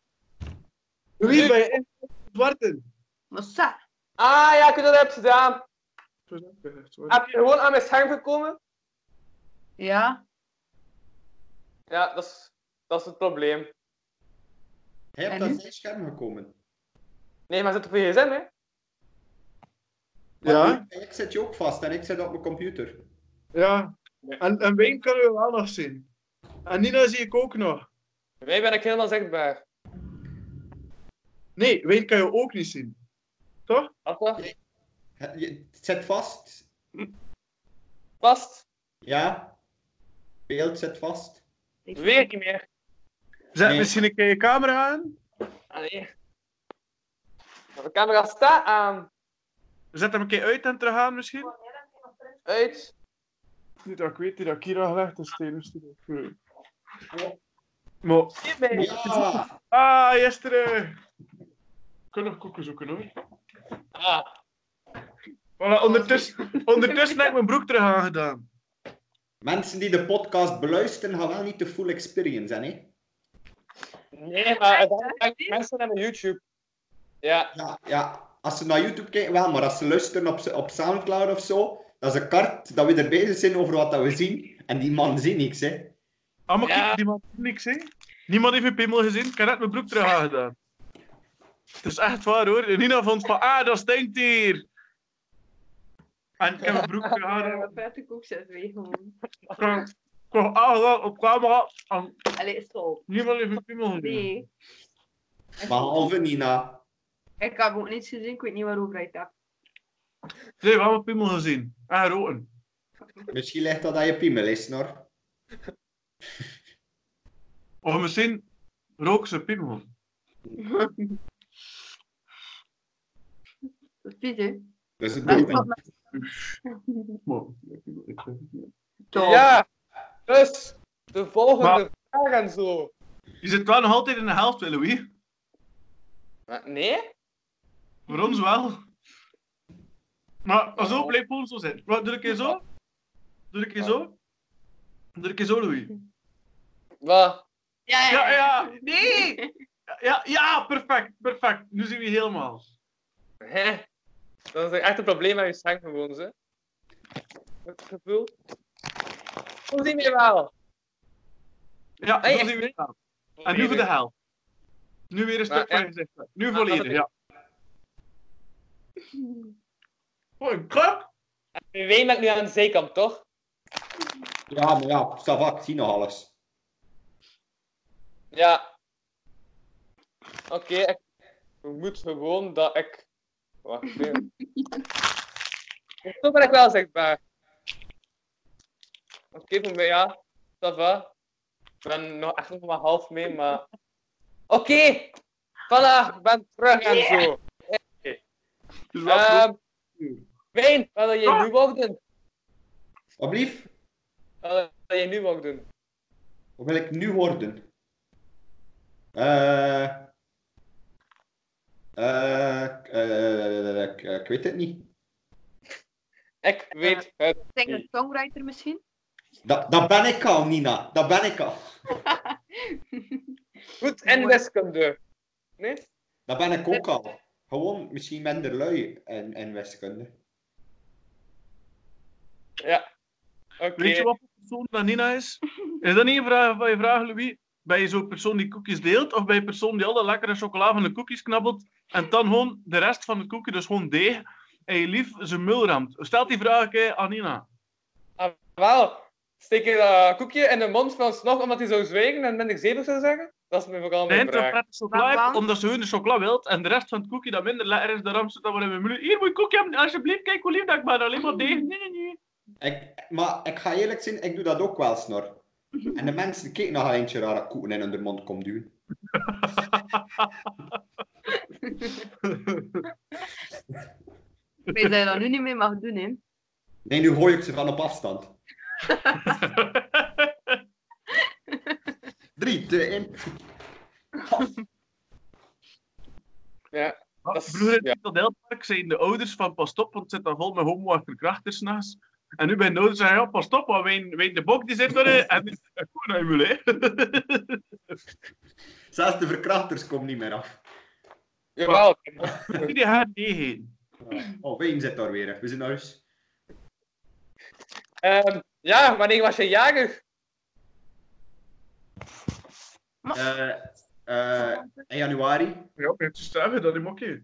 [SPEAKER 5] Louis, ben je echt zwart in?
[SPEAKER 6] Maar sa,
[SPEAKER 4] Ah ja, ik weet wat je hebt gedaan.
[SPEAKER 5] Zwart.
[SPEAKER 4] Heb je gewoon aan mijn scherm gekomen?
[SPEAKER 6] ja.
[SPEAKER 4] Ja, dat is, dat is het probleem.
[SPEAKER 3] Hij hebt
[SPEAKER 6] En nu?
[SPEAKER 3] aan zijn scherm gekomen.
[SPEAKER 4] Nee, maar zit op je gsm, hè?
[SPEAKER 3] Maar
[SPEAKER 5] Ja,
[SPEAKER 3] nu, Ik zit je ook vast en ik zit op mijn computer.
[SPEAKER 5] ja. En, en Wayne kunnen we wel nog zien. En Nina zie ik ook nog.
[SPEAKER 4] Bij mij ben ik helemaal zichtbaar.
[SPEAKER 5] Nee, Wayne kan je ook niet zien. Toch?
[SPEAKER 4] Wat toch?
[SPEAKER 3] Hè, je- Het zit vast.
[SPEAKER 4] Past.
[SPEAKER 3] Ja. Beeld zit vast.
[SPEAKER 4] Weer niet meer.
[SPEAKER 5] Zet
[SPEAKER 3] Nee.
[SPEAKER 5] misschien een keer je camera aan.
[SPEAKER 4] Allee. Maar De camera staat aan.
[SPEAKER 5] Zet hem een keer uit en terug aan misschien.
[SPEAKER 4] Uit.
[SPEAKER 5] Niet dat ik weet dat ik hier al gelegd is tijdens de video.
[SPEAKER 3] Oh,
[SPEAKER 5] Maar
[SPEAKER 4] Hierbij.
[SPEAKER 3] Ja.
[SPEAKER 5] Ah, gisteren. Ik kan nog koeken zoeken hoor.
[SPEAKER 4] Ah.
[SPEAKER 5] Voilà, ondertussen, ondertussen heb ik mijn broek terug aangedaan.
[SPEAKER 3] Mensen die de podcast beluisteren gaan wel niet de full experience, hè? nee?
[SPEAKER 4] Nee, maar uiteindelijk mensen naar mijn YouTube. Ja.
[SPEAKER 3] Ja, ja, als ze naar YouTube kijken, wel, maar als ze luisteren op, op Soundcloud of zo, dat is een kart dat we er bezig zijn over wat dat we zien. En die man ziet niks, hè?
[SPEAKER 5] Allemaal
[SPEAKER 4] Ja.
[SPEAKER 5] Ah, kijk, niemand heeft niks hè. Niemand heeft een pimmel gezien, ik heb net mijn broek terug aangedaan. Het is echt waar hoor. En Nina vond van, ah, dat stinkt hier. En ik heb mijn broek terug aangedaan.
[SPEAKER 6] Vette koek zet weer gewoon.
[SPEAKER 5] Ik kwam- ik kwam aangedaan op camera en
[SPEAKER 6] Allee, stop.
[SPEAKER 5] niemand heeft een pimmel gezien.
[SPEAKER 6] Nee.
[SPEAKER 3] Behalve Nina.
[SPEAKER 6] Ik heb ook niets gezien, ik weet niet waarover hij het hebt.
[SPEAKER 5] Nee, we hebben een pimmel gezien. En roken.
[SPEAKER 3] Misschien ligt dat aan je piemel, is, Snor.
[SPEAKER 5] Of misschien rook ze pimmel.
[SPEAKER 6] Dat is vies, hè?
[SPEAKER 3] Dus het
[SPEAKER 6] Maar
[SPEAKER 3] doet
[SPEAKER 6] ik
[SPEAKER 3] hem.
[SPEAKER 6] vond dat-
[SPEAKER 5] Maar, ik weet het niet.
[SPEAKER 6] Toch.
[SPEAKER 4] Ja. Dus, de volgende
[SPEAKER 5] Maar-
[SPEAKER 4] vraag en zo.
[SPEAKER 5] Je zit wel nog altijd in de helft, hè, Louis.
[SPEAKER 4] Maar Nee?
[SPEAKER 5] Voor ons wel. Maar pas op, blijf gewoon zo zitten. Wat, Doe ik keer zo. Doe ik keer zo. Doe ik keer zo, Louis.
[SPEAKER 4] Wat?
[SPEAKER 6] Ja,
[SPEAKER 5] Ja, ja. Nee! Ja, Ja, ja, perfect, perfect. Nu zien we je helemaal.
[SPEAKER 4] Hè? Dat is echt een probleem met je scherm gewoon, ze. Het gevoel. Hoe zien we je wel?
[SPEAKER 5] Ja,
[SPEAKER 4] Hey,
[SPEAKER 5] zo
[SPEAKER 4] echt
[SPEAKER 5] zien we je
[SPEAKER 4] niet?
[SPEAKER 5] helemaal. En nu voor de hel. Nu weer een
[SPEAKER 4] Maar
[SPEAKER 5] stuk van je
[SPEAKER 4] echt?
[SPEAKER 5] gezicht. Nu
[SPEAKER 4] Ah, dat
[SPEAKER 5] volledig,
[SPEAKER 4] is-
[SPEAKER 5] ja. Oh, een klap!
[SPEAKER 4] Je weet met nu aan de zijkant, toch?
[SPEAKER 3] Ja, maar ja, Savak, ik zie nog alles.
[SPEAKER 4] Ja. Oké, ik vermoed gewoon dat ik... Wacht even. Zo ben ik wel zichtbaar. Oké, voor mij ja. Dat va. Ik ben nog echt nog maar half mee, maar... Oké! Voilà, ik ben terug en zo.
[SPEAKER 5] Dus wel
[SPEAKER 4] Ehm,
[SPEAKER 5] goed.
[SPEAKER 4] Wijn, wat wil
[SPEAKER 5] Ah.
[SPEAKER 4] jij nu ook doen?
[SPEAKER 3] Alblief,
[SPEAKER 4] Wat wil jij nu ook doen?
[SPEAKER 3] wat wil ik nu worden? Eh. Eh, eh, ik- ik weet het niet.
[SPEAKER 4] Ik weet
[SPEAKER 5] Eh.
[SPEAKER 4] het.
[SPEAKER 6] Singer-songwriter misschien?
[SPEAKER 3] Dat, dat ben ik al, Nina. Dat ben ik al.
[SPEAKER 4] Goed en
[SPEAKER 6] Mooi.
[SPEAKER 4] wiskunde. Nee?
[SPEAKER 3] Dat ben ik ook al. Gewoon misschien minder lui en, en wiskunde.
[SPEAKER 4] Oké.
[SPEAKER 5] Weet je wat voor persoon dat Nina is? Is dat niet een vraag van je vraag, Louis? Ben je zo'n persoon die koekjes deelt? Of ben je een persoon die alle lekkere chocola van de koekjes knabbelt en dan gewoon de rest van het koekje, dus gewoon deeg, en je lief zijn mul ramt? Stel die vraag een keer aan Nina.
[SPEAKER 4] Ah, wel. Steek je dat koekje in de mond van Snog omdat hij zou zwijgen en minder zeven zou zeggen? Dat is me vooral
[SPEAKER 5] De
[SPEAKER 4] mijn
[SPEAKER 5] hint dat
[SPEAKER 4] vraag.
[SPEAKER 5] prettig chocola
[SPEAKER 6] Maar
[SPEAKER 5] heeft,
[SPEAKER 6] waarom-
[SPEAKER 5] omdat ze hun de chocola wilt en de rest van het koekje dat minder lekker is, de ramt ze dan wel in mijn mul. Hier, moet je koekje hebben, alsjeblieft, kijk hoe lief dat ik ben, alleen maar deeg. Nee, nee, nee.
[SPEAKER 3] Ik, maar ik ga eerlijk zijn, ik doe dat ook wel snor. En de mensen kijken nog een eentje raar dat koeken in hun mond komt duwen.
[SPEAKER 6] Ik weet dat je dat nu niet meer mag doen, hè.
[SPEAKER 3] Nee, nu gooi ik ze van op afstand. 3, 2, 1.
[SPEAKER 4] Ja. Dat is-
[SPEAKER 5] Vroeger in
[SPEAKER 4] ja.
[SPEAKER 5] het toneelpark zeiden de ouders van pas op, want het zit daar vol met homo en verkrachters naast. En nu bij de ouders zeggen ja, pas op, want Wijn, Wijn de Bok die zit erin. En die is gewoon uit
[SPEAKER 3] Zelfs de verkrachters komen niet meer af.
[SPEAKER 4] Jawel.
[SPEAKER 5] Die gaan niet heen.
[SPEAKER 3] Oh, Wayne zit daar weer. We nou zijn naar huis.
[SPEAKER 4] Ehm, ja, wanneer was je jager?
[SPEAKER 3] Eh, eh, in januari.
[SPEAKER 5] Ja, het is sterker dan die mokje.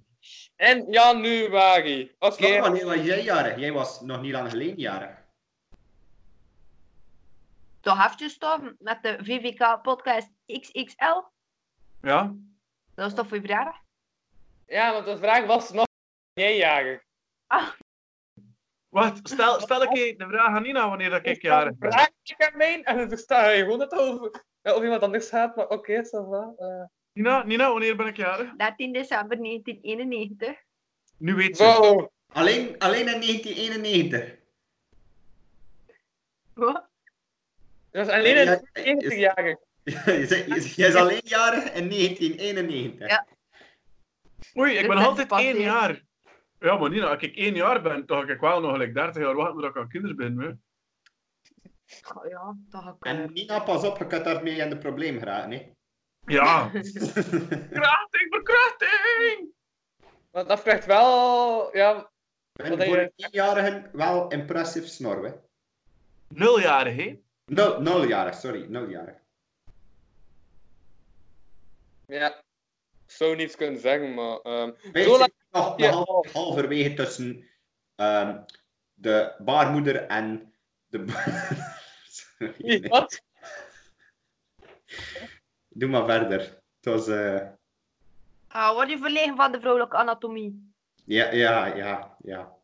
[SPEAKER 4] In januari. Oké.
[SPEAKER 3] Oké. Wanneer was jij jarig? Jij was nog niet lang geleden jarig.
[SPEAKER 6] Toch heftig toch? Met de VVK podcast XXL.
[SPEAKER 5] Ja.
[SPEAKER 6] Dat was toch februari?
[SPEAKER 4] Ja, want de vraag was nog jij jager.
[SPEAKER 5] Wacht, stel, stel een keer de vraag aan Nina wanneer dat ik
[SPEAKER 4] ja.
[SPEAKER 5] jarig
[SPEAKER 4] Een
[SPEAKER 5] ben.
[SPEAKER 4] vraag aan mij en dan sta je gewoon dat het over, ja, over iemand anders gaat, maar oké, ça va. eh.
[SPEAKER 5] Nina, Nina, wanneer ben ik jarig?
[SPEAKER 6] 13 december 1991.
[SPEAKER 5] Nu weet ze.
[SPEAKER 4] Wow.
[SPEAKER 3] Alleen, alleen in 1991.
[SPEAKER 6] Wat?
[SPEAKER 4] Dat was alleen een
[SPEAKER 3] Ja,
[SPEAKER 4] ja, eerste
[SPEAKER 3] is-
[SPEAKER 4] jager.
[SPEAKER 3] Je zei- je- Jij is alleen jarig in 1991.
[SPEAKER 6] Ja.
[SPEAKER 5] Oei, ik
[SPEAKER 6] Dus
[SPEAKER 5] ben
[SPEAKER 6] dat
[SPEAKER 5] altijd
[SPEAKER 6] past
[SPEAKER 5] één
[SPEAKER 6] niet.
[SPEAKER 5] jaar. Ja, maar Nina, als ik één jaar ben, dan ga ik wel nog gelijk 30 jaar wachten voordat ik aan kinderen ben. Hè.
[SPEAKER 6] Oh ja, dat ga ik
[SPEAKER 3] En Nina, pas op, je kunt daarmee aan de probleem geraken. Hè.
[SPEAKER 5] Ja. Krachting, verkrachting!
[SPEAKER 4] Want dat vraagt wel... Ja,
[SPEAKER 3] En
[SPEAKER 4] Wat denk
[SPEAKER 3] voor
[SPEAKER 4] je?
[SPEAKER 3] een tienjarigen wel impressief snor, hè?
[SPEAKER 5] Nuljarig, hè?
[SPEAKER 3] Nul, nuljarig, sorry, nuljarig.
[SPEAKER 4] ja. Zo niets kunnen zeggen, maar... ehm,
[SPEAKER 3] Wij
[SPEAKER 4] Zo laat-
[SPEAKER 3] zitten nog,
[SPEAKER 4] Ja.
[SPEAKER 3] nog half- halverwege tussen ehm, de baarmoeder en de... ba- sorry, nee.
[SPEAKER 4] Wat?
[SPEAKER 3] Doe maar verder. Het was... eh,
[SPEAKER 6] Ah, word je verlegen van de vrouwelijke anatomie?
[SPEAKER 3] Ja, ja, ja, ja.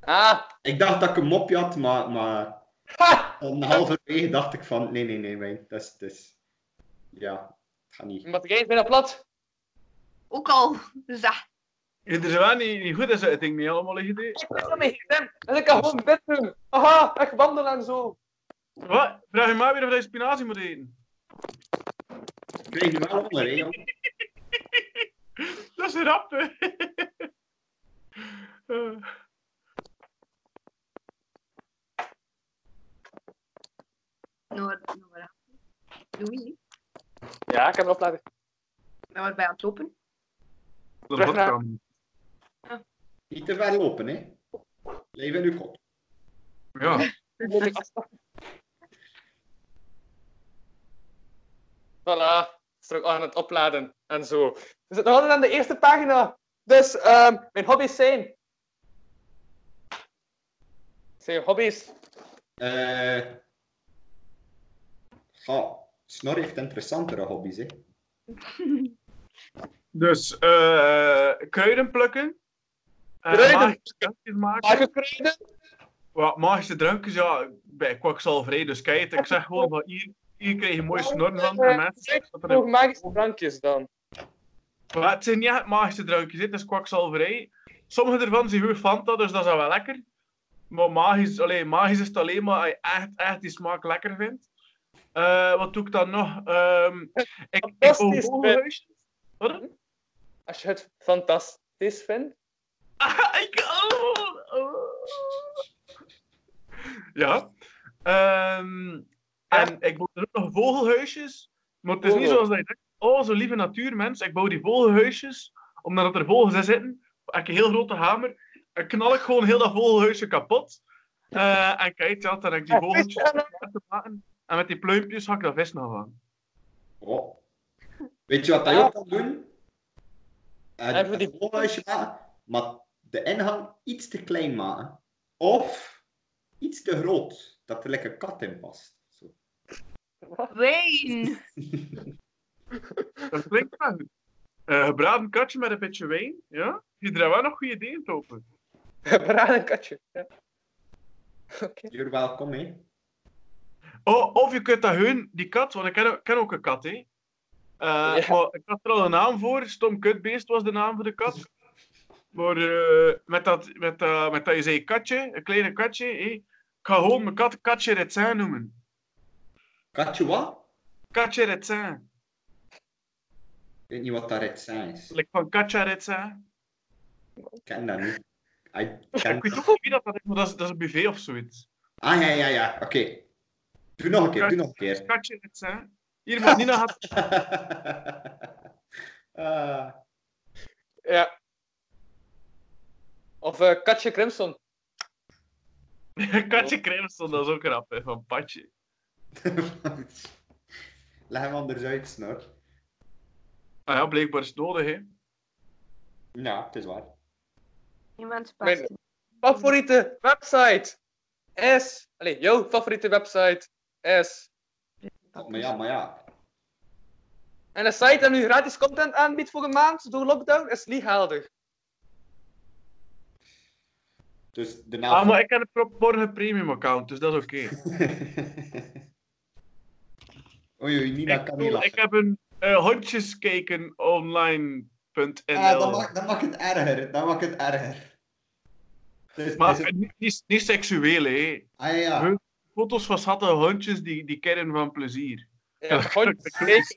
[SPEAKER 4] Ah!
[SPEAKER 3] Ik dacht dat ik een mopje had, maar... maar...
[SPEAKER 4] Ha!
[SPEAKER 3] Om halverwege dacht ik van, nee, nee, nee, nee, dat is... Dat is... Ja, het gaat niet.
[SPEAKER 4] Wat is bijna plat.
[SPEAKER 6] Ook al. Dus dat.
[SPEAKER 5] Het is wel niet, niet goed, is het ding niet allemaal liggen. hè.
[SPEAKER 4] Ik heb zo mijn gsm en ik kan gewoon dit doen. Aha, echt wandelen en zo.
[SPEAKER 5] Wat? Vraag je maar weer of je spinazie moet eten.
[SPEAKER 3] Ik krijg nu wel onder, hè, jongen.
[SPEAKER 5] Dat is rap, hè? Eh,
[SPEAKER 6] Noor, Noor. Louis,
[SPEAKER 4] Ja, ik heb hem opladen.
[SPEAKER 6] we waren bij aan het lopen.
[SPEAKER 5] de
[SPEAKER 4] Terug naar-
[SPEAKER 5] boterham.
[SPEAKER 3] Niet te ver lopen, hè. Blijf in uw kop.
[SPEAKER 5] Ja.
[SPEAKER 4] Voilà, terug aan het opladen en zo. We zitten nog altijd aan de eerste pagina. Dus ehm, mijn hobby's zijn. Zijn hobby's.
[SPEAKER 3] Eh. Ga. Snor heeft interessantere hobby's, hè.
[SPEAKER 5] Dus, eh kruiden plukken. Eh,
[SPEAKER 4] Kruiden?
[SPEAKER 5] magische drankjes maken.
[SPEAKER 4] Aangekruiden.
[SPEAKER 5] Wat, magische drankjes, ja, bij kwakzalverij. Dus kijk, ik zeg gewoon van hier, hier krijg je mooie snorren van. En mensen zeggen dat er een
[SPEAKER 4] Nog magische drankjes dan.
[SPEAKER 5] Maar het zijn niet echt magische drankjes, hè. het is kwakzalverij. Sommige ervan zijn heel Fanta, dus dat is wel lekker. Maar magisch, allee, magisch is het alleen maar als je echt, echt die smaak lekker vindt. Eh, wat doe ik dan nog? Ehm ik, ik bouw
[SPEAKER 4] Fantastisch
[SPEAKER 5] vogelhuisjes. Wat?
[SPEAKER 4] Als je het fantastisch vindt.
[SPEAKER 5] Ah, ik, oh, oh. Ja. Ehm, en ik bouw er ook nog vogelhuisjes. Maar het is niet
[SPEAKER 4] Vogel.
[SPEAKER 5] zoals dat je denkt. Oh, zo lieve natuurmens. Ik bouw die vogelhuisjes, omdat er vogels in zitten. Heb ik een heel grote hamer. En knal ik gewoon heel dat vogelhuisje kapot. Eh, en kijk, ja, dan heb ik die
[SPEAKER 4] Ja, vis,
[SPEAKER 5] vogeltjes te maken. En met die pluimpjes hak ik dat vis nog aan.
[SPEAKER 3] Oh. Weet je wat dat je ook kan doen? Een,
[SPEAKER 4] Even die-
[SPEAKER 3] een voorhuisje maken, maar de ingang iets te klein maken. Of iets te groot, dat er lekker kat in past. Zo.
[SPEAKER 6] Wijn.
[SPEAKER 5] Dat klinkt wel goed. Eh, gebraden katje met een beetje wijn. Ja? Je draait wel nog goede ideeën over.
[SPEAKER 4] Braden katje. Ja.
[SPEAKER 3] You're welkom, hè.
[SPEAKER 5] Oh, of je kunt dat hun, die kat, want ik ken, ik ken ook een kat, hè. Eh,
[SPEAKER 4] Ja.
[SPEAKER 5] maar ik had er al een naam voor. Stom kutbeest was de naam voor de kat. Maar eh, met, dat, met, dat- met dat je zei katje, een kleine katje, hè. Ik ga gewoon mijn kat Katje Retzin noemen.
[SPEAKER 3] Katje wat?
[SPEAKER 5] Katje Retzin.
[SPEAKER 3] Ik weet niet wat dat rechts zijn is. Ik
[SPEAKER 5] Like van Katja Retzin.
[SPEAKER 3] ken dat niet. I
[SPEAKER 5] Ik weet
[SPEAKER 3] ken...
[SPEAKER 5] ook niet wie dat dat is, maar dat is, dat is een buffet of zoiets.
[SPEAKER 3] Ah, ja, ja, ja. Oké. Doe nog een keer, doe nog een keer.
[SPEAKER 5] Katje Retzin. Hier, maar Nina had...
[SPEAKER 3] Ah,
[SPEAKER 4] Ja. Of eh, Katje Crimson.
[SPEAKER 5] Katje Crimson, dat is ook rap, hè, van Patje.
[SPEAKER 3] Leg hem anders uit, snor.
[SPEAKER 5] Ah ja, blijkbaar is het nodig, hè.
[SPEAKER 3] Ja, Nou, het is waar.
[SPEAKER 6] Niemand
[SPEAKER 4] Mijn
[SPEAKER 6] past.
[SPEAKER 4] favoriete website. S. Allee, jouw favoriete website. S.
[SPEAKER 3] Maar ja, maar ja.
[SPEAKER 4] En een site dat nu gratis content aanbiedt voor een maand door lockdown is niet helder.
[SPEAKER 3] Dus de naam...
[SPEAKER 5] Ah, maar ik heb een pro- morgen premium account, dus dat is oké.
[SPEAKER 3] oei, oei, Nina
[SPEAKER 5] Ik
[SPEAKER 3] kan niet
[SPEAKER 5] bedoel,
[SPEAKER 3] lachen.
[SPEAKER 5] Ik heb een eh hondjeskijkenonline.nl.
[SPEAKER 3] Ah, dat, maakt, dat maakt het erger. Dat maakt het erger. Dus,
[SPEAKER 5] maar
[SPEAKER 3] dus-
[SPEAKER 5] eh, niet, niet, niet seksueel, hè.
[SPEAKER 3] ah, ja.
[SPEAKER 5] Huh? Foto's van schatte hondjes die, die kennen van plezier.
[SPEAKER 4] Ja, gewoon steek.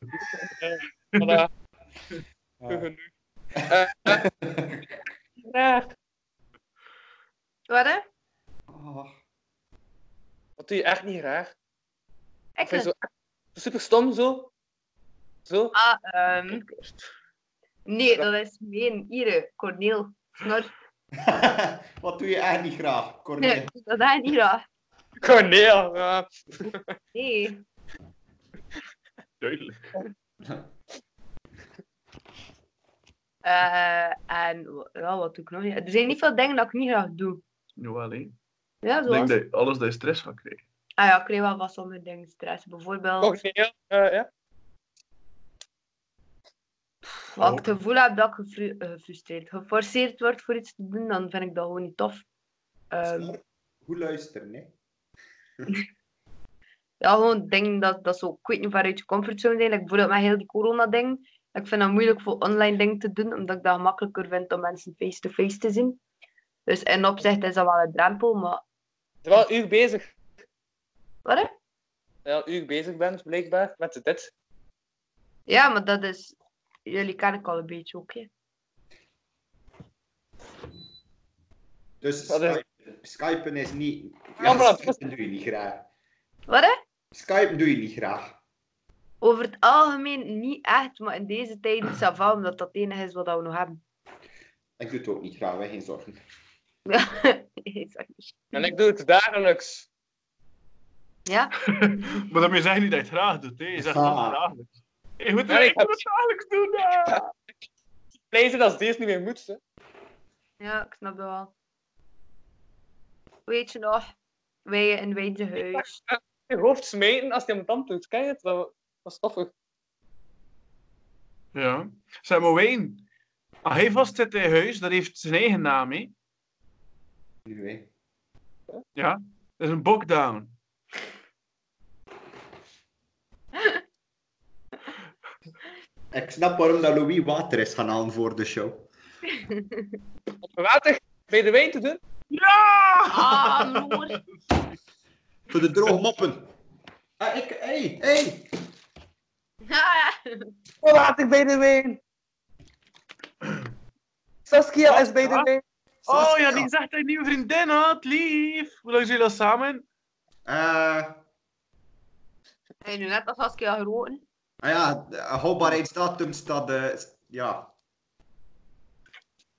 [SPEAKER 3] Ah.
[SPEAKER 4] Voilà. Genoeg. Eh, eh, graag.
[SPEAKER 6] Wat hè?
[SPEAKER 3] Ah,
[SPEAKER 4] Dat doe je echt niet graag.
[SPEAKER 6] Ik
[SPEAKER 4] Vind je zo super stom zo? Zo?
[SPEAKER 6] Ah, ehm, Nee, dat is meen. Hier, Corneel. Snor.
[SPEAKER 3] Wat doe je eigenlijk niet graag, Corneel?
[SPEAKER 6] Nee, dat is niet raar.
[SPEAKER 4] Corneel. ja.
[SPEAKER 6] Nee.
[SPEAKER 5] Duidelijk.
[SPEAKER 6] Eh, en wa- ja, wat doe ik nog? niet? Er zijn niet veel dingen dat ik niet graag doe.
[SPEAKER 5] Jawel, hè. Ik
[SPEAKER 6] Ja,
[SPEAKER 5] denk
[SPEAKER 6] zoals...
[SPEAKER 5] dat je alles daar stress van krijgt.
[SPEAKER 6] Ah ja, ik kreeg wel wat sommige dingen stress.
[SPEAKER 5] Oh,
[SPEAKER 6] Bijvoorbeeld,
[SPEAKER 4] Corneel. eh, ja.
[SPEAKER 5] oh.
[SPEAKER 6] als ik het gevoel heb dat ik gefru- eh, gefrustreerd, geforceerd word voor iets te doen, dan vind ik dat gewoon niet tof. Ehm,
[SPEAKER 3] Snor, Hoe luisteren, hè?
[SPEAKER 6] ja, gewoon dingen dat, dat zo, ik weet niet waaruit je comfortzone zijn. Like, bijvoorbeeld met heel die corona-ding. Ik vind dat moeilijk voor online dingen te doen, omdat ik dat makkelijker vind om mensen face-to-face te zien. Dus in opzicht is dat wel een drempel, maar
[SPEAKER 4] Ik ben wel een uur bezig.
[SPEAKER 6] Wat, hè?
[SPEAKER 4] Ja, een uur bezig bent, blijkbaar, met dit.
[SPEAKER 6] ja, maar dat is... Jullie ken ik al een beetje ook, hè.
[SPEAKER 3] Dus
[SPEAKER 4] Dat is-
[SPEAKER 3] Skype- skypen is niet...
[SPEAKER 4] Ja, maar-
[SPEAKER 3] skypen doe je niet graag.
[SPEAKER 6] Wat, hè?
[SPEAKER 3] Skypen doe je niet graag.
[SPEAKER 6] Over het algemeen niet echt, maar in deze tijd is dat wel, omdat dat het enige is wat we nog hebben.
[SPEAKER 3] Ik doe het ook niet graag, wij geen zorgen.
[SPEAKER 4] En ik doe het dagelijks.
[SPEAKER 6] ja?
[SPEAKER 5] Maar daarmee zeg je niet dat je het graag doet, hè. Je zegt
[SPEAKER 3] Ah.
[SPEAKER 5] dat het dagelijks. Ik moet
[SPEAKER 4] Ja, ik
[SPEAKER 5] ik moet
[SPEAKER 4] heb-
[SPEAKER 5] het dagelijks doen, hè.
[SPEAKER 4] Blij zijn als deze niet meer moet. Hè.
[SPEAKER 6] ja, ik snap dat wel. Weet je nog? Wij in Wijnse Huis.
[SPEAKER 4] Je hoofd smeten als je hem tand doet. Kijk het, dat was stoffig.
[SPEAKER 5] Ja. Zeg maar, Wayne. Als hij vast zit in huis, dat heeft zijn eigen naam, hè.
[SPEAKER 3] Nu, hè.
[SPEAKER 5] Ja. Dat is een bokdown.
[SPEAKER 3] Ik snap waarom dat Louis water is gaan halen voor de show.
[SPEAKER 4] Water bij de wijn te doen.
[SPEAKER 5] Ja!
[SPEAKER 6] Ah, broer.
[SPEAKER 3] Voor de droge moppen. Ah, ik... Hey, hey!
[SPEAKER 6] Ah,
[SPEAKER 4] Water bij de wijn. Saskia is bij de
[SPEAKER 5] Ja?
[SPEAKER 4] wijn.
[SPEAKER 5] Oh ja, die zegt dat je nieuwe vriendin had, lief. Hoe lang zijn jullie al samen?
[SPEAKER 3] Eh...
[SPEAKER 6] Heb je nu net als Saskia geroken?
[SPEAKER 3] Ah ja, de houdbaarheidsdatum staat... eh, s- ja.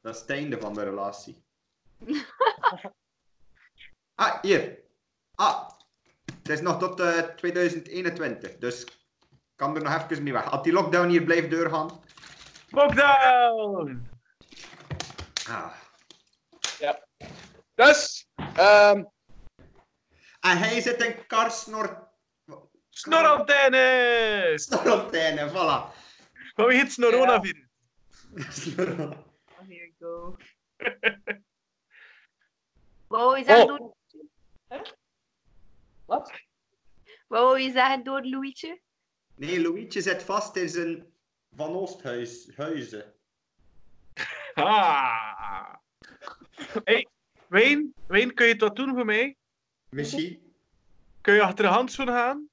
[SPEAKER 3] Dat is het einde van de relatie. ah, hier. Ah, het is nog tot eh, 2021, dus ik kan er nog even mee weg. Als die lockdown hier blijft doorgaan...
[SPEAKER 5] Lockdown!
[SPEAKER 3] Ah.
[SPEAKER 4] Dus, ehm,
[SPEAKER 3] En Ah, hij zit in karsnor...
[SPEAKER 5] Snorantenne!
[SPEAKER 3] Snorantijnen, voilà.
[SPEAKER 5] Van wie heet Snoronavirus?
[SPEAKER 3] Snor-
[SPEAKER 6] Oh, here you go. Wow, is dat
[SPEAKER 4] Oh.
[SPEAKER 6] door...
[SPEAKER 4] Wat?
[SPEAKER 6] Wat wou je zeggen door Louietje?
[SPEAKER 3] Nee, Louietje zit vast in zijn Van Oosthuis huizen.
[SPEAKER 5] Ha! Hey, Wayne, Wayne, kun je dat doen voor mij?
[SPEAKER 3] Misschien,
[SPEAKER 5] Kun je achter de handschoen gaan?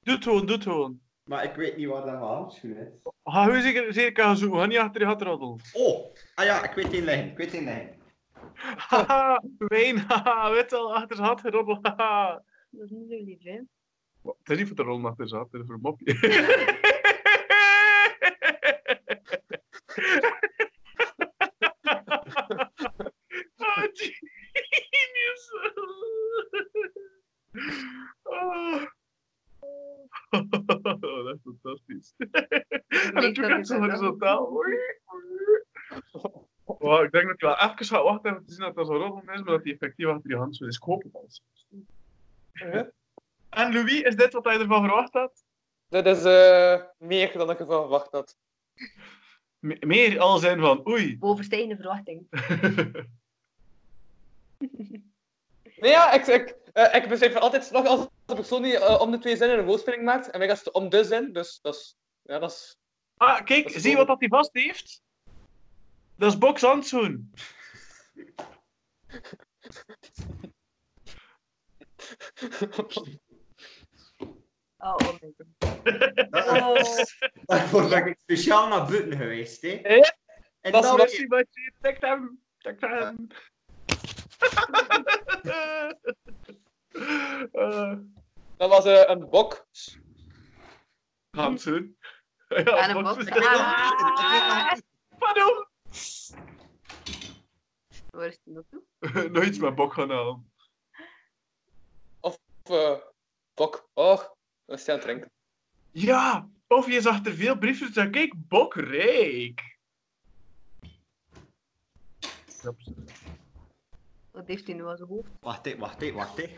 [SPEAKER 5] Doe het gewoon, doe het gewoon.
[SPEAKER 3] maar ik weet niet waar dat mijn handschoen is.
[SPEAKER 5] Ga je zeker, zeker gaan zoeken, ga niet achter je gat roddelen.
[SPEAKER 3] Oh, ah ja, ik weet in lijn, ik weet in lijn.
[SPEAKER 5] Haha, Wayne, haha, weet al, achter zijn gat geroddeld, haha.
[SPEAKER 6] Dat is niet zo lief, hè?
[SPEAKER 5] Wat, Het is niet voor de rollen achter zijn gat, het is voor een mopje. Ah, genius. Oh. dat is fantastisch. en dat
[SPEAKER 6] weet dat
[SPEAKER 5] doe ik
[SPEAKER 6] ik
[SPEAKER 5] echt zo'n
[SPEAKER 6] dat
[SPEAKER 5] horizontaal. Wow, ik denk dat ik wel even ga wachten om te zien dat dat zo'n roddel is, maar dat die effectief achter die hand zo is. Ik hoop het al. En Louis, is dit wat hij ervan verwacht had?
[SPEAKER 4] Dit is eh, meer dan ik ervan verwacht had.
[SPEAKER 5] Me- meer al zijn van oei.
[SPEAKER 6] Bovenstijgende verwachting.
[SPEAKER 4] Nee, ja, ik, ik, eh, ik beschrijf altijd nog als de persoon die eh, om de twee zinnen een woordspeling maakt. En wij gaan om de zin, dus dat is... Ja, dat is...
[SPEAKER 5] Ah, kijk,
[SPEAKER 4] Dat is
[SPEAKER 5] zie je
[SPEAKER 4] cool.
[SPEAKER 5] wat dat hij vast heeft? Dat is Box Handschoen.
[SPEAKER 6] Oh, oh my god. Oh.
[SPEAKER 3] Dat- Daarvoor ben ik speciaal naar buiten geweest, hè.
[SPEAKER 4] Eh,
[SPEAKER 3] En
[SPEAKER 4] dat is
[SPEAKER 3] dan
[SPEAKER 4] wel-
[SPEAKER 5] Merci, Mathieu. Takt hem. Takt hem. Eh,
[SPEAKER 4] Dat was eh, een bok.
[SPEAKER 5] Handschoen.
[SPEAKER 6] En een
[SPEAKER 5] boxen.
[SPEAKER 6] bok. Ah,
[SPEAKER 5] Pardon.
[SPEAKER 6] Waar is die naartoe?
[SPEAKER 5] Nog iets met bok gaan halen.
[SPEAKER 4] Of... eh, bok. Och, dat is die aan het drinken.
[SPEAKER 5] Ja, of je zag er veel briefjes en kijk, bokreek.
[SPEAKER 6] Wat heeft hij nu aan zijn hoofd?
[SPEAKER 3] Wacht, hè, wacht, hè, wacht, hè.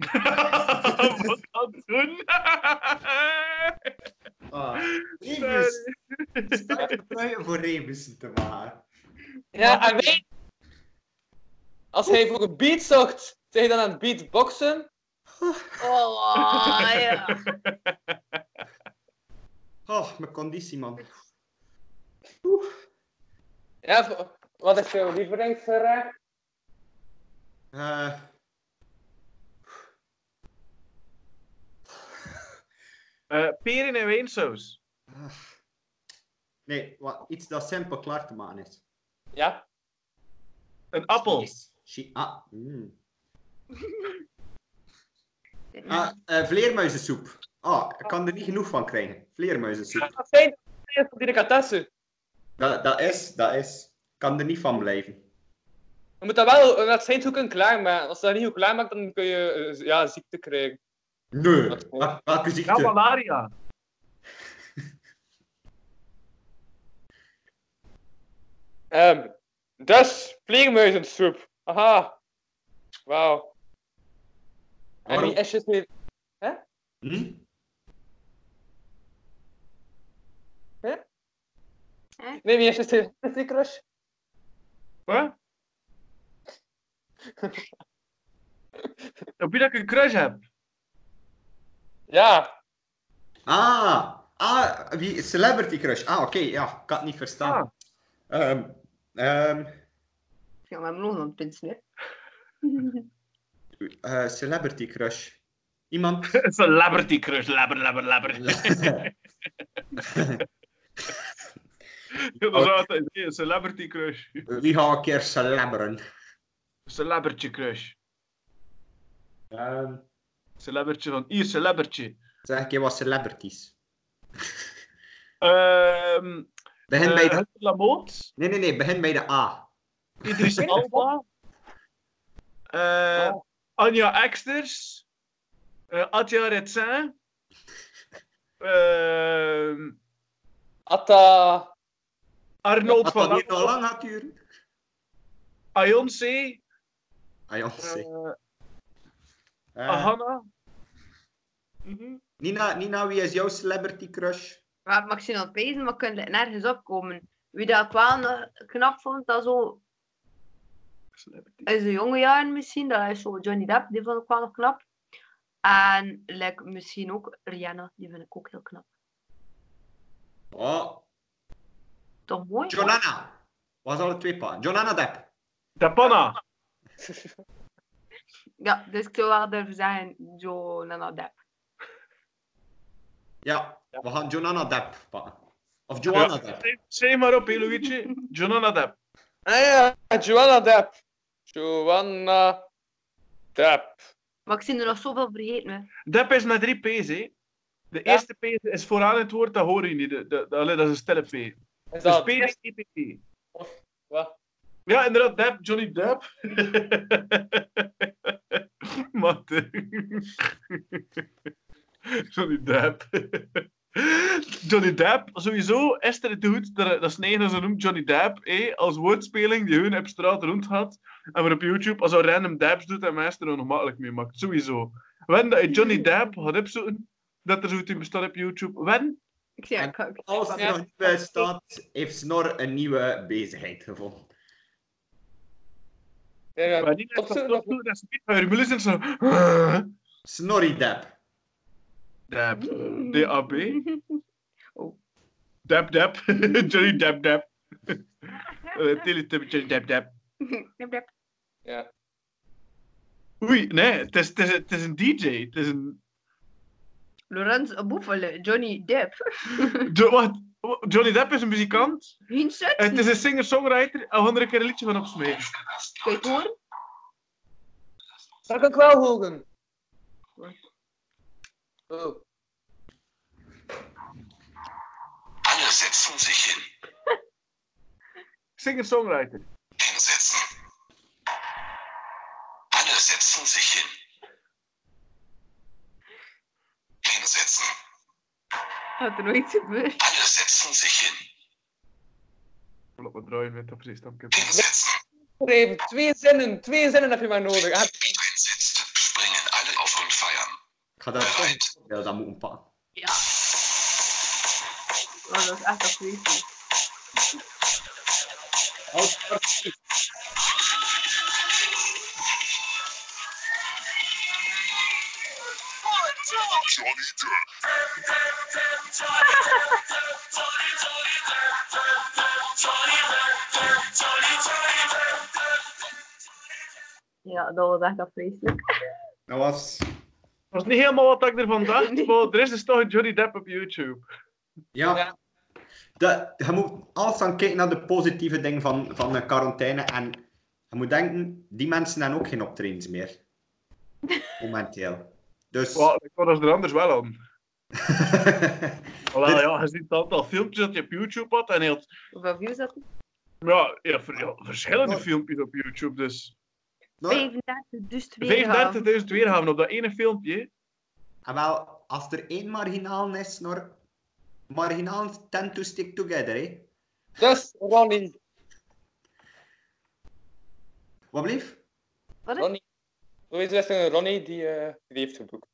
[SPEAKER 5] Wat handschoen.
[SPEAKER 3] Ah, Rebus,
[SPEAKER 5] Sorry.
[SPEAKER 3] sta te pruimen voor Rebussen te maken.
[SPEAKER 4] Ja, en wij... Als hij voor een beat zocht, zijn hij dan aan het beatboxen?
[SPEAKER 6] Oh, ja.
[SPEAKER 3] Oh, mijn conditie, man.
[SPEAKER 4] Ja, v- wat is jouw lievelingsgerecht?
[SPEAKER 3] Eh,
[SPEAKER 5] Eh, peren en wijnsaus.
[SPEAKER 3] nee, wat, iets dat simpel klaar te maken is.
[SPEAKER 4] Ja,
[SPEAKER 5] Een appel.
[SPEAKER 3] Yes. Chi- ah, mm. ah eh, vleermuizensoep. Ah, ik kan er niet genoeg van krijgen. Vleermuizensoep.
[SPEAKER 4] dat zijn dat zijn van die delicatessen.
[SPEAKER 3] Dat, dat is, dat is. Ik kan er niet van blijven.
[SPEAKER 4] Je moet dat wel, eh, dat zijn ook kunnen klaarmaken. Als je dat niet goed klaarmaakt, dan kun je eh, z- ja, ziekte krijgen.
[SPEAKER 3] Nee.
[SPEAKER 4] Dat-
[SPEAKER 3] Wel- Welke
[SPEAKER 5] Ja,
[SPEAKER 3] ziekte?
[SPEAKER 5] malaria.
[SPEAKER 4] Ehm, dus, vleermuizensoep. Aha. Wauw. En
[SPEAKER 3] Waarom?
[SPEAKER 4] die esjes weer...
[SPEAKER 3] Hm?
[SPEAKER 4] Nee, die esjes weer... Candy Crush?
[SPEAKER 5] Wat? Op wie dat ik een crush heb?
[SPEAKER 4] Ja.
[SPEAKER 3] Ah, ah, wie, Celebrity Crush. Ah, oké, ja, ik had het niet verstaan.
[SPEAKER 5] Ah.
[SPEAKER 3] Ehm, ehm,
[SPEAKER 6] Ja, we hebben nog een prins, hè?
[SPEAKER 3] eh, celebrity Crush. Iemand.
[SPEAKER 5] Het is een celebrity crush, labber, labber, labber. Dat is altijd nee, een celebrity crush.
[SPEAKER 3] eh, wie ga een keer celebren?
[SPEAKER 5] Celebrity crush.
[SPEAKER 3] Ehm,
[SPEAKER 5] Celebrity van hier, celebrity.
[SPEAKER 3] zeg een keer wat celebrities.
[SPEAKER 5] Ehm
[SPEAKER 3] Begin
[SPEAKER 5] eh,
[SPEAKER 3] bij de...
[SPEAKER 5] Hugo Lamoot,
[SPEAKER 3] Nee, nee, nee, begin bij de A.
[SPEAKER 5] Idris Alba, Eh, Anja Eksters, Eh Adja Retsin, Ehm
[SPEAKER 4] Atta...
[SPEAKER 5] Arnold
[SPEAKER 3] Dat
[SPEAKER 5] van
[SPEAKER 3] zal niet al
[SPEAKER 5] Apel,
[SPEAKER 3] lang gaat duren.
[SPEAKER 5] Ayonce,
[SPEAKER 3] Ah, ja, zeg.
[SPEAKER 5] eh,
[SPEAKER 3] Eh,
[SPEAKER 5] Hanna.
[SPEAKER 3] Nina, Nina, wie is jouw celebrity crush?
[SPEAKER 6] We hebben Maxine aan het pezen, maar we kunnen nergens opkomen. Wie dat ik wel nog knap vond, dat zo... In zijn jonge jaren misschien, dat is zo Johnny Depp, die vond ik wel nog knap. En like, misschien ook Rihanna, die vind ik ook heel knap.
[SPEAKER 3] Oh,
[SPEAKER 6] Toch mooi?
[SPEAKER 3] Jolana. Was alle twee pa. Jolana Depp.
[SPEAKER 5] Tapanna.
[SPEAKER 6] Ja, dus ik zou wel durven zeggen Johanna Depp.
[SPEAKER 3] Ja, we gaan Jolana Depp pakken. Of Joanna Depp.
[SPEAKER 5] Zeg maar op, Luigi. Jonana Depp.
[SPEAKER 4] Ah ja, Joanna Depp. Joanna Depp.
[SPEAKER 6] Maar ik zie er nog zoveel vergeten. Hè.
[SPEAKER 5] Depp is met drie P's, hè. De
[SPEAKER 4] Ja.
[SPEAKER 5] eerste P is vooraan in het woord, dat hoor je niet. De, de, de- allee, dat is een stille P.
[SPEAKER 4] Is
[SPEAKER 5] Dus
[SPEAKER 4] dat
[SPEAKER 5] P is EPP.
[SPEAKER 4] Wat?
[SPEAKER 5] Ja, inderdaad, Depp, Johnny Depp. Matte. Johnny Depp. Johnny Depp, sowieso is er het goed, dat dat snijden dat ze noemt Johnny Depp, eh, als woordspeling die hun op straat rondgaat en maar op YouTube als een random dabs doet en mensen er nog makkelijk mee maakt. Sowieso. Wanneer dat je Johnny Depp gaat opzoeken, dat er zoiets in bestaat op YouTube. Wen?
[SPEAKER 6] Ik zie
[SPEAKER 3] En
[SPEAKER 6] ik, ik,
[SPEAKER 3] Als er
[SPEAKER 4] Ja.
[SPEAKER 3] nog niet bij staat, heeft Snor een nieuwe bezigheid gevonden.
[SPEAKER 4] Ja, ja.
[SPEAKER 5] Wanneer
[SPEAKER 4] Op
[SPEAKER 5] dat
[SPEAKER 4] zoek
[SPEAKER 5] staat
[SPEAKER 4] nog-
[SPEAKER 5] opzoeken, dat is niet van Rubelis en zo.
[SPEAKER 3] Snorri Depp.
[SPEAKER 5] Depp. D-A-B.
[SPEAKER 6] Oh.
[SPEAKER 5] Dab dab. Johnny dab dab. Eh, Teletubby Johnny dab dab.
[SPEAKER 6] Dep, dep.
[SPEAKER 4] Ja.
[SPEAKER 5] Oei, nee, het is, het is, het is een DJ. Het is een.
[SPEAKER 6] Lorenz Boefele, Johnny Depp.
[SPEAKER 5] Jo- wat? Johnny Depp is een muzikant.
[SPEAKER 6] Hinset,
[SPEAKER 5] Het is een singer-songwriter. En andere keer een liedje van opsmeren.
[SPEAKER 6] kan je het horen?
[SPEAKER 4] Dat kan ik wel horen. Oh.
[SPEAKER 8] Alles von sich hin.
[SPEAKER 5] Singer-songwriter.
[SPEAKER 8] Hinsetzen. Alle setzen sich hin. Hinsetzen.
[SPEAKER 6] Dat er nooit gebeurd.
[SPEAKER 8] Alle setzen sich hin.
[SPEAKER 5] Laat maar draaien met dat precies. Dan kan ik-
[SPEAKER 8] Hinsetzen.
[SPEAKER 4] Even twee zinnen, twee zinnen heb je maar nodig. Ah,
[SPEAKER 8] Einsetzt, springen alle auf und feiern.
[SPEAKER 3] Ik ga dat toch ja, dat moeten pakken.
[SPEAKER 6] Ja. Oh, dat is echt een freaky. Ja, dat was echt afvreselijk.
[SPEAKER 3] Dat was...
[SPEAKER 5] Dat was niet helemaal wat ik ervan
[SPEAKER 6] Nee.
[SPEAKER 5] dacht. Maar er is dus toch een Johnny Depp op YouTube.
[SPEAKER 3] Ja.
[SPEAKER 4] Ja.
[SPEAKER 3] Dat, je moet alles gaan kijken naar de positieve dingen van, van de quarantaine. En je moet denken, die mensen hebben ook geen optredens meer. Momenteel. Dus...
[SPEAKER 5] Wel, ik vond dat er anders wel aan. Wel ja, je ziet het aantal filmpjes dat je op YouTube had. En hij had
[SPEAKER 6] Hoeveel views had hij?
[SPEAKER 5] ja, hij had ver- ja, verschillende
[SPEAKER 3] Mooi.
[SPEAKER 5] filmpjes op YouTube. Dus
[SPEAKER 3] Nou,
[SPEAKER 6] 35, dus 2 gaan.
[SPEAKER 5] 35.000 weerhaven op dat ene filmpje. hè.
[SPEAKER 3] en ah, wel, als er één marginaal is, Snor... Marginaal tend to stick together, hè.
[SPEAKER 4] Dus Ronnie.
[SPEAKER 3] Wat blief?
[SPEAKER 6] Wat is-
[SPEAKER 4] Ronnie. Louise is een Ronnie die, eh, die heeft geboekt.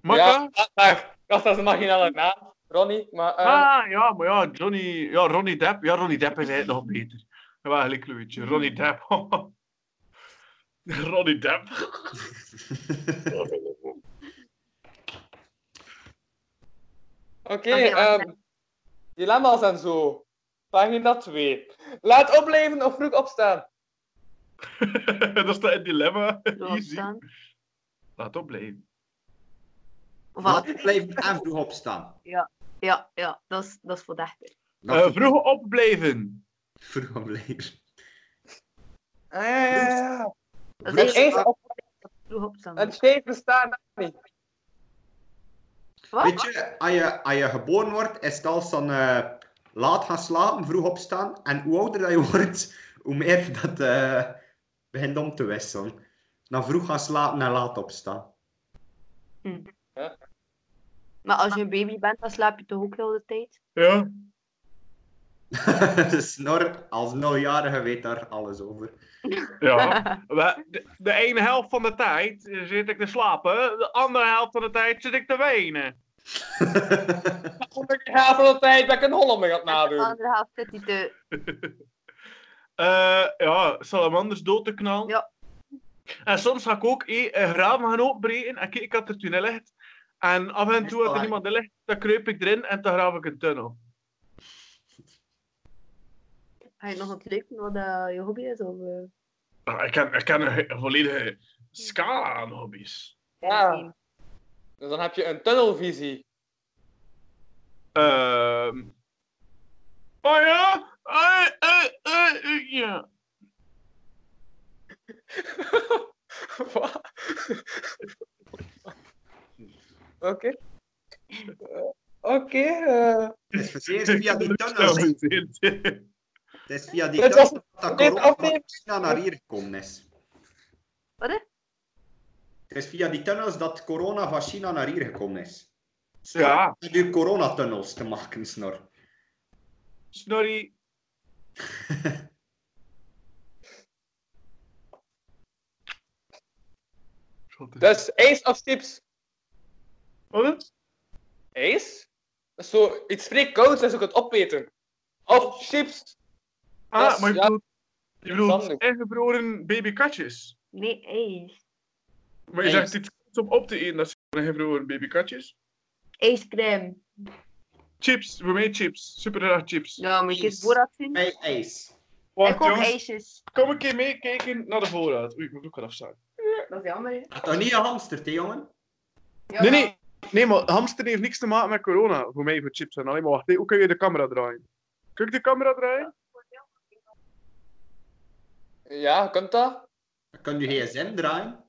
[SPEAKER 5] Makka?
[SPEAKER 4] Ja, maar, ik dacht dat is een marginale naam. Ronnie, maar... eh,
[SPEAKER 5] Ah, ja, maar ja, Johnny, ja, Ronnie Depp. Ja, Ronnie Depp is eigenlijk nog beter. Ja, wel, gelijk Louisje. Ronnie Depp. Ronnie Depp.
[SPEAKER 4] Oké,
[SPEAKER 6] Oké, wacht,
[SPEAKER 4] ehm, dilemma's en zo. Pagina 2. Laat opleven of vroeg opstaan.
[SPEAKER 5] dat is een dilemma.
[SPEAKER 6] Laat
[SPEAKER 5] Easy.
[SPEAKER 6] staan.
[SPEAKER 5] Laat opblijven.
[SPEAKER 6] Voilà.
[SPEAKER 3] Wat blijft en vroeg opstaan?
[SPEAKER 6] Ja, ja, dat is, dat is voor de echte.
[SPEAKER 3] Dat
[SPEAKER 5] Eh vroeg opblijven.
[SPEAKER 3] Vroeg blijven.
[SPEAKER 4] Ah, ja, ja, ja.
[SPEAKER 6] Dat
[SPEAKER 4] Het
[SPEAKER 6] is
[SPEAKER 4] eerste
[SPEAKER 6] eigenlijk
[SPEAKER 4] op,
[SPEAKER 6] vroeg opstaan.
[SPEAKER 4] het tweede bestaan niet.
[SPEAKER 6] Wat?
[SPEAKER 3] Weet je, als je, als je geboren wordt, is het al zo'n eh, laat gaan slapen, vroeg opstaan. En hoe ouder dat je wordt, hoe meer dat eh, begint om te wisselen. Dan vroeg gaan slapen en laat opstaan.
[SPEAKER 6] Maar als je een baby bent, dan slaap je toch ook heel de tijd?
[SPEAKER 5] Ja.
[SPEAKER 3] de Dus, snor, als nuljarige weet daar alles over.
[SPEAKER 5] ja. We- De, de ene helft van de tijd eh, zit ik te slapen. De andere helft van de tijd zit ik te wenen.
[SPEAKER 4] Ik ga van de tijd dat ik een Hollander aan het nadoen.
[SPEAKER 6] andere helft zit hij te...
[SPEAKER 5] Eh, ja, salamanders dood te knallen.
[SPEAKER 6] Ja.
[SPEAKER 5] En soms ga ik ook eh, een raam gaan openbreken en kijk, ik had er toen in ligt. En af en toe, als er
[SPEAKER 3] Waar.
[SPEAKER 5] iemand in ligt, dan kruip ik erin en dan graaf ik een tunnel.
[SPEAKER 6] Ga je nog een teken wat eh, je hobby is? Of, eh,
[SPEAKER 5] Nou, ik, heb, ik heb een, he- een volledige scala aan hobby's.
[SPEAKER 4] Ja. Dus dan heb je een tunnelvisie.
[SPEAKER 5] Ehm. oh ja? Eh, eh, eh, eh, ja.
[SPEAKER 4] Wat? Oké. Eh, Oké. eh,
[SPEAKER 3] Het is verzekerd via die tunnels. Het is via die
[SPEAKER 4] Het
[SPEAKER 3] tunnels
[SPEAKER 4] was-
[SPEAKER 3] dat
[SPEAKER 4] dit
[SPEAKER 3] corona van
[SPEAKER 4] aflevering-
[SPEAKER 3] China naar hier gekomen is.
[SPEAKER 6] Wat, hè?
[SPEAKER 3] Het is via die tunnels dat corona van China naar hier gekomen is. Snor,
[SPEAKER 5] Ja.
[SPEAKER 3] Met uw coronatunnels te maken, Snor.
[SPEAKER 5] Snorri.
[SPEAKER 4] dus Ace of Tips.
[SPEAKER 5] Wat is het?
[SPEAKER 4] Ace? Dat is zo iets spreekkouds dat is ook het opeten. Of chips. Dat
[SPEAKER 5] Ah,
[SPEAKER 4] is-
[SPEAKER 5] maar je
[SPEAKER 4] ja,
[SPEAKER 5] bedoelt, je bedoelt
[SPEAKER 4] verstandig.
[SPEAKER 5] ingevroren babykatjes.
[SPEAKER 6] Nee, Ace.
[SPEAKER 5] Maar
[SPEAKER 4] Nee.
[SPEAKER 5] je zegt iets goeds om op te eten, dat zijn ingevroren babykatjes.
[SPEAKER 6] Ace crème.
[SPEAKER 5] Chips, voor mij chips. Super graag chips.
[SPEAKER 6] Ja, moet je eens
[SPEAKER 3] Ace.
[SPEAKER 6] voorraad zien?
[SPEAKER 3] Bij ijs.
[SPEAKER 5] Want
[SPEAKER 6] ik ook
[SPEAKER 5] jongens,
[SPEAKER 6] Aces.
[SPEAKER 5] kom een keer meekijken naar de voorraad. Oei, mijn broek gaat afstaan.
[SPEAKER 6] Dat is jammer, hè?
[SPEAKER 3] Had dat nou niet gehamsterd, hè, jongen?
[SPEAKER 6] Ja,
[SPEAKER 5] Nee, nee. Nee, maar hamster heeft niks te maken met corona. Voor mij voor chips en alleen maar wacht. hé, Hoe kun je de camera draaien? Kun ik de camera draaien?
[SPEAKER 4] Ja, kunt dat?
[SPEAKER 3] Dan kan je gsm draaien.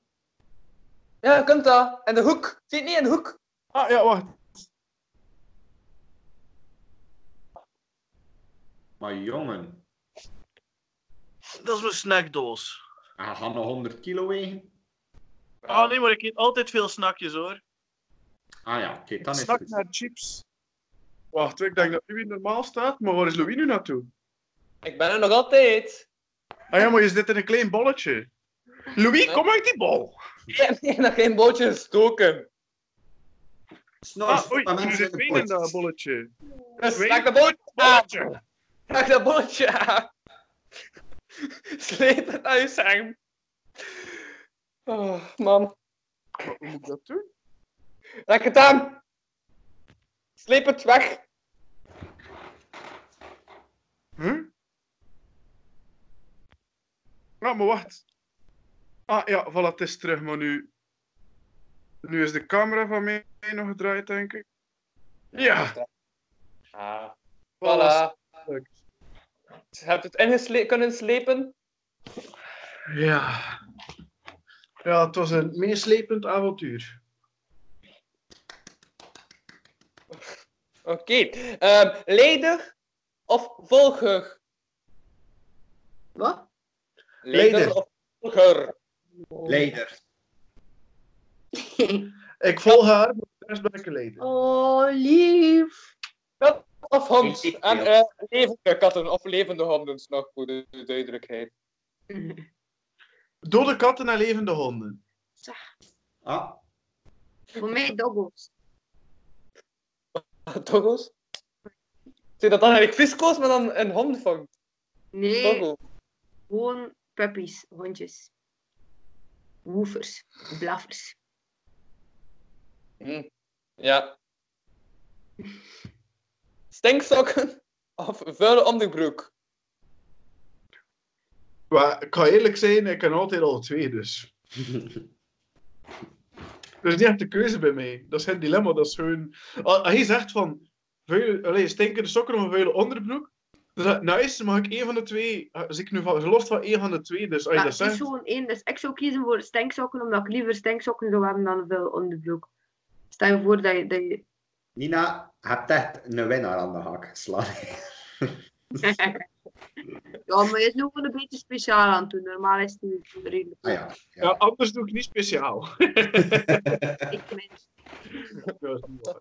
[SPEAKER 4] Ja, kunt dat. En de hoek. Zit niet in de hoek.
[SPEAKER 5] Ah ja, wacht.
[SPEAKER 3] Maar jongen,
[SPEAKER 5] Dat is mijn snackdoos.
[SPEAKER 3] hij gaat nog 100 kilo wegen.
[SPEAKER 5] Ah nee, maar ik eet altijd veel snackjes hoor.
[SPEAKER 3] Ah ja, oké, dan is
[SPEAKER 5] Snak
[SPEAKER 3] het
[SPEAKER 5] naar
[SPEAKER 3] goed.
[SPEAKER 5] chips. Wacht, ik denk dat Louis normaal staat, maar waar is Louis nu naartoe?
[SPEAKER 4] Ik ben er nog altijd.
[SPEAKER 5] Ah ja, maar je zit in een klein bolletje. Louis, kom uit die bol!
[SPEAKER 4] Ik heb hier nog geen bootje gestoken.
[SPEAKER 3] Snor,
[SPEAKER 5] Ah, oei,
[SPEAKER 3] stop aan
[SPEAKER 5] er
[SPEAKER 3] mensen
[SPEAKER 5] zit
[SPEAKER 3] in de
[SPEAKER 5] wijn in dat
[SPEAKER 3] pot.
[SPEAKER 5] bolletje.
[SPEAKER 4] Dus
[SPEAKER 5] Weet-
[SPEAKER 4] raak dat bootje
[SPEAKER 3] Ah.
[SPEAKER 4] aan.
[SPEAKER 5] Bolletje!
[SPEAKER 4] Raak dat bootje aan. Sleep het naar je zang. Oh, man.
[SPEAKER 5] Hoe moet ik dat doen?
[SPEAKER 4] Raak het aan. Sleep het weg.
[SPEAKER 5] Huh? Ah, maar wacht. Ah ja, voilà, het is terug, maar nu... Nu is de camera van mij nog gedraaid, denk ik. Ja,
[SPEAKER 4] Ah,
[SPEAKER 5] voilà.
[SPEAKER 4] voilà. Je hebt het ingesle- kunnen slepen.
[SPEAKER 5] Ja. Ja, het was een meeslepend avontuur.
[SPEAKER 4] Oké. Ehm, ledig of volger?
[SPEAKER 6] Wat?
[SPEAKER 5] Ledig.
[SPEAKER 4] of volger?
[SPEAKER 3] Leider.
[SPEAKER 5] Ik volg haar, maar de rest ben ik geleden.
[SPEAKER 6] Oh, lief.
[SPEAKER 4] Of hond.
[SPEAKER 3] Ik- ik-
[SPEAKER 4] En
[SPEAKER 3] ja.
[SPEAKER 4] eh, levende katten of levende honden, is nog voor de de duidelijkheid.
[SPEAKER 5] Dode katten en levende honden.
[SPEAKER 3] Ah,
[SPEAKER 6] Voor mij doggos.
[SPEAKER 4] Togo's? Zijn dat dan eigenlijk visco's, maar dan een hond van
[SPEAKER 6] Nee,
[SPEAKER 4] Togo?
[SPEAKER 6] gewoon puppies, hondjes. Woefers, blaffers.
[SPEAKER 4] Hm. Ja. Stinksokken of vuile onderbroek?
[SPEAKER 5] Maar ik ga eerlijk zijn, ik kan altijd al twee, dus. Er is niet echt Dus de keuze bij mij. Dat is geen dilemma, dat is gewoon... Als als hij zegt van, vuile, allee, stinkende sokken of een vuile onderbroek, dan zeg ik, nice, mag ik één van de twee... Dus ik nu van, gelost van één van de twee, dus als je
[SPEAKER 6] Maar
[SPEAKER 5] dat
[SPEAKER 6] het is
[SPEAKER 5] zegt...
[SPEAKER 6] gewoon één, dus ik zou kiezen voor stinksokken, omdat ik liever stinksokken zou hebben dan veel onderbroek. Stel je voor dat je... Dat je...
[SPEAKER 3] Nina, je hebt echt een winnaar aan de haak geslagen.
[SPEAKER 6] ja, maar je is nu gewoon een beetje speciaal aan het doen. Normaal is het nu redelijk.
[SPEAKER 3] Ah ja.
[SPEAKER 5] Ja, anders doe ik niet speciaal.
[SPEAKER 6] Ik mens.
[SPEAKER 5] Dat is niet waar.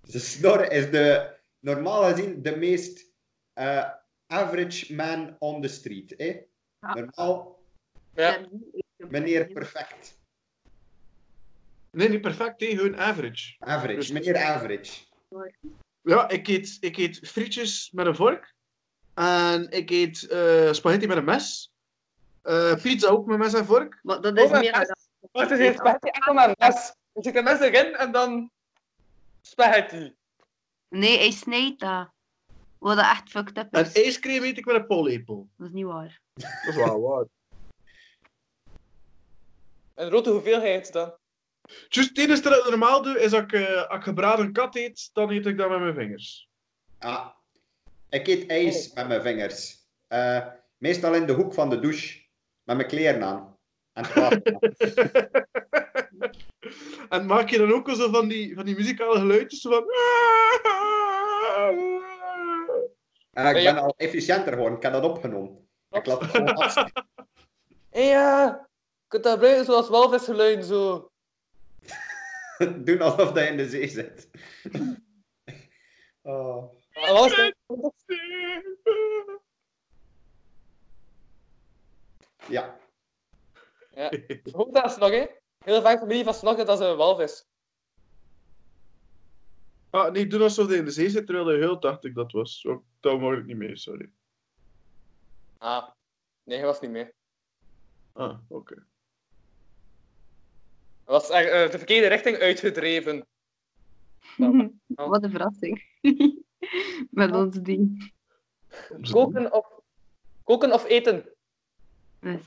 [SPEAKER 3] De snor is de, normaal gezien de meest eh, average man on the street. Hè?
[SPEAKER 6] Ja.
[SPEAKER 3] Normaal,
[SPEAKER 4] Ja.
[SPEAKER 3] meneer perfect.
[SPEAKER 5] Nee, niet perfect, hè, hun average.
[SPEAKER 3] Average, meneer Average.
[SPEAKER 5] Ja, ik eet, ik eet frietjes met een vork. En ik eet eh, spaghetti met een mes. Eh, pizza ook met mes en vork.
[SPEAKER 6] Maar dat is
[SPEAKER 4] Oh, maar
[SPEAKER 6] meer
[SPEAKER 4] gast,
[SPEAKER 6] dan...
[SPEAKER 4] Het is hier spaghetti enkel met mes. Je zit de mes erin en dan spaghetti.
[SPEAKER 6] Nee, hij snijdt dat. Wat dat echt fucked up
[SPEAKER 5] En
[SPEAKER 6] is.
[SPEAKER 5] ijscream eet ik met een pollepel.
[SPEAKER 6] Dat is niet waar.
[SPEAKER 5] Dat is wel waar.
[SPEAKER 4] Een grote hoeveelheid dan.
[SPEAKER 5] Juist het enige dat ik normaal doe, is dat ik, eh, als ik gebraden kat eet, dan eet ik dat met mijn vingers.
[SPEAKER 3] Ah, ik eet
[SPEAKER 6] Oh.
[SPEAKER 3] ijs met mijn vingers. Eh, meestal in de hoek van de douche. Met mijn kleren aan. En het water aan.
[SPEAKER 5] en maak je dan ook al zo van die, van die muzikale geluidjes zo van...
[SPEAKER 3] Eh, ik
[SPEAKER 4] Ja.
[SPEAKER 3] ben al efficiënter geworden. Ik heb dat opgenomen. Ik laat het gewoon af.
[SPEAKER 4] En ja, je kunt dat gebruiken zoals walvisgeluiden zo.
[SPEAKER 3] Doen alsof dat je in de zee zit. Oh.
[SPEAKER 4] En alles-
[SPEAKER 3] Ja.
[SPEAKER 4] Ja. Hoort dat snok, hè? Heel vaak familie van snokken dat ze een walvis.
[SPEAKER 5] ah, nee, doe alsof je in de zee zit, terwijl je heel dacht ik dat was. Zo, dat mag ik niet meer, sorry.
[SPEAKER 4] Ah, nee, hij was niet meer.
[SPEAKER 5] Ah, oké.
[SPEAKER 4] Hij was eh, eh, de verkeerde richting uitgedreven. Oh.
[SPEAKER 6] Wat een verrassing. Met ons ding.
[SPEAKER 5] Dus
[SPEAKER 4] Koken of, koken of eten?
[SPEAKER 6] Dus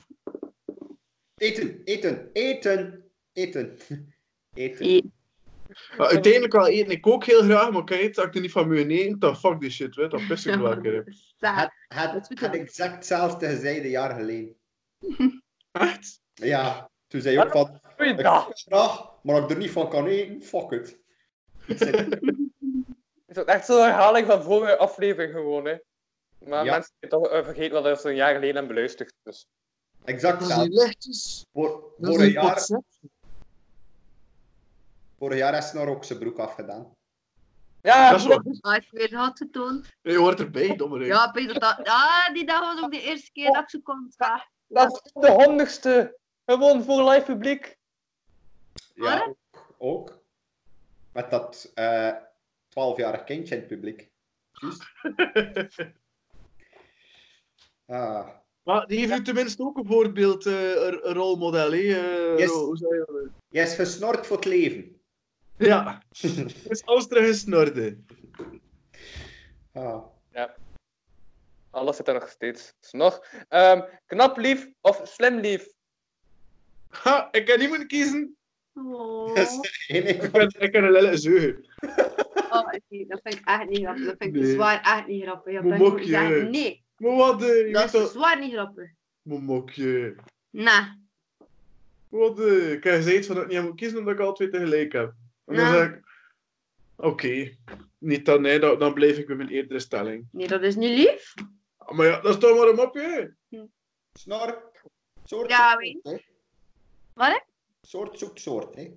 [SPEAKER 3] Eten, eten, eten, eten. Eten.
[SPEAKER 6] e-
[SPEAKER 5] Ah, uiteindelijk wel eten ik ook heel graag, maar kijk, als ik er niet van me nee, dan fuck die shit, weet, dan piss ik wel een keer. in.
[SPEAKER 3] Het,
[SPEAKER 6] Saar.
[SPEAKER 3] het,
[SPEAKER 6] Dat is
[SPEAKER 3] het exact hetzelfde gezegd een jaar geleden.
[SPEAKER 5] Echt?
[SPEAKER 3] Ja, toen
[SPEAKER 6] Ah.
[SPEAKER 3] zei je ook van... Ik
[SPEAKER 4] Goeiedag!
[SPEAKER 3] eet graag, maar als ik er niet van kan eten, fuck it. Ik zeg,
[SPEAKER 4] Het is ook echt zo'n herhaling van vorige aflevering gewoon, hè. Maar
[SPEAKER 3] Ja.
[SPEAKER 4] mensen zijn toch eh, vergeten wat we een jaar geleden hebben beluisterd. Dus.
[SPEAKER 3] exact
[SPEAKER 5] Dat is
[SPEAKER 3] hetzelfde.
[SPEAKER 5] niet lichtjes.
[SPEAKER 3] Voor,
[SPEAKER 5] Dat
[SPEAKER 3] vorig,
[SPEAKER 5] is
[SPEAKER 3] jaar,
[SPEAKER 5] niet
[SPEAKER 3] vorig jaar is Snor ook zijn broek afgedaan.
[SPEAKER 4] Ja,
[SPEAKER 5] Dat is waar.
[SPEAKER 6] Ah, ik weer had getoond.
[SPEAKER 5] Je hoort erbij, domme ja.
[SPEAKER 6] Ja, Peter, dat... Ah, die dag was ook de eerste keer dat ze kon. Ah,
[SPEAKER 4] dat is de handigste. Gewoon voor live publiek.
[SPEAKER 3] Ja,
[SPEAKER 6] Waar?
[SPEAKER 3] ook, ook. Met dat eh 12-jarig kindje in het publiek. Juist. Ah.
[SPEAKER 5] Maar die heeft nu tenminste ook een voorbeeld, eh, een, een rolmodel. hè, eh,
[SPEAKER 3] Yes.
[SPEAKER 5] hoe zei je dat?
[SPEAKER 3] Je is gesnord voor het leven.
[SPEAKER 5] Ja, is alles terug in snorde.
[SPEAKER 3] Ah.
[SPEAKER 4] Alles zit er nog steeds. Dus nog. Ehm, knap lief of slim lief?
[SPEAKER 5] Ha, ik kan niet moeten kiezen.
[SPEAKER 6] Oh.
[SPEAKER 3] Dus, geen
[SPEAKER 5] Ik
[SPEAKER 3] enkel-
[SPEAKER 5] kan, ik kan een lille zeugen.
[SPEAKER 6] Oh, nee, dat vind ik echt niet grappig. Dat vind ik
[SPEAKER 5] Nee.
[SPEAKER 6] zwaar echt niet grappig. Ja,
[SPEAKER 5] Moet
[SPEAKER 6] ben ik moet
[SPEAKER 5] mokje.
[SPEAKER 6] zeggen, nee,
[SPEAKER 5] Maar wat, eh, je
[SPEAKER 6] dat
[SPEAKER 5] weet
[SPEAKER 6] is
[SPEAKER 5] dat...
[SPEAKER 6] zwaar niet grappig.
[SPEAKER 5] Mijn mokje.
[SPEAKER 6] Nah.
[SPEAKER 5] Wat, eh, ik heb gezegd van dat ik niet moet kiezen omdat ik alle twee tegelijk heb. En dan
[SPEAKER 6] Ja.
[SPEAKER 5] zeg ik... Oké. Niet dan, nee, dan, dan blijf ik bij mijn eerdere stelling. Ah,
[SPEAKER 6] Nee, dat is niet lief.
[SPEAKER 5] Maar ja, dat is toch maar een mopje.
[SPEAKER 3] Snor. Soort
[SPEAKER 6] Ja,
[SPEAKER 3] zoekt soort, hè.
[SPEAKER 6] Wat?
[SPEAKER 3] Soort zoekt soort, hè.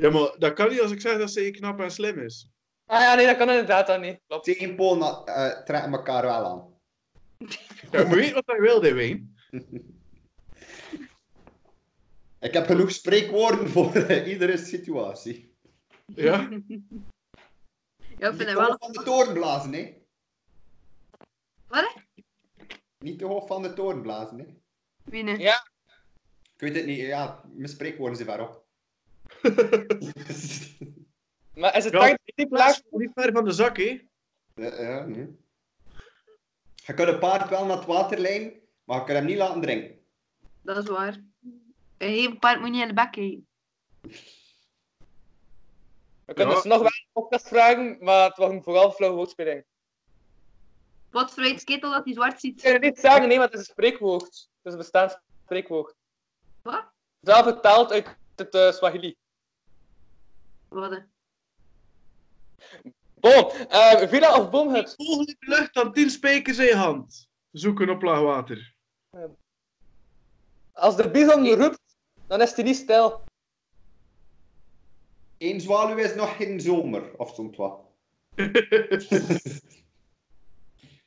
[SPEAKER 5] Ja, maar dat kan niet als ik zeg dat ze knap en slim is.
[SPEAKER 4] Ah ja, nee, dat kan inderdaad dan niet. Klopt.
[SPEAKER 3] Tegenpolen eh, trekken elkaar wel aan.
[SPEAKER 5] Ja, maar weet wat hij wilde, Wayne.
[SPEAKER 3] Ik heb genoeg spreekwoorden voor eh, iedere situatie.
[SPEAKER 5] Ja.
[SPEAKER 6] Ja, ik
[SPEAKER 3] Niet
[SPEAKER 6] vind
[SPEAKER 3] te
[SPEAKER 6] het
[SPEAKER 3] hoog van
[SPEAKER 6] wel...
[SPEAKER 3] de toren blazen, hè.
[SPEAKER 6] Wat?
[SPEAKER 3] Niet te hoog van de toren blazen, hè.
[SPEAKER 6] Winnen.
[SPEAKER 3] Ik weet het niet, ja, mijn spreekwoorden zijn verop.
[SPEAKER 4] Maar is het
[SPEAKER 5] Ja.
[SPEAKER 4] ja. niet
[SPEAKER 5] Klaas
[SPEAKER 4] laag?
[SPEAKER 5] stond niet ver van de zak, hè?
[SPEAKER 3] Eh, ja, nee. Je kunt een paard wel naar het water leiden, maar je kunt hem niet laten drinken.
[SPEAKER 6] Dat is waar. Een heel paard moet niet in de bek heen.
[SPEAKER 4] We kunnen
[SPEAKER 5] Ja.
[SPEAKER 4] dus nog wel een podcast vragen, maar het was een vooral flauw woordspeling.
[SPEAKER 6] Wat vreet ketel dat hij zwart
[SPEAKER 4] Ik
[SPEAKER 6] ziet.
[SPEAKER 4] kan het niet zeggen, nee, want het is een spreekwoord. Het is een bestaand spreekwoord.
[SPEAKER 6] Wat?
[SPEAKER 4] Zelf vertaald uit het eh, Swahili.
[SPEAKER 6] Wat? een-
[SPEAKER 4] Boom. Eh, villa of boomhut?
[SPEAKER 5] Volgende lucht dan tien spijkers in je hand. Zoek een oplaag water.
[SPEAKER 4] Als de bison roept, dan is hij niet stil.
[SPEAKER 3] Eén zwaluw is nog geen zomer, of zo'n wat.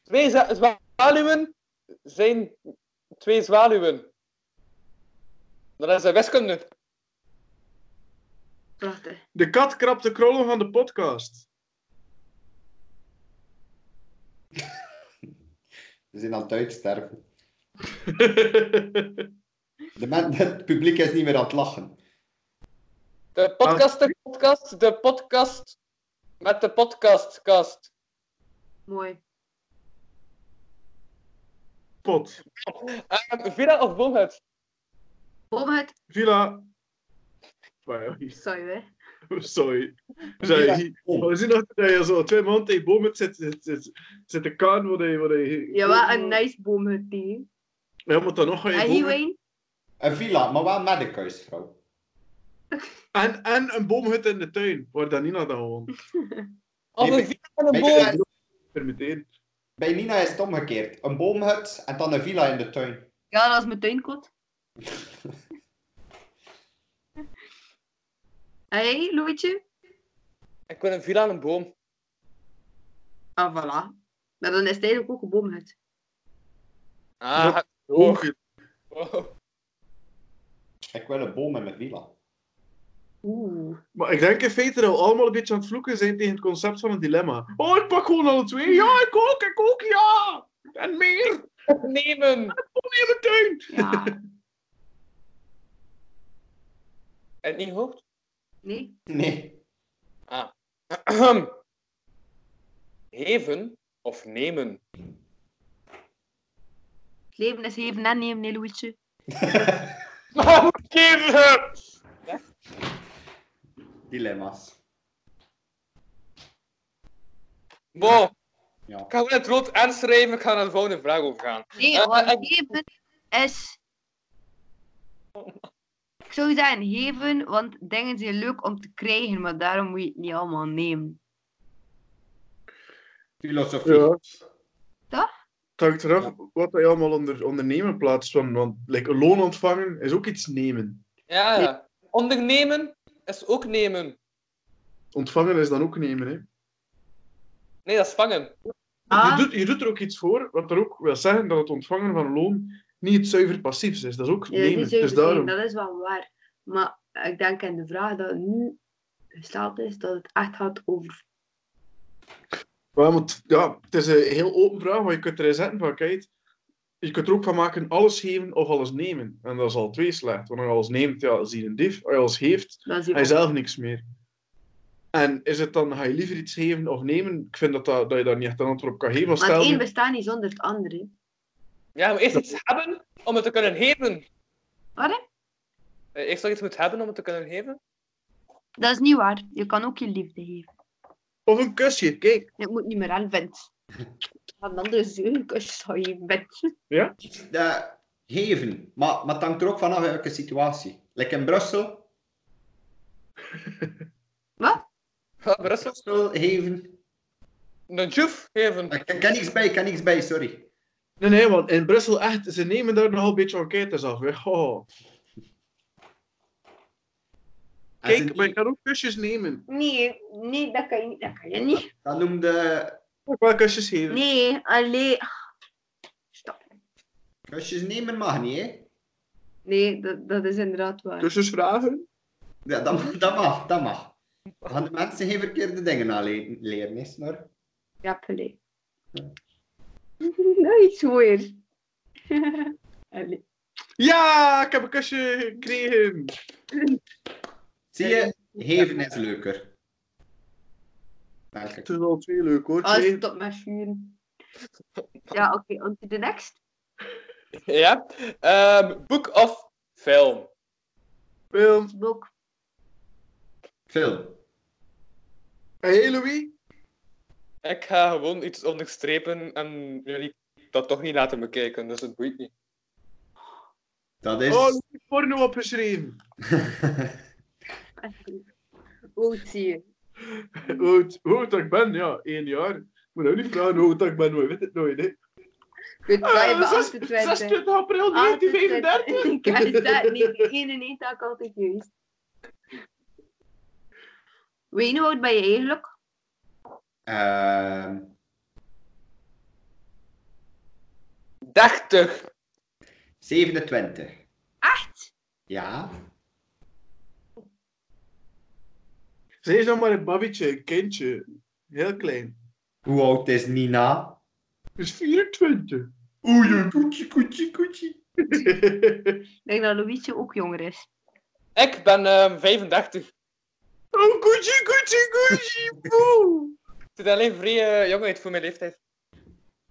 [SPEAKER 4] Twee za- zwaluwen zijn twee zwaluwen. Dat is de wiskunde.
[SPEAKER 6] Prachtig.
[SPEAKER 5] De kat krapt de krollen van de podcast.
[SPEAKER 3] Ze zijn aan het uitsterven. De men, het publiek is niet meer aan het lachen.
[SPEAKER 4] De podcast, de podcast, de podcast met de podcastkast.
[SPEAKER 6] Mooi.
[SPEAKER 5] Pot.
[SPEAKER 4] Ehm Villa of Boomhut?
[SPEAKER 6] Boomhut,
[SPEAKER 5] Villa. Sorry.
[SPEAKER 6] sorry hè.
[SPEAKER 5] Sorry. We zijn hier- We zien nog dat je zo twee maanden tegen bomen zit, zit, zit, zit de kaan waar je... Waar je
[SPEAKER 6] Ja, wat een nice boomhut die.
[SPEAKER 5] Ja, maar dan nog ga je
[SPEAKER 6] En
[SPEAKER 5] bomen-
[SPEAKER 6] hier Wayne?
[SPEAKER 3] Een villa, maar wel met een kuisvrouw.
[SPEAKER 5] En, en een boomhut in de tuin, waar Danina dan woont.
[SPEAKER 4] Of
[SPEAKER 3] Nee,
[SPEAKER 4] een villa en een
[SPEAKER 3] Bij
[SPEAKER 4] boom?
[SPEAKER 3] Nina,
[SPEAKER 5] Permitteer.
[SPEAKER 3] bij Nina is het omgekeerd. Een boomhut en dan een villa in de tuin.
[SPEAKER 6] Ja, dat is mijn tuinkot. En jij, Louietje?
[SPEAKER 4] Ik wil een villa en een boom.
[SPEAKER 6] Ah, voilà. Maar dan is het eigenlijk ook een boomhut.
[SPEAKER 4] Ah,
[SPEAKER 5] Oh,
[SPEAKER 4] hoog. Wow.
[SPEAKER 3] Ik wil een boom in mijn villa.
[SPEAKER 6] Oeh.
[SPEAKER 5] Maar ik denk in feite dat we allemaal een beetje aan het vloeken zijn tegen het concept van een dilemma. Oh, ik pak gewoon alle twee. Ja, ik ook, ik ook, ja. En meer.
[SPEAKER 4] Nemen.
[SPEAKER 5] Kom in mijn tuin.
[SPEAKER 6] Ja.
[SPEAKER 4] En niet hoort?
[SPEAKER 6] Nee.
[SPEAKER 3] Nee.
[SPEAKER 4] Geven of nemen?
[SPEAKER 6] Het leven is even en nemen, nee, Louietje.
[SPEAKER 4] Maar moet geven!
[SPEAKER 3] Dilemma's.
[SPEAKER 4] Bon,
[SPEAKER 3] Ja.
[SPEAKER 4] ik ga gewoon het rood aanschrijven. Ik ga naar de volgende vraag overgaan.
[SPEAKER 6] Nee,
[SPEAKER 4] Eh,
[SPEAKER 6] want
[SPEAKER 4] eh,
[SPEAKER 6] geven is... Oh. Ik zou zeggen geven, want dingen zijn leuk om te krijgen, maar daarom moet je het niet allemaal nemen.
[SPEAKER 3] Filosofie.
[SPEAKER 5] Ja.
[SPEAKER 6] Toch?
[SPEAKER 5] Het hangt eraf wat je allemaal onder ondernemen plaatst. Van, want like, een loon ontvangen is ook iets nemen.
[SPEAKER 4] Ja, ja. Ondernemen is ook nemen.
[SPEAKER 5] Ontvangen is dan ook nemen. Hè.
[SPEAKER 4] Nee, dat is vangen.
[SPEAKER 6] Ah.
[SPEAKER 5] Je, doet, je doet er ook iets voor, wat er ook wil zeggen dat het ontvangen van loon niet het zuiver passiefs is. Dat is ook
[SPEAKER 6] Ja,
[SPEAKER 5] nemen.
[SPEAKER 6] niet
[SPEAKER 5] Dus
[SPEAKER 6] zeker
[SPEAKER 5] daarom.
[SPEAKER 6] zijn, dat is wel waar. Maar ik denk in de vraag dat nu gesteld is, dat het echt gaat over...
[SPEAKER 5] Ja, maar het- ja, het is een heel open vraag, maar je kunt erin zetten van, kijk, je kunt er ook van maken alles geven of alles nemen. En dat is al twee slecht, want als je alles neemt, ja, is hij een dief. Als je alles geeft,
[SPEAKER 6] Dat is
[SPEAKER 5] hij
[SPEAKER 6] hier
[SPEAKER 5] zelf niks meer. En is het dan, ga je liever iets geven of nemen? Ik vind dat, dat, dat je daar niet echt een antwoord op kan geven. Want
[SPEAKER 6] Maar het
[SPEAKER 5] stel,
[SPEAKER 6] een
[SPEAKER 5] nu-
[SPEAKER 6] bestaat niet zonder het andere.
[SPEAKER 4] Ja, maar eerst iets hebben om het te kunnen geven.
[SPEAKER 6] Wat, hè?
[SPEAKER 4] Eh, Eerst nog iets moet hebben om het te kunnen geven.
[SPEAKER 6] Dat is niet waar. Je kan ook je liefde geven.
[SPEAKER 5] Of een kusje, kijk.
[SPEAKER 6] Ik moet niet meer aan vent. Een andere zeurenkusje zou je bent.
[SPEAKER 3] Eh, geven. Maar, maar het hangt er ook vanaf welke situatie. Like in Brussel.
[SPEAKER 4] Ja, Brussel.
[SPEAKER 3] Brussel, geven.
[SPEAKER 4] Een juf geven.
[SPEAKER 3] Ik ik ken niks bij, ik ken niks bij, sorry.
[SPEAKER 5] Nee, nee, want in Brussel echt, ze nemen daar nogal een beetje enquêtes af. Hè. Oh.
[SPEAKER 3] En ze
[SPEAKER 5] Kijk,
[SPEAKER 3] niet-
[SPEAKER 5] maar je kan ook kusjes nemen.
[SPEAKER 6] Nee, nee, dat kan je niet. Dat kan je niet.
[SPEAKER 3] Dat noemde
[SPEAKER 5] Ook wel kusjes geven.
[SPEAKER 6] Nee, alleen... Stop.
[SPEAKER 3] kusjes nemen mag niet, hè?
[SPEAKER 6] Nee, dat, dat is inderdaad waar.
[SPEAKER 5] Kusjes vragen.
[SPEAKER 3] Ja, dat, dat mag, dat mag. We gaan de mensen geen verkeerde dingen aanleren, leren, hè, Snor?
[SPEAKER 6] Ja, pele. Nou, iets mooier. Allee.
[SPEAKER 5] Ja, ik heb een kusje gekregen.
[SPEAKER 3] Zie je, geven is leuker. Merk ik.
[SPEAKER 5] Het is al twee leuk hoor.
[SPEAKER 6] Ah,
[SPEAKER 5] Twee.
[SPEAKER 6] stop met vuren. Ja, oké, on to the next.
[SPEAKER 4] Ja. Ehm, boek of film?
[SPEAKER 5] Film.
[SPEAKER 6] Boek.
[SPEAKER 3] Film.
[SPEAKER 5] Hey Louis.
[SPEAKER 4] Ik ga gewoon iets onderstrepen en jullie dat toch niet laten bekijken, dus het boeit niet.
[SPEAKER 3] Dat is...
[SPEAKER 5] Oh, Louis heeft porno opgeschreven.
[SPEAKER 6] Hoe Oh, zie je?
[SPEAKER 5] Hoe oud, hoe oud dat ik ben? Ja, één jaar. Ik moet nou niet vragen hoe oud dat ik ben, maar je weet het nooit. Hè.
[SPEAKER 6] Weet je,
[SPEAKER 5] Eh,
[SPEAKER 6] bij
[SPEAKER 5] zes-
[SPEAKER 6] 28.
[SPEAKER 5] 26 april 1935.
[SPEAKER 6] 28. Ik heb dat niet. 91 had ik altijd geweest. Weet je hoe oud ben je eigenlijk?
[SPEAKER 3] Ehm,
[SPEAKER 4] 30.
[SPEAKER 3] 27.
[SPEAKER 6] Echt?
[SPEAKER 3] Ja.
[SPEAKER 5] Ze is nog maar een babbetje, een kindje. Heel klein.
[SPEAKER 3] Hoe oud is Nina?
[SPEAKER 5] Ze is 24.
[SPEAKER 3] Oei, koetje, koetje, koetje.
[SPEAKER 6] Ik denk dat Louisje ook jonger is.
[SPEAKER 4] Ik ben ehm, 35. Het
[SPEAKER 5] oh, koetje, koetje, koetje, poe.
[SPEAKER 4] is alleen vrij eh, jongheid voor mijn leeftijd.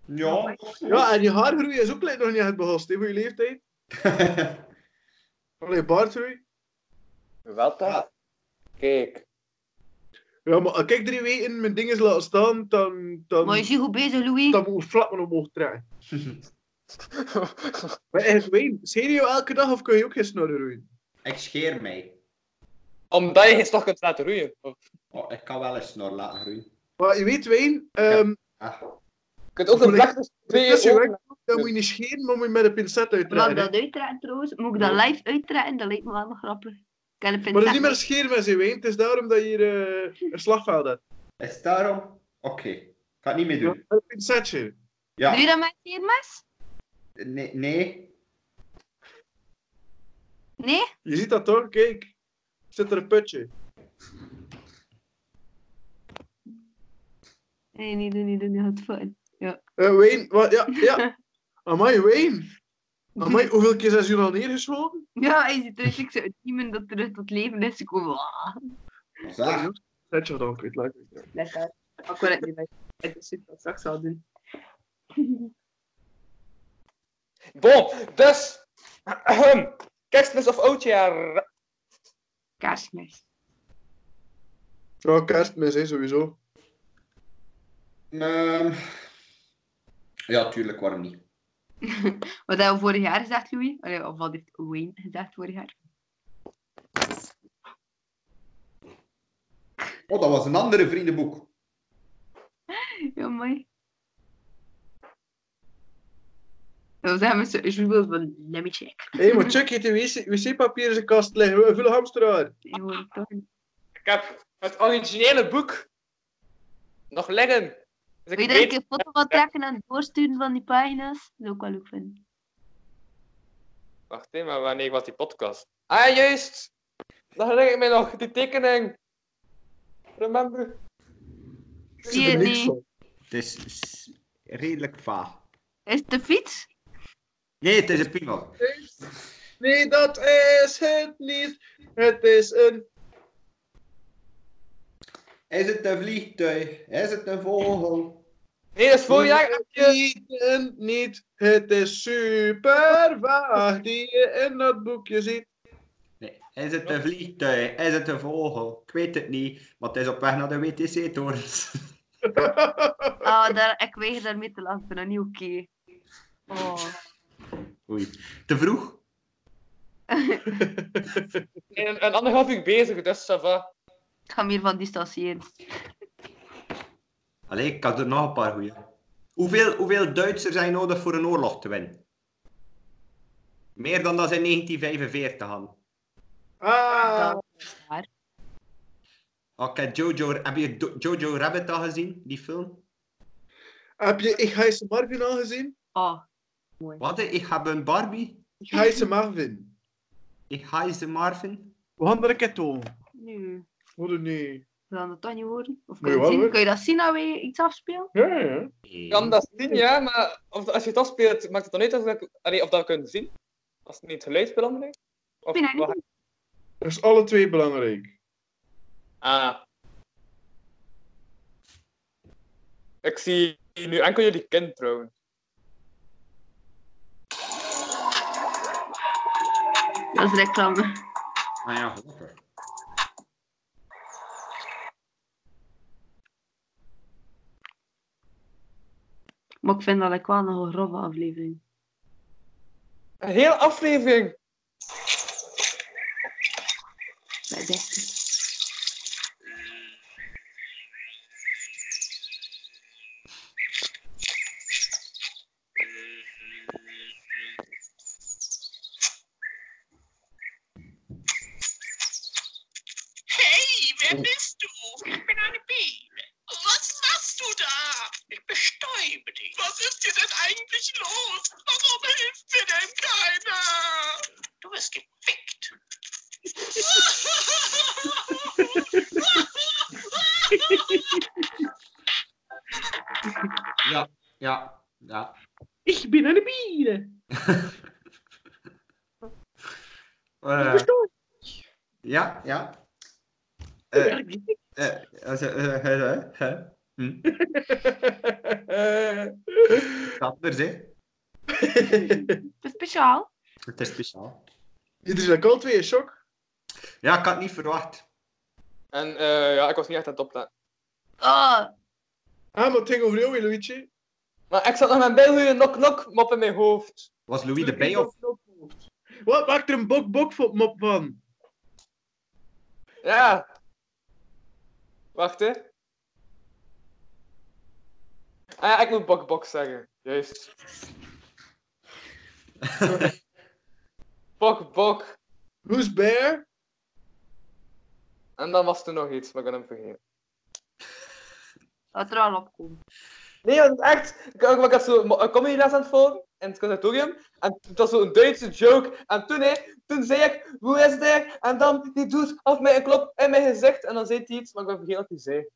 [SPEAKER 6] Oh
[SPEAKER 3] Ja.
[SPEAKER 5] Ja, en je haargroei is ook lijkt nog niet echt begonnen, hè, voor je leeftijd. Alleen baardgroei.
[SPEAKER 4] Wel dat? Kijk.
[SPEAKER 5] Ja, maar als ik drie weken mijn ding is laten staan, dan... dan
[SPEAKER 6] Maar je ziet goed bezig, Louis.
[SPEAKER 5] dan moet ik flap maar omhoog draaien. Maar echt, Wayne, scheer je elke dag of kun je ook geen snorren roeien?
[SPEAKER 3] ik scheer mij.
[SPEAKER 4] Omdat je geen stok kunt laten roeien. Je
[SPEAKER 3] Oh, ik kan wel eens snor laten groeien.
[SPEAKER 5] Maar je weet, Wayne, ehm,
[SPEAKER 3] Ah.
[SPEAKER 4] kunt ook een
[SPEAKER 5] Voel ik-
[SPEAKER 4] plek tussen twee
[SPEAKER 5] als je
[SPEAKER 4] ogen-
[SPEAKER 5] werkt, dan moet je niet scheren, maar moet je met een pincet
[SPEAKER 6] Laat
[SPEAKER 5] uitdraaien. hè.
[SPEAKER 6] dat uittrekken trouwens. Moet ik dat live uittrekken? Dat lijkt me wel nog grappig. Ik heb
[SPEAKER 5] Maar dat
[SPEAKER 6] een pincet
[SPEAKER 5] is niet meer scheren met zijn Wayne, het is daarom dat je hier eh, een slagveld hebt.
[SPEAKER 3] Is daarom? Oké. Ik ga het niet meer doen.
[SPEAKER 5] Met een pincetje.
[SPEAKER 3] Ja.
[SPEAKER 6] Doe je dat met een scheermes?
[SPEAKER 3] Nee. nee.
[SPEAKER 6] Nee?
[SPEAKER 5] Je ziet dat toch? Kijk. Zit er een putje.
[SPEAKER 6] Nee, niet doen, niet doen. Dat gaat fout.
[SPEAKER 5] Eh, Wayne, wat, ja, ja. Amai, Wayne. Amai, hoeveel keer zijn ze hier al neergeschoten?
[SPEAKER 6] Ja, hij ziet eruit. Ik zou het niet meer dat terug tot leven is gekomen. Ah,
[SPEAKER 3] Zeg.
[SPEAKER 5] Zet je dan, ik weet het niet.
[SPEAKER 6] Let uit. Ik wil het niet meer. Het is super straks al doen.
[SPEAKER 4] Bon, dus. ahem, Kerstmis of oudjaar?
[SPEAKER 6] Kerstmis.
[SPEAKER 5] Ja, kerstmis, hè, sowieso.
[SPEAKER 3] Ehm, ja, tuurlijk, waarom niet?
[SPEAKER 6] Wat hebben we vorig jaar gezegd, Louis? Allee, Of wat heeft Wayne gezegd vorig jaar?
[SPEAKER 3] Oh, dat was een andere vriendenboek.
[SPEAKER 6] Ja, mooi. Dan zijn we zo, je wil van Lemmy Check.
[SPEAKER 5] Hé, maar Chuck heeft een wc-papier in zijn kast liggen. We vullen hamster aan.
[SPEAKER 6] Je hoort het toch niet.
[SPEAKER 4] Ik heb het originele boek nog liggen. Dus ik
[SPEAKER 6] Wil je daar
[SPEAKER 4] weet-
[SPEAKER 6] een keer een foto van trekken en doorsturen van die pagina's? Dat zou ik wel leuk vinden.
[SPEAKER 4] Wacht even, maar wanneer was die podcast? Ah, juist! Dan herinner ik mij nog, die tekening. Remember?
[SPEAKER 6] Zie je die?
[SPEAKER 3] Het is s- redelijk vaag.
[SPEAKER 6] Is het de fiets?
[SPEAKER 3] Nee, het is een piemel.
[SPEAKER 5] Nee, dat is het niet. Het is een...
[SPEAKER 3] Is het een vliegtuig? Is het een vogel?
[SPEAKER 4] Nee, dat is vorig jaar.
[SPEAKER 5] Het is een niet. Het is super vaag die je in dat boekje ziet.
[SPEAKER 3] Nee. Is het een vliegtuig? Is het een vogel? Ik weet het niet, maar het is op weg naar de WTC-torens.
[SPEAKER 6] Ah, daar, ik weiger daarmee te lachen. Ik vind dat niet oké. Oh.
[SPEAKER 3] Oei. Te vroeg?
[SPEAKER 4] Een, een anderhalf uur bezig, dus ça va.
[SPEAKER 6] Ik ga me hiervan distancieren.
[SPEAKER 3] Allee, ik had er nog een paar goeie. Hoeveel, hoeveel Duitsers zijn nodig voor een oorlog te winnen? Meer dan dat ze in 1945 hadden.
[SPEAKER 5] Ah,
[SPEAKER 6] Dat is waar.
[SPEAKER 3] Oké, Jojo, heb je Do- Jojo Rabbit al gezien, die film?
[SPEAKER 5] heb je Ik Heise Marvin al gezien?
[SPEAKER 6] Oh,
[SPEAKER 3] Wat? Ik heb een Barbie.
[SPEAKER 5] Ik Heise Marvin.
[SPEAKER 3] Ik heise Marvin.
[SPEAKER 5] We gaan er een keer toon.
[SPEAKER 6] nu.
[SPEAKER 5] Hoe nee?
[SPEAKER 6] We gaan dat toch niet horen? Of
[SPEAKER 5] Moet
[SPEAKER 6] kun
[SPEAKER 5] je
[SPEAKER 6] je,
[SPEAKER 5] wel,
[SPEAKER 6] zien?
[SPEAKER 5] hoor.
[SPEAKER 6] kun je dat zien als wij iets afspelen?
[SPEAKER 5] Ja, ja.
[SPEAKER 3] Nee.
[SPEAKER 4] Ik kan dat zien, ja, maar of, als je het afspeelt, maakt het dan niet uit of, dat- allee, of dat we kunnen zien? Als het niet geluid belangrijk? Of,
[SPEAKER 6] Ik vind dat niet.
[SPEAKER 5] Dat is alle twee belangrijk.
[SPEAKER 4] Ah. Ik zie nu enkel jullie kind trouwens.
[SPEAKER 6] Dat is reclame.
[SPEAKER 3] Ah ja, gelukkig.
[SPEAKER 6] Maar ik vind dat ik wel nog een grove aflevering.
[SPEAKER 4] Een hele aflevering!
[SPEAKER 6] Bij dit.
[SPEAKER 9] Hey, wer bist du? Ich bin eine Biene. Was machst du da? Ich bestäube dich. Was ist hier denn eigentlich los? Warum hilft mir denn keiner? Du wirst gefickt.
[SPEAKER 3] Ja, ja.
[SPEAKER 5] Ich bin eine Biene.
[SPEAKER 3] Äh, ja, ja. Äh, äh, also, äh, hä, hä, hä? Hm,
[SPEAKER 5] Eh,
[SPEAKER 3] dat anders, hè?
[SPEAKER 6] Het is speciaal.
[SPEAKER 3] Het is speciaal.
[SPEAKER 5] Dit is lekker al twee, in shock.
[SPEAKER 3] Ja, ik had het niet verwacht.
[SPEAKER 4] En eh, ja, ik was niet echt aan het opletten.
[SPEAKER 6] Oh,
[SPEAKER 5] Ah, maar het ging over jou, Luigi.
[SPEAKER 4] Maar ik zat nog met mijn goede nok-nok mop in mijn hoofd.
[SPEAKER 3] Was Louis erbij of?
[SPEAKER 5] Wat maakt er een bok-bok mop van?
[SPEAKER 4] Ja. Wacht, hè. Ah ja, ik moet bok-bok zeggen. Juist. Bok-bok.
[SPEAKER 5] Who's bear?
[SPEAKER 4] En dan was er nog iets, maar ik ben hem vergeten.
[SPEAKER 6] dat er al opkomt.
[SPEAKER 4] Nee, want echt, ik, ik, ik had zo een comedyles aan het volgen in het conservatorium. En het was zo'n Duitse joke. En toen, hè, toen zei ik, hoe is het daar? En dan, die doet af mij een klop in mijn gezicht. En dan zei hij iets, maar ik ben vergeten wat hij zei.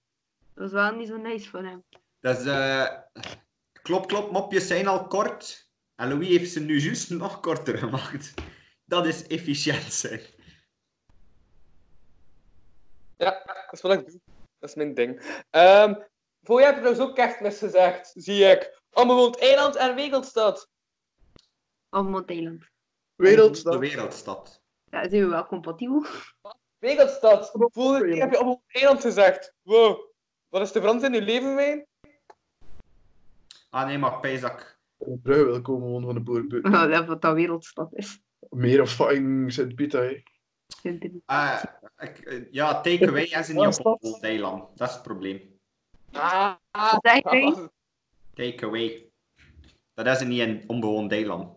[SPEAKER 6] Dat was wel niet zo nice van hem.
[SPEAKER 3] Dat is, eh, klop, klop, mopjes zijn al kort. En Louis heeft ze nu juist nog korter gemaakt. Dat is efficiënt zijn.
[SPEAKER 4] Ja, dat is wat ik doe. Dat is mijn ding. Ehm voor jij hebt trouwens ook kerstmis gezegd, zie ik. Onbewoond eiland en Wegelstad.
[SPEAKER 6] Op Mont Eiland.
[SPEAKER 3] De
[SPEAKER 5] Wereldstad.
[SPEAKER 3] wereldstad.
[SPEAKER 6] Ja, zijn we wel compatibel?
[SPEAKER 4] Wegelstad. Vorige keer heb je onbewoond eiland gezegd. Wow. Wat is de verandering in je leven, Wijn?
[SPEAKER 3] Ah nee, maar Pijzak.
[SPEAKER 5] Op Brugge wil komen wonen van de boerenput.
[SPEAKER 6] Nou, dat wat dat wereldstad is.
[SPEAKER 5] Meer of fucking Sint-Pieter, hè.
[SPEAKER 6] Vindt er niet.
[SPEAKER 3] Eh, ik- eh, ja, takeaway is in
[SPEAKER 4] Wereldstad.
[SPEAKER 3] Japan op Thailand. Dat is het probleem.
[SPEAKER 4] Ah,
[SPEAKER 6] Wat zeg jij?
[SPEAKER 3] Takeaway. Dat is niet in onbewoond Thailand.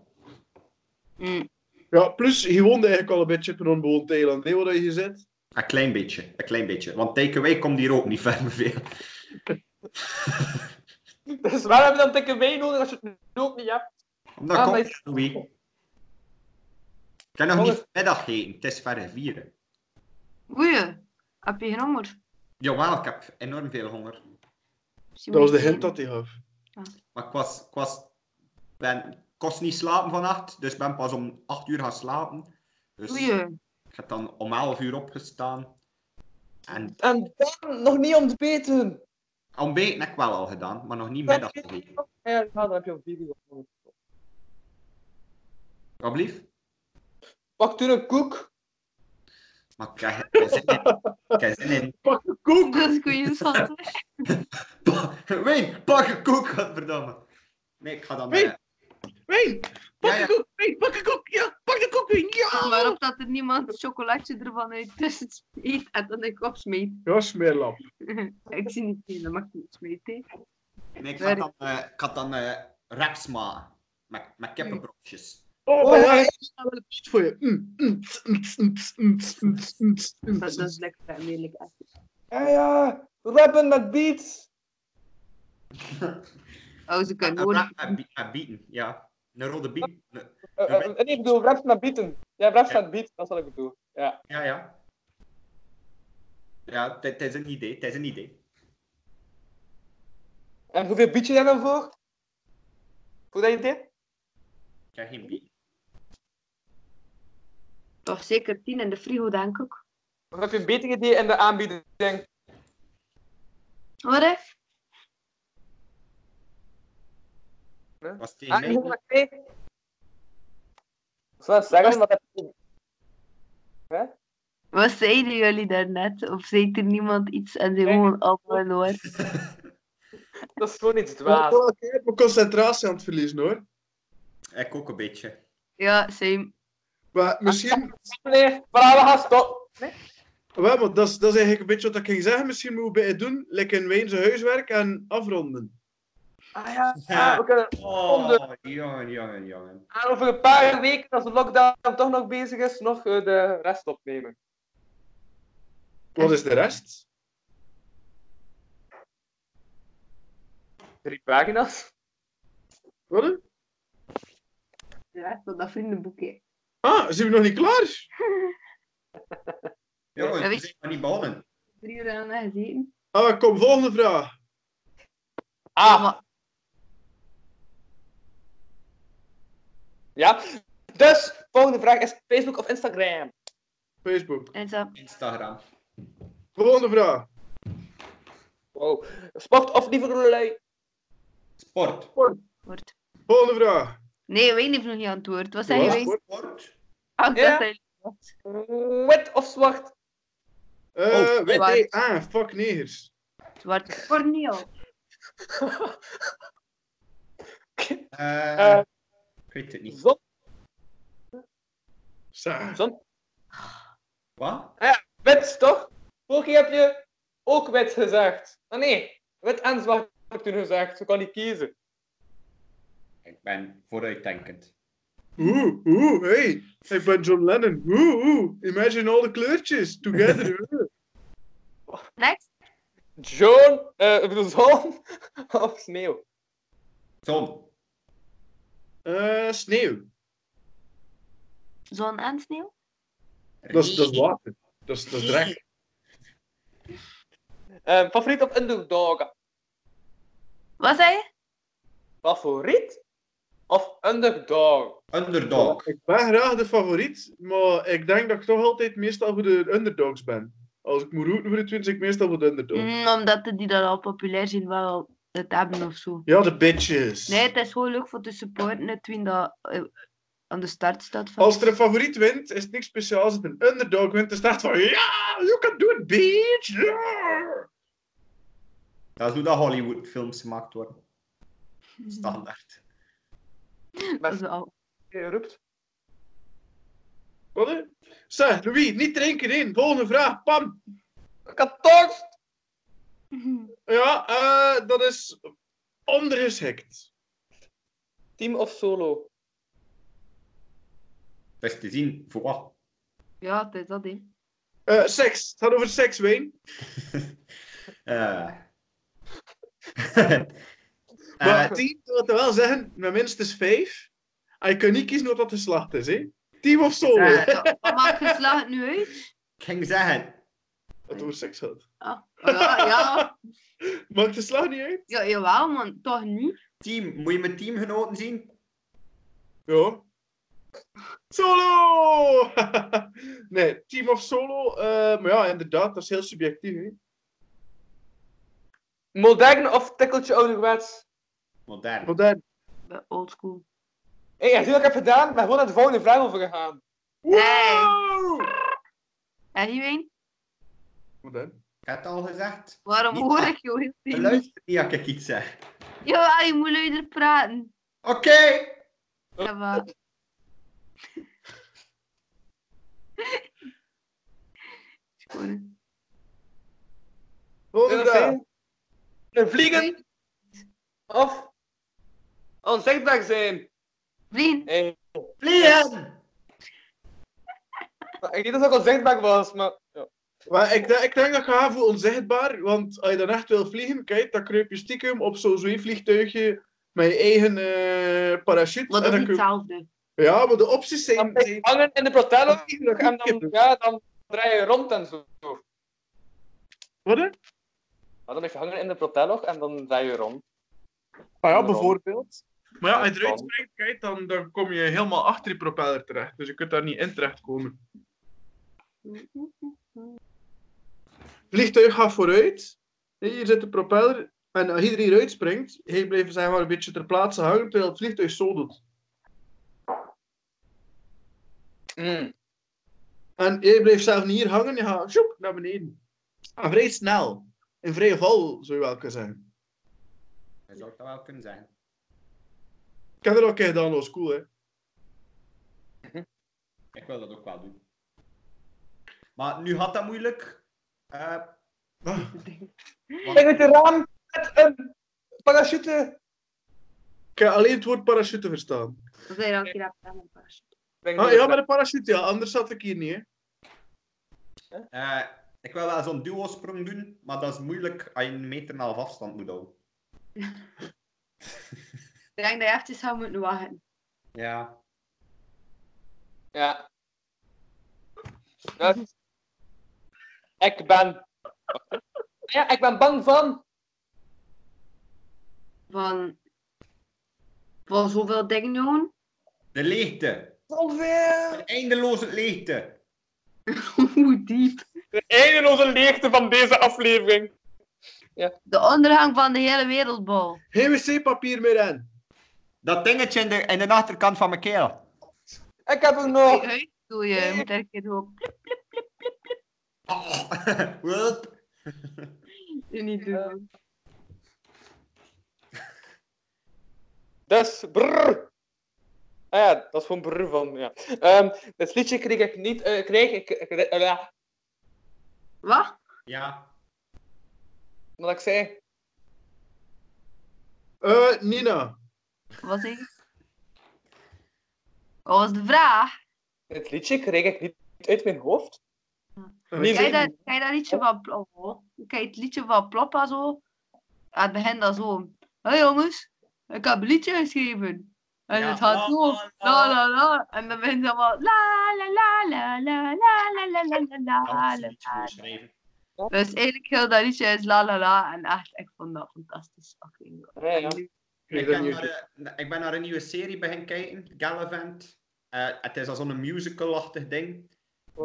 [SPEAKER 6] Mm.
[SPEAKER 5] Ja, plus, je woonde eigenlijk al een beetje op een onbewoond eiland, hè, wat je hier zit.
[SPEAKER 3] Een klein beetje, een klein beetje. Want takeaway komt hier ook niet ver veel.
[SPEAKER 4] Dus waar heb je dan dikke wijn nodig als je het nu ook niet hebt?
[SPEAKER 3] Omdat
[SPEAKER 4] Ah,
[SPEAKER 3] komt
[SPEAKER 4] maar-
[SPEAKER 3] het, Louis. Ik kan nog niet middageten, het is verre vieren.
[SPEAKER 6] Oei, heb je geen honger?
[SPEAKER 3] Jawel, ik heb enorm veel honger.
[SPEAKER 6] Misschien
[SPEAKER 5] Dat was de
[SPEAKER 6] moet je-
[SPEAKER 5] hint dat hij gaf.
[SPEAKER 3] Maar ik was, ik was, ben, kost niet slapen vannacht, dus ben pas om 8 uur gaan slapen. Dus
[SPEAKER 6] Oei,
[SPEAKER 3] ik heb dan om 11 uur opgestaan. En
[SPEAKER 4] En dan nog niet ontbeten.
[SPEAKER 3] ontbeten heb ik wel al gedaan, maar nog niet middageten.
[SPEAKER 4] Ja, dan heb je een video.
[SPEAKER 3] Wat blieft?
[SPEAKER 4] Pak toen een koek.
[SPEAKER 3] Maar ik heb ik heb zin in. Ik heb zin in.
[SPEAKER 5] Pak de koek!
[SPEAKER 6] dat is goeie schat.
[SPEAKER 3] Pa- Wijn, pak een koek, godverdamme. Nee, ik ga dan... eh,
[SPEAKER 5] Wijn, Wijn, pak
[SPEAKER 3] Ja, ja.
[SPEAKER 5] de koek! Wijn, pak de koek! Ja, pak de koek! Wijn,
[SPEAKER 6] Pas
[SPEAKER 5] ja!
[SPEAKER 6] maar op dat er niemand het chocolatje ervan uit tussen smeet en dan ik opsmeet.
[SPEAKER 5] Ja, smeerlap.
[SPEAKER 6] ik zie niet in, dat mag niet smeten.
[SPEAKER 3] Nee, ik had
[SPEAKER 6] Nee, nee.
[SPEAKER 3] dan, eh ik had dan eh wraps maken. Met, met kippenbrokjes.
[SPEAKER 5] Oh,
[SPEAKER 4] Oh,
[SPEAKER 5] maar
[SPEAKER 4] ja.
[SPEAKER 5] ja, ik heb wel een lied voor je. Mm, mm, tss, mm, tss, mm, tss, mm, tss, mm, tss, mm, tss, mm,
[SPEAKER 6] Dat, dat is
[SPEAKER 5] tss.
[SPEAKER 6] lekker en lelijk. echt.
[SPEAKER 4] Ja, ja. Rappen met beats.
[SPEAKER 6] Oh, ze
[SPEAKER 3] En
[SPEAKER 6] kunnen
[SPEAKER 3] wrap
[SPEAKER 6] gewoon...
[SPEAKER 3] en bie- en eh, bieten, ja. Een rode bieten. Een-
[SPEAKER 4] Eh, eh, nee, ik bedoel, raps met bieten. Ja, raps met beats, dat is wat ik bedoel. Ja.
[SPEAKER 3] Ja, ja. Ja, het- het is een idee, het is een idee.
[SPEAKER 4] En hoeveel bied je daar dan voor? Voor dat idee?
[SPEAKER 3] Ik heb geen bieten.
[SPEAKER 6] Toch zeker tien in de frigo, denk ik.
[SPEAKER 4] Of heb je een beter idee in de aanbieding?
[SPEAKER 6] Hoor, hè?
[SPEAKER 3] Was het
[SPEAKER 4] Ah,
[SPEAKER 3] tegen
[SPEAKER 4] je zit
[SPEAKER 3] mij?
[SPEAKER 4] maar twee. Ik zou zeggen, wat heb je...
[SPEAKER 6] Wat zeiden jullie daarnet? Of zei er niemand iets en ze gewoon allemaal door?
[SPEAKER 4] Dat is gewoon iets
[SPEAKER 5] Oh,
[SPEAKER 4] dwaas.
[SPEAKER 5] oh, Ik heb mijn concentratie aan het verliezen hoor.
[SPEAKER 3] Ik ook een beetje.
[SPEAKER 6] Ja, same.
[SPEAKER 5] Maar misschien,
[SPEAKER 4] Meneer, voilà, we gaan stoppen. Nee?
[SPEAKER 5] wel, maar dat, is, dat is eigenlijk een beetje wat ik ging zeggen. Misschien moeten we bij het doen, lekker in Wijn zijn huiswerk en afronden.
[SPEAKER 4] Ah ja, ja, we kunnen...
[SPEAKER 3] Oh, jongen, jongen, jongen.
[SPEAKER 4] En over een paar weken, als de lockdown toch nog bezig is, nog eh, de rest opnemen.
[SPEAKER 5] Wat is de rest?
[SPEAKER 4] Drie pagina's.
[SPEAKER 5] Wat? hè?
[SPEAKER 6] Ja, tot dat vriendenboekje.
[SPEAKER 5] Ah, zijn we nog niet klaar?
[SPEAKER 3] Jongen,
[SPEAKER 6] Ja,
[SPEAKER 3] we
[SPEAKER 6] weet-
[SPEAKER 3] zijn nog niet begonnen.
[SPEAKER 6] Drie uur aan gezeten.
[SPEAKER 5] Ah, kom, volgende vraag.
[SPEAKER 4] Ah,
[SPEAKER 6] maar
[SPEAKER 4] Ja? Dus, volgende vraag is Facebook of Instagram?
[SPEAKER 5] Facebook.
[SPEAKER 6] En zo.
[SPEAKER 3] Instagram.
[SPEAKER 5] Volgende vraag.
[SPEAKER 4] Wow. Sport of eh, lieverlei?
[SPEAKER 3] Sport.
[SPEAKER 6] Wordt.
[SPEAKER 5] Volgende vraag.
[SPEAKER 6] Nee, wij niet nog niet antwoord. Wat zei
[SPEAKER 5] Ja.
[SPEAKER 6] je?
[SPEAKER 5] Sport.
[SPEAKER 3] Sport.
[SPEAKER 6] Ah, dat
[SPEAKER 4] Ja.
[SPEAKER 6] zei-
[SPEAKER 4] Wit of zwart?
[SPEAKER 5] Eh,
[SPEAKER 3] Oh,
[SPEAKER 5] wit,
[SPEAKER 6] zwart.
[SPEAKER 5] nee, ah, fuck negers.
[SPEAKER 6] Zwart. Corneel.
[SPEAKER 3] Eh,
[SPEAKER 4] Eh.
[SPEAKER 3] ik weet het niet.
[SPEAKER 4] Zon?
[SPEAKER 5] Sa.
[SPEAKER 4] Zon?
[SPEAKER 3] Wat?
[SPEAKER 4] Wit, toch? Vorige keer heb je ook wit gezegd. Ah nee, wit en zwart heb ik toen gezegd. Zo kan niet kiezen.
[SPEAKER 3] Ik ben vooruitdenkend.
[SPEAKER 5] Oeh, oeh, hey. Ik ben John Lennon. Oeh, oeh. Imagine all the kleurtjes together.
[SPEAKER 6] Next.
[SPEAKER 4] John, eh, ik bedoel zon of sneeuw?
[SPEAKER 3] Zon.
[SPEAKER 5] Eh, sneeuw.
[SPEAKER 6] Zon en sneeuw.
[SPEAKER 5] Dat is, dat is water. Dat is, dat is recht.
[SPEAKER 4] Eh, favoriet of underdog?
[SPEAKER 6] Wat zei je?
[SPEAKER 4] Favoriet of underdog?
[SPEAKER 6] Oh.
[SPEAKER 3] Underdog.
[SPEAKER 5] Ik ben graag de favoriet, maar ik denk dat ik toch altijd meestal voor de underdogs ben. Als ik moet routen voor de twins, ik meestal voor de underdogs.
[SPEAKER 6] Mm, omdat die dan al populair zijn, wel het hebben of zo.
[SPEAKER 5] Ja, de bitches.
[SPEAKER 6] Nee, het is gewoon leuk voor de support net wie dat eh, aan de start staat. Van.
[SPEAKER 5] Als er een favoriet wint, is het niks speciaals. Als het een underdog wint, is het echt van... Ja, you can do it, bitch! Ja!
[SPEAKER 3] Dat is hoe dat Hollywood-films gemaakt worden. Ah. Standaard.
[SPEAKER 6] Dat is wel-
[SPEAKER 4] Je roept.
[SPEAKER 5] Wat, hè? Zeg, Louis, niet drinken in. Volgende vraag, pam.
[SPEAKER 4] Ik had dorst.
[SPEAKER 5] Ja, eh, dat is ondergeschikt.
[SPEAKER 4] Team of solo?
[SPEAKER 3] Dat is te zien voor wat.
[SPEAKER 6] Ja, het is dat, hè.
[SPEAKER 5] Eh, seks. Het gaat over seks, Wayne.
[SPEAKER 3] Eh.
[SPEAKER 5] Maar
[SPEAKER 3] Eh,
[SPEAKER 5] team, dat wil wel zeggen, met minstens vijf. En je kan niet kiezen wat dat geslacht is, hè. Team of solo.
[SPEAKER 3] Eh.
[SPEAKER 6] Ja, Wat maakt geslacht nu uit?
[SPEAKER 3] ik ging zeggen,
[SPEAKER 5] Dat over seks gaat.
[SPEAKER 6] Ah, ja, ja,
[SPEAKER 5] Maakt de slag niet uit?
[SPEAKER 6] ja, jawel, man. Toch niet?
[SPEAKER 3] team, moet je mijn teamgenoten zien?
[SPEAKER 5] Ja. Solo! nee, team of solo. eh, maar ja, inderdaad, dat is heel subjectief. Hè?
[SPEAKER 4] Modern of tikkeltje ouderwets?
[SPEAKER 3] Modern.
[SPEAKER 5] Want dan...
[SPEAKER 6] Bij Old school.
[SPEAKER 4] Hé, hey, ik zie wat ik heb gedaan, maar gewoon naar de volgende vraag over gegaan.
[SPEAKER 5] Wow!
[SPEAKER 6] En Iwijn,
[SPEAKER 5] Want dan...
[SPEAKER 3] Ik heb het al gezegd.
[SPEAKER 6] waarom
[SPEAKER 3] Niet
[SPEAKER 6] hoor
[SPEAKER 3] waar.
[SPEAKER 6] ik jou heel
[SPEAKER 3] Je
[SPEAKER 6] veel?
[SPEAKER 3] luistert niet als ik iets zeg.
[SPEAKER 6] Jawel, je moet luider praten.
[SPEAKER 3] Oké.
[SPEAKER 6] Ja, maar... Schoon.
[SPEAKER 5] Volgende vraag.
[SPEAKER 4] Een vliegen of onzichtbaar zijn?
[SPEAKER 6] Vriend,
[SPEAKER 4] Hey.
[SPEAKER 3] Vliegen!
[SPEAKER 4] Ik weet dat ik onzichtbaar was, maar... Ja.
[SPEAKER 5] Maar ik, denk- ik denk dat ik ga voor onzichtbaar, want als je dan echt wil vliegen, kijk, dan kruip je stiekem op zo'n zweefvliegtuigje met je eigen eh, parachute.
[SPEAKER 6] wat
[SPEAKER 5] en
[SPEAKER 6] is
[SPEAKER 5] dan
[SPEAKER 6] niet
[SPEAKER 5] kun-
[SPEAKER 6] hetzelfde?
[SPEAKER 5] Ja, maar de opties zijn...
[SPEAKER 4] Dan blijf
[SPEAKER 5] zijn...
[SPEAKER 4] ik hangen in de protello en dan, ja, dan draai je rond en zo.
[SPEAKER 5] Wat? hè?
[SPEAKER 4] Maar dan blijf je hangen in de protello en dan draai je rond.
[SPEAKER 5] Ah ja,
[SPEAKER 4] Rond.
[SPEAKER 5] bijvoorbeeld. Maar ja, als je
[SPEAKER 4] Dat
[SPEAKER 5] eruit
[SPEAKER 4] kan.
[SPEAKER 5] springt, kijk, dan, dan kom je helemaal achter die propeller terecht. Dus je kunt daar niet in terechtkomen. Vliegtuig gaat vooruit. Hier zit de propeller. En als iedereen eruit springt, hij blijft zeg maar een beetje ter plaatse hangen, terwijl het vliegtuig zo doet.
[SPEAKER 4] Mm.
[SPEAKER 5] En jij blijft zelf niet hier hangen, je gaat sjoep, naar beneden. En vrij snel. In vrije val, zou je wel kunnen zeggen.
[SPEAKER 3] Je zou dat wel kunnen zeggen.
[SPEAKER 5] Ik heb dat ook een keer gedaan, dat was cool, hè.
[SPEAKER 3] Ik wil dat ook wel doen. Maar nu had dat moeilijk. Eh,
[SPEAKER 4] Kijk uit de raam met een parachute.
[SPEAKER 5] Ik heb alleen het woord parachute verstaan.
[SPEAKER 6] Dat zei je dan een keer aan mijn paas.
[SPEAKER 4] Ik
[SPEAKER 5] Ah, ja, maar de parachute, ja, anders zat ik hier niet, hè.
[SPEAKER 3] eh, ik wil wel zo'n duo-sprong doen, maar dat is moeilijk als je een meter en een half afstand moet houden.
[SPEAKER 6] Ik denk dat je eventjes zou moeten wachten.
[SPEAKER 3] Ja.
[SPEAKER 4] Ja. Dus, ik ben... Ja, ik ben bang van...
[SPEAKER 6] Van, van zoveel dingen doen.
[SPEAKER 3] De leegte.
[SPEAKER 4] Alweer.
[SPEAKER 3] Een eindeloze leegte.
[SPEAKER 6] Hoe diep.
[SPEAKER 4] De eindeloze leegte van deze aflevering.
[SPEAKER 6] De ondergang van de hele wereldbol.
[SPEAKER 5] Geen wc-papier meer aan.
[SPEAKER 3] Dat dingetje in de, in de achterkant van mijn keel.
[SPEAKER 4] Ik heb hem nog.
[SPEAKER 6] Uit doe je. Je moet er een keer zo plip,
[SPEAKER 3] Oh. Hup.
[SPEAKER 6] niet doen.
[SPEAKER 4] Dus, brrr. Ah ja, dat is gewoon brrr van, ja. Ehm dit liedje kreeg ik niet, eh kreeg ik, ik- eh, ja,
[SPEAKER 6] Wat?
[SPEAKER 3] ja.
[SPEAKER 4] wat ik zei.
[SPEAKER 5] Eh, Nina.
[SPEAKER 6] Wat zeg je? Wat was de vraag?
[SPEAKER 4] Dit liedje kreeg ik niet uit mijn hoofd. Niet
[SPEAKER 6] Kijk
[SPEAKER 4] weten.
[SPEAKER 6] dat, kijk dat liedje van Ploppa. hoor. Kijk het liedje van Ploppa zo. Aan het begin dan zo. Hé jongens, ik heb een liedje geschreven. En
[SPEAKER 3] Ja,
[SPEAKER 6] het gaat
[SPEAKER 3] la,
[SPEAKER 6] zo.
[SPEAKER 3] la, la.
[SPEAKER 6] La la la. En dan begint ze allemaal. La la la la la la la la la la
[SPEAKER 3] Dat is
[SPEAKER 6] la la la
[SPEAKER 3] niet goed schrijven.
[SPEAKER 6] Dus eigenlijk heel dat liedje is la la la. En echt, ik vond dat fantastisch. Fucking goed.
[SPEAKER 4] Ja, Ah, ja.
[SPEAKER 5] Ik
[SPEAKER 3] Ik,
[SPEAKER 5] ben
[SPEAKER 3] heb
[SPEAKER 5] nu-
[SPEAKER 3] naar de- ik ben naar een nieuwe serie begin kijken, Gallivant. Eh, het is als zo'n musical-achtig ding.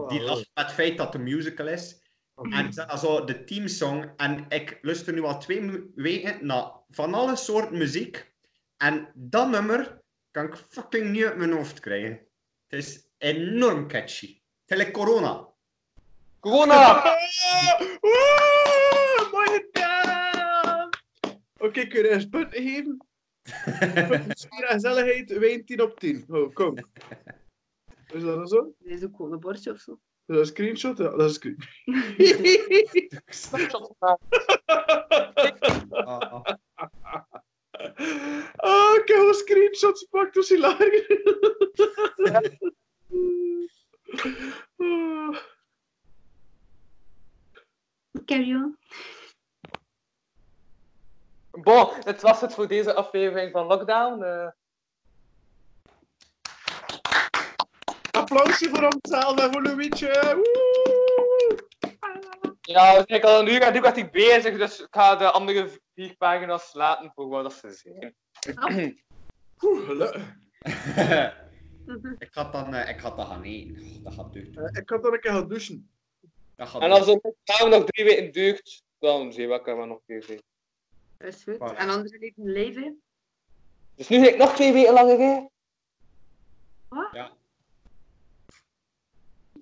[SPEAKER 3] Die lacht met het feit dat het een musical is. En ze- also, de teamsong. En ik luister nu al twee mu- weken naar van alle soorten muziek. En dat nummer kan ik fucking niet uit mijn hoofd krijgen. Het is enorm catchy. Tele corona.
[SPEAKER 4] Corona!
[SPEAKER 5] Woe, mooi gedaan! Oké, kun je eens punten geven? Sfeer en gezelligheid, wijn 10 op 10. Oh, kom. Is dat dan zo?
[SPEAKER 6] Dit is ook gewoon een bordje of zo.
[SPEAKER 5] Is dat een screenshot? Ja, dat is een
[SPEAKER 4] Snapshot gemaakt.
[SPEAKER 3] Ah, ah.
[SPEAKER 5] Oh, ik heb al screenshots gepakt, dat is hilarisch. Oh.
[SPEAKER 6] Carry on.
[SPEAKER 4] Bon, dit was het voor deze aflevering van Lockdown. eh.
[SPEAKER 5] Applausje voor onszelf en voor Louietje. Woe!
[SPEAKER 4] ja, we zijn al een uur en nu gaat hij bezig, dus ik ga de andere vier pagina's laten voor wat dat ze zijn.
[SPEAKER 5] Oeh, gelukkig.
[SPEAKER 3] ik ga het dan, eh, ik ga het dan gaan eten. Oh, Dat gaat duur.
[SPEAKER 5] Eh, Ik had dan een keer gaan douchen.
[SPEAKER 3] Dat gaat
[SPEAKER 4] En
[SPEAKER 3] duur.
[SPEAKER 4] als de Lockdown nog drie weken duurt, dan zien we elkaar wel nog een keer zien.
[SPEAKER 6] Dat is goed.
[SPEAKER 3] Voilà.
[SPEAKER 6] En anders leeft een leven.
[SPEAKER 4] Dus nu ga ik nog twee weken langer rijden.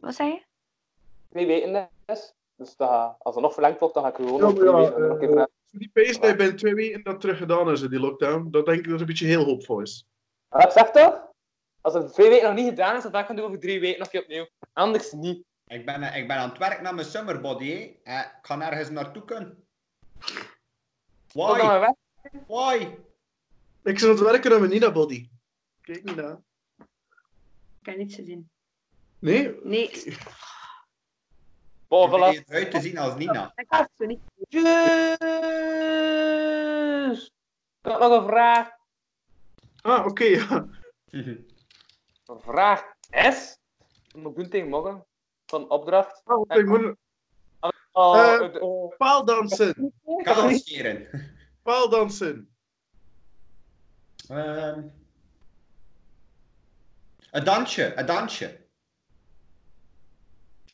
[SPEAKER 6] Wat zei je?
[SPEAKER 4] twee weken is. Dus dat- als er nog verlengd wordt, dan ga ik gewoon
[SPEAKER 5] Ja,
[SPEAKER 4] nog
[SPEAKER 5] maar
[SPEAKER 4] twee
[SPEAKER 5] ja,
[SPEAKER 4] weken. en nog
[SPEAKER 5] eh,
[SPEAKER 4] een keer verlengen.
[SPEAKER 5] Die pace
[SPEAKER 6] Ah.
[SPEAKER 5] die binnen twee weken dat terug gedaan is, hè, die lockdown. Dat denk ik dat het een beetje heel hoopvol is.
[SPEAKER 4] Maar ik zeg toch? Als het twee weken nog niet gedaan is, dan ga ik het doen over drie weken nog een keer opnieuw. Anders niet.
[SPEAKER 3] Ik ben, eh, ik ben aan het werk naar mijn summerbody. hè. Eh, ik ga nergens naartoe kunnen.
[SPEAKER 4] Kom dan
[SPEAKER 3] Why?
[SPEAKER 4] maar weg.
[SPEAKER 3] Why?
[SPEAKER 5] Ik zit aan het werken aan mijn Nina-body. Kijk niet naar.
[SPEAKER 6] Ik heb niets gezien.
[SPEAKER 5] Nee?
[SPEAKER 6] Nee,
[SPEAKER 4] Bon,
[SPEAKER 3] Ik ben
[SPEAKER 4] voilà.
[SPEAKER 3] hier eruit te zien als Nina.
[SPEAKER 6] ik had het niet.
[SPEAKER 4] Tjus! Ik had nog een vraag.
[SPEAKER 5] Ah, oké, ja.
[SPEAKER 4] Vraag S. Moet doen tegen morgen. Van opdracht.
[SPEAKER 5] Ah, want ik moet
[SPEAKER 4] Oh,
[SPEAKER 5] Eh,
[SPEAKER 4] het- oh.
[SPEAKER 5] paaldansen.
[SPEAKER 4] Ik had nog
[SPEAKER 3] Kaal
[SPEAKER 4] niet-
[SPEAKER 3] scheren.
[SPEAKER 5] Paaldansen.
[SPEAKER 3] Ehm, een dansje, een dansje.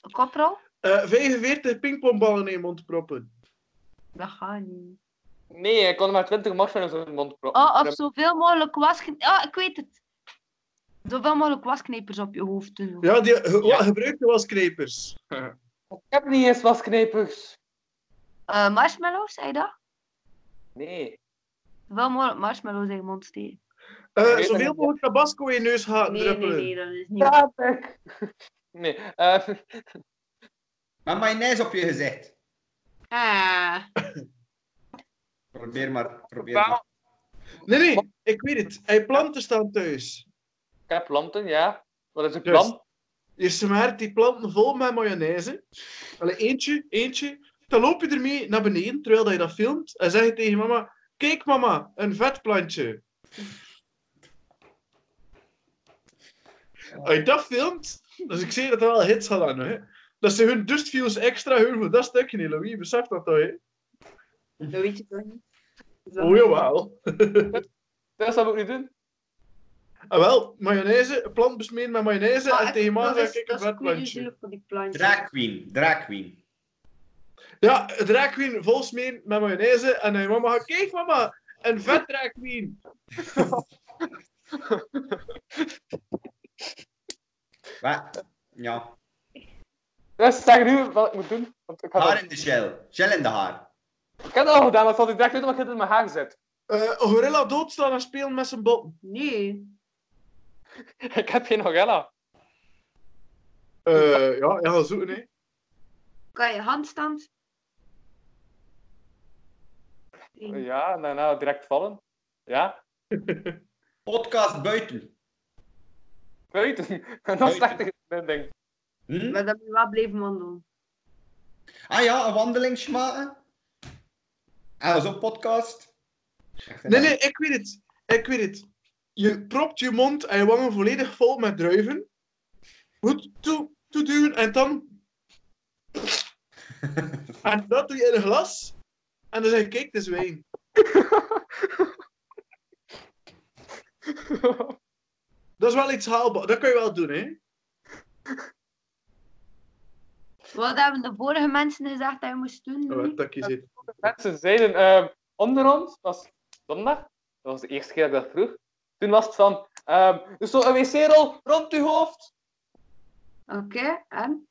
[SPEAKER 6] Een koprol?
[SPEAKER 5] Eh 45 pingpongballen in je mond proppen.
[SPEAKER 6] Dat gaat niet.
[SPEAKER 4] Nee, ik kon er maar 20 marsen in zijn mond proppen.
[SPEAKER 6] Oh, of zoveel mogelijk wasknijpers. Ah, ik weet het. Zoveel mogelijk wasknijpers op je hoofd doen. hoor.
[SPEAKER 5] Ja, die ge
[SPEAKER 4] Ja.
[SPEAKER 5] gebruikte wasknijpers.
[SPEAKER 4] Ik heb niet eens wasknijpers.
[SPEAKER 6] Eh, marshmallows, zei je dat?
[SPEAKER 4] Nee.
[SPEAKER 6] Zoveel mogelijk marshmallows in je mond steken.
[SPEAKER 5] Eh
[SPEAKER 4] weet
[SPEAKER 5] zoveel
[SPEAKER 4] dat-
[SPEAKER 5] mogelijk tabasco in je neus gaan
[SPEAKER 6] Nee, nee,
[SPEAKER 5] druppelen.
[SPEAKER 6] nee, dat is niet.
[SPEAKER 4] Ja, ik. Nee. eh,
[SPEAKER 3] Met mayonaise op je gezicht.
[SPEAKER 6] Ah,
[SPEAKER 3] Probeer maar, probeer
[SPEAKER 4] Totaal.
[SPEAKER 3] maar.
[SPEAKER 5] nee, nee, ik weet het. Hij planten staan thuis.
[SPEAKER 4] Ik heb planten, ja. Wat is een
[SPEAKER 5] Dus.
[SPEAKER 4] plant?
[SPEAKER 5] Je smaart die planten vol met mayonaise. Allee, eentje, eentje. Dan loop je ermee naar beneden, terwijl dat je dat filmt. En zeg je tegen mama, kijk mama, een vetplantje. Als je dat filmt, dus ik zie dat er wel hits gaan aan, hè. Dat ze hun dust views extra hun voor dat stukje, hè, Louis. Besef dat toch, hè?
[SPEAKER 6] dat weet je toch niet? Zo.
[SPEAKER 5] Oh, jawel.
[SPEAKER 4] Dus dat moet ik nu doen.
[SPEAKER 5] Ah, wel, mayonaise, een plant besmeerd met mayonaise
[SPEAKER 6] Maar
[SPEAKER 5] en tegen
[SPEAKER 6] Ah, dat
[SPEAKER 5] maandag
[SPEAKER 6] is-
[SPEAKER 5] krijg ik een
[SPEAKER 6] Dat is
[SPEAKER 5] vetplantje.
[SPEAKER 6] koeienzielig voor die plantjes.
[SPEAKER 3] Drag queen, drag queen.
[SPEAKER 5] Ja, drag queen vol smeren met mayonaise en dan je mama gaat, kijk mama, een vet drag queen.
[SPEAKER 3] Wat? Ja.
[SPEAKER 4] Dus zeg nu wat ik moet doen. Want ik, ga dat-
[SPEAKER 3] Haar in de shell. Shell in de haar.
[SPEAKER 4] ik heb dat al gedaan, want ik dacht niet dat ik het in mijn haar zet.
[SPEAKER 5] Eh, gorilla doodslaan en spelen met zijn botten.
[SPEAKER 6] Nee.
[SPEAKER 4] Ik heb geen Horella.
[SPEAKER 5] Eh, ja, ja, zoeken hè.
[SPEAKER 6] Kan je handstand? Nee.
[SPEAKER 4] Ja, en daarna direct vallen. Ja,
[SPEAKER 3] Podcast buiten.
[SPEAKER 4] buiten. En dat is echt een ding.
[SPEAKER 3] Hm?
[SPEAKER 6] Maar dan moet je wel blijven wandelen.
[SPEAKER 3] Ah ja, een wandeling maken. Ah, zo'n podcast.
[SPEAKER 5] Nee, nee, ik weet het. Ik weet het. Je propt je mond en je wangen volledig vol met druiven. Goed toe, toeduwen en dan... En dat doe je in een glas. En dan zeg je, kijk, dit is wijn. Dat is wel iets haalbaar. Dat kun je wel doen, hè.
[SPEAKER 6] Wat hebben de vorige mensen gezegd dat je moest doen? Louis?
[SPEAKER 5] Oh, dat kies ik.
[SPEAKER 4] Mensen zeiden ehm, onder ons, dat was zondag, dat was de eerste keer dat ik dat vroeg. Toen was het van, ehm, dus zo een wc-rol rond uw hoofd.
[SPEAKER 6] Oké, en?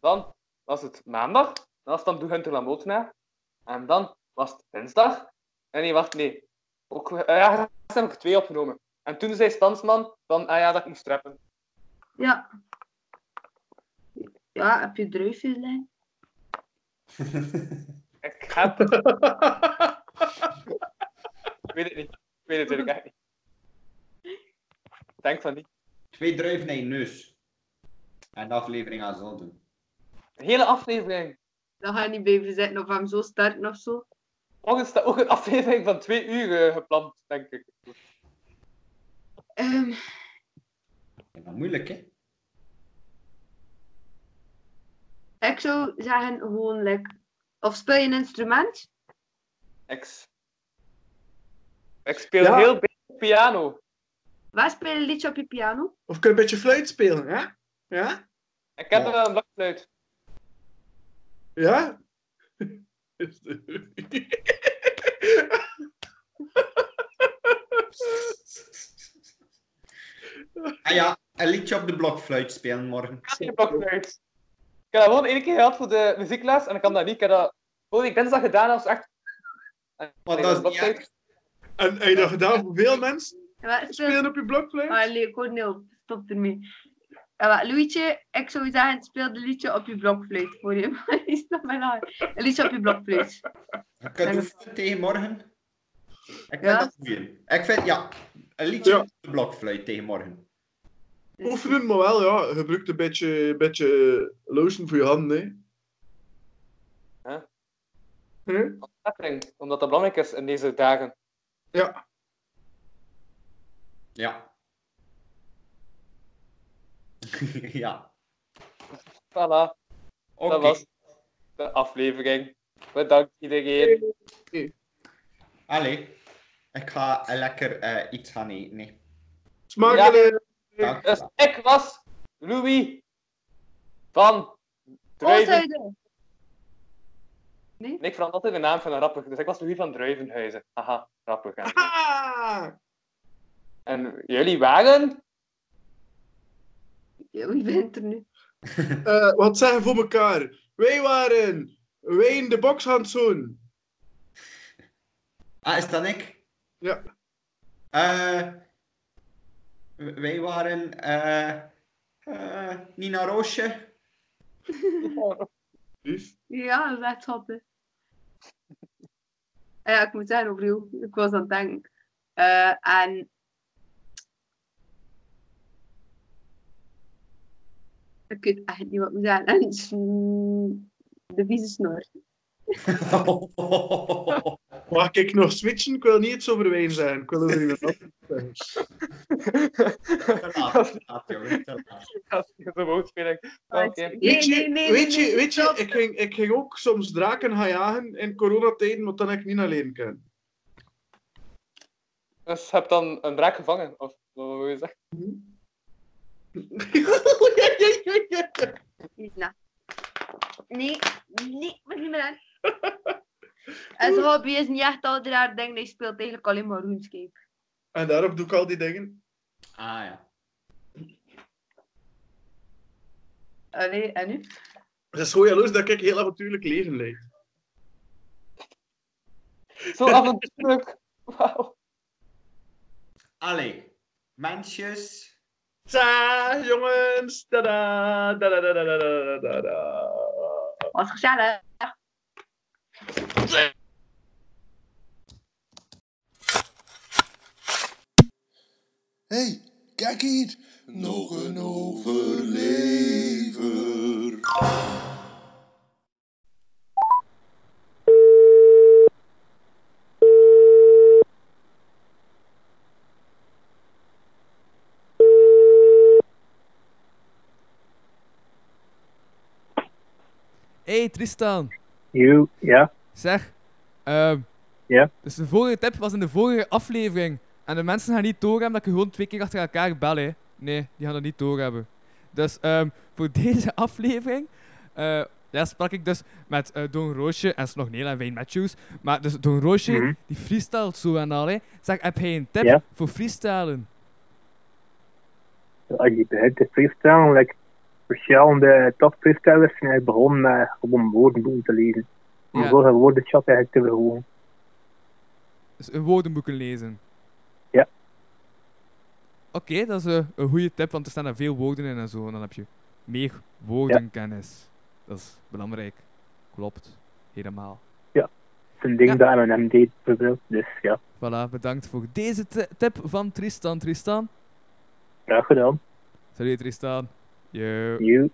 [SPEAKER 4] Dan was het maandag. Dan was het dan Doe Hunter Lamoot na. En dan was het dinsdag. En nee, wacht, nee. Ook, eh, ja, er zijn ook twee opgenomen. En toen zei Stansman van, ah ja, dat ik moest rappen.
[SPEAKER 6] Ja. Ja, heb je druifjes liggen?
[SPEAKER 4] Ik heb... ik weet het niet. Ik weet het natuurlijk echt niet. Ik denk van niet.
[SPEAKER 3] Twee druiven in je neus. En de aflevering aan zal doen.
[SPEAKER 4] Een hele aflevering.
[SPEAKER 6] Dan ga je niet blijven zitten of hem zo starten of zo.
[SPEAKER 4] Morgen staat ook een aflevering van twee uur eh, gepland, denk ik.
[SPEAKER 6] Ehm,
[SPEAKER 3] Ja, dat moeilijk, hè?
[SPEAKER 6] ik zou zeggen gewoon like, Of speel je een instrument?
[SPEAKER 4] Ik, s- ik speel
[SPEAKER 5] Ja.
[SPEAKER 4] heel beetje piano.
[SPEAKER 6] Waar speel je een liedje op je piano?
[SPEAKER 5] Of kun je een beetje fluit spelen, hè? Ja?
[SPEAKER 4] Ik heb
[SPEAKER 3] Ja.
[SPEAKER 4] wel een blokfluit.
[SPEAKER 5] Ja?
[SPEAKER 3] Ah ja, een liedje op de blokfluit spelen morgen.
[SPEAKER 4] Ik heb geen blokfluit. Ik heb dat gewoon één keer gehad voor de muziekles en ik kan dat niet. Ik heb dat vorige week dinsdag gedaan als echt...
[SPEAKER 3] Want
[SPEAKER 4] Nee,
[SPEAKER 3] dat is niet
[SPEAKER 4] blokfluit.
[SPEAKER 3] echt.
[SPEAKER 5] en heb je dat gedaan voor veel mensen?
[SPEAKER 6] En waar speel
[SPEAKER 5] Spelen op je blokfluit?
[SPEAKER 6] Allee, Cornel, stop ermee. En wat, Louietje, ik zou zeggen, speel een liedje op je blokfluit voor je. Maar is dat mijn haar? Een liedje op je blokfluit.
[SPEAKER 3] Je kunt oefenen tegen morgen. Ik vind
[SPEAKER 6] Ja?
[SPEAKER 3] dat goeie. Ik vind, ja, een liedje
[SPEAKER 5] Ja.
[SPEAKER 3] op de blokfluit tegen morgen.
[SPEAKER 6] Dus
[SPEAKER 5] Oefenen, maar wel, ja. Gebruik een beetje, beetje lotion voor je handen, hè.
[SPEAKER 4] Hè?
[SPEAKER 5] Hè?
[SPEAKER 4] Aflevering, Omdat dat belangrijk is in deze dagen.
[SPEAKER 5] Ja.
[SPEAKER 3] Ja. ja.
[SPEAKER 4] Voilà,
[SPEAKER 3] Oké.
[SPEAKER 4] dat was de aflevering. Bedankt iedereen.
[SPEAKER 3] Allee. Ik ga eh, lekker eh, iets gaan eten. hè.
[SPEAKER 5] Smakelijk!
[SPEAKER 3] Dank je
[SPEAKER 4] Dus
[SPEAKER 3] wel.
[SPEAKER 4] ik was Louis van Druiven.
[SPEAKER 6] Oosthuizen!
[SPEAKER 4] Nee, ik veranderde altijd de naam van een rapper. Dus ik was Louis van Druivenhuizen. Haha, rapper. En,
[SPEAKER 5] Ah!
[SPEAKER 4] en jullie waren?
[SPEAKER 6] Ja, Wie bent er nu?
[SPEAKER 5] Eh, wat zeggen voor elkaar? Wij waren Wayne de Bokshandzoen.
[SPEAKER 3] Ah, is dat ik?
[SPEAKER 5] Ja.
[SPEAKER 3] Eh, w- wij waren eh, eh, Nina Roosje.
[SPEAKER 6] Ja, een wethappen. Ah Ja, ik moet zeggen, overal. Ik was aan het denken. Eh, en... Ik weet echt niet wat ik moet zeggen. En sn- de vieze snor.
[SPEAKER 5] Mag ik nog switchen? Ik wil niet iets over Wayne zijn. Ik wil over iemand anders zijn.
[SPEAKER 3] Te laat, te laat, jongen, te laat.
[SPEAKER 4] Dat is een woordspeling. Oké.
[SPEAKER 5] Oh, Weet je, weet je, weet je ik, ging, ik ging ook soms draken gaan jagen in coronatijden, want dan heb ik niet alleen kunnen.
[SPEAKER 4] Dus heb dan een draak gevangen, of wat wil je zeggen?
[SPEAKER 6] Lisa. Nee, nee, moet niet meer aan. En zijn hobby is niet echt al die raar dingen. Hij speelt eigenlijk alleen maar RuneScape.
[SPEAKER 5] En daarop doe ik al die dingen.
[SPEAKER 3] Ah ja.
[SPEAKER 6] Allee, en nu?
[SPEAKER 5] Ze is gewoon jaloers dat ik heel avontuurlijk leven leid.
[SPEAKER 4] Zo avontuurlijk. Wauw.
[SPEAKER 3] Allee, mensjes.
[SPEAKER 5] Ta, jongens! Tada! Da, da, da, da, da, da, da.
[SPEAKER 6] Was gezellig.
[SPEAKER 1] hey, kijk hier. Nog een overlever.
[SPEAKER 10] hey, Tristan.
[SPEAKER 11] You, ja.
[SPEAKER 10] Zeg. ehm,
[SPEAKER 11] Ja?
[SPEAKER 10] Dus de vorige tip was in de vorige aflevering. En de mensen gaan niet doorhebben dat ik gewoon twee keer achter elkaar bel, hè. Nee, die gaan dat niet doorhebben. Dus ehm, voor deze aflevering... eh, ja, sprak ik dus met eh, Don Roosje en Snogneel en Wayne Matthews. Maar dus Don Roosje,
[SPEAKER 11] Mhm.
[SPEAKER 10] die freestylt zo en al, hè. Zeg, heb jij een tip
[SPEAKER 11] Ja?
[SPEAKER 10] voor freestylen?
[SPEAKER 11] Als je begint te freestylen, like, verschillende topfreestylers zijn eigenlijk begonnen met gewoon woordenboeken te lezen. Om
[SPEAKER 10] Ja.
[SPEAKER 11] zo een woordenschat eigenlijk te verhogen.
[SPEAKER 10] Dus een woordenboeken lezen.
[SPEAKER 11] Ja.
[SPEAKER 10] Oké, dat is eh, een goede tip, want er staan er veel woorden in en zo. En dan heb je meer woordenkennis. Dat is belangrijk. Klopt. Helemaal.
[SPEAKER 11] Het is een ding dat M&M deed, bijvoorbeeld. Dus ja,
[SPEAKER 10] Voilà, bedankt voor deze ti- tip van Tristan. Tristan.
[SPEAKER 11] graag gedaan.
[SPEAKER 10] Salut Tristan. Yo.
[SPEAKER 11] You.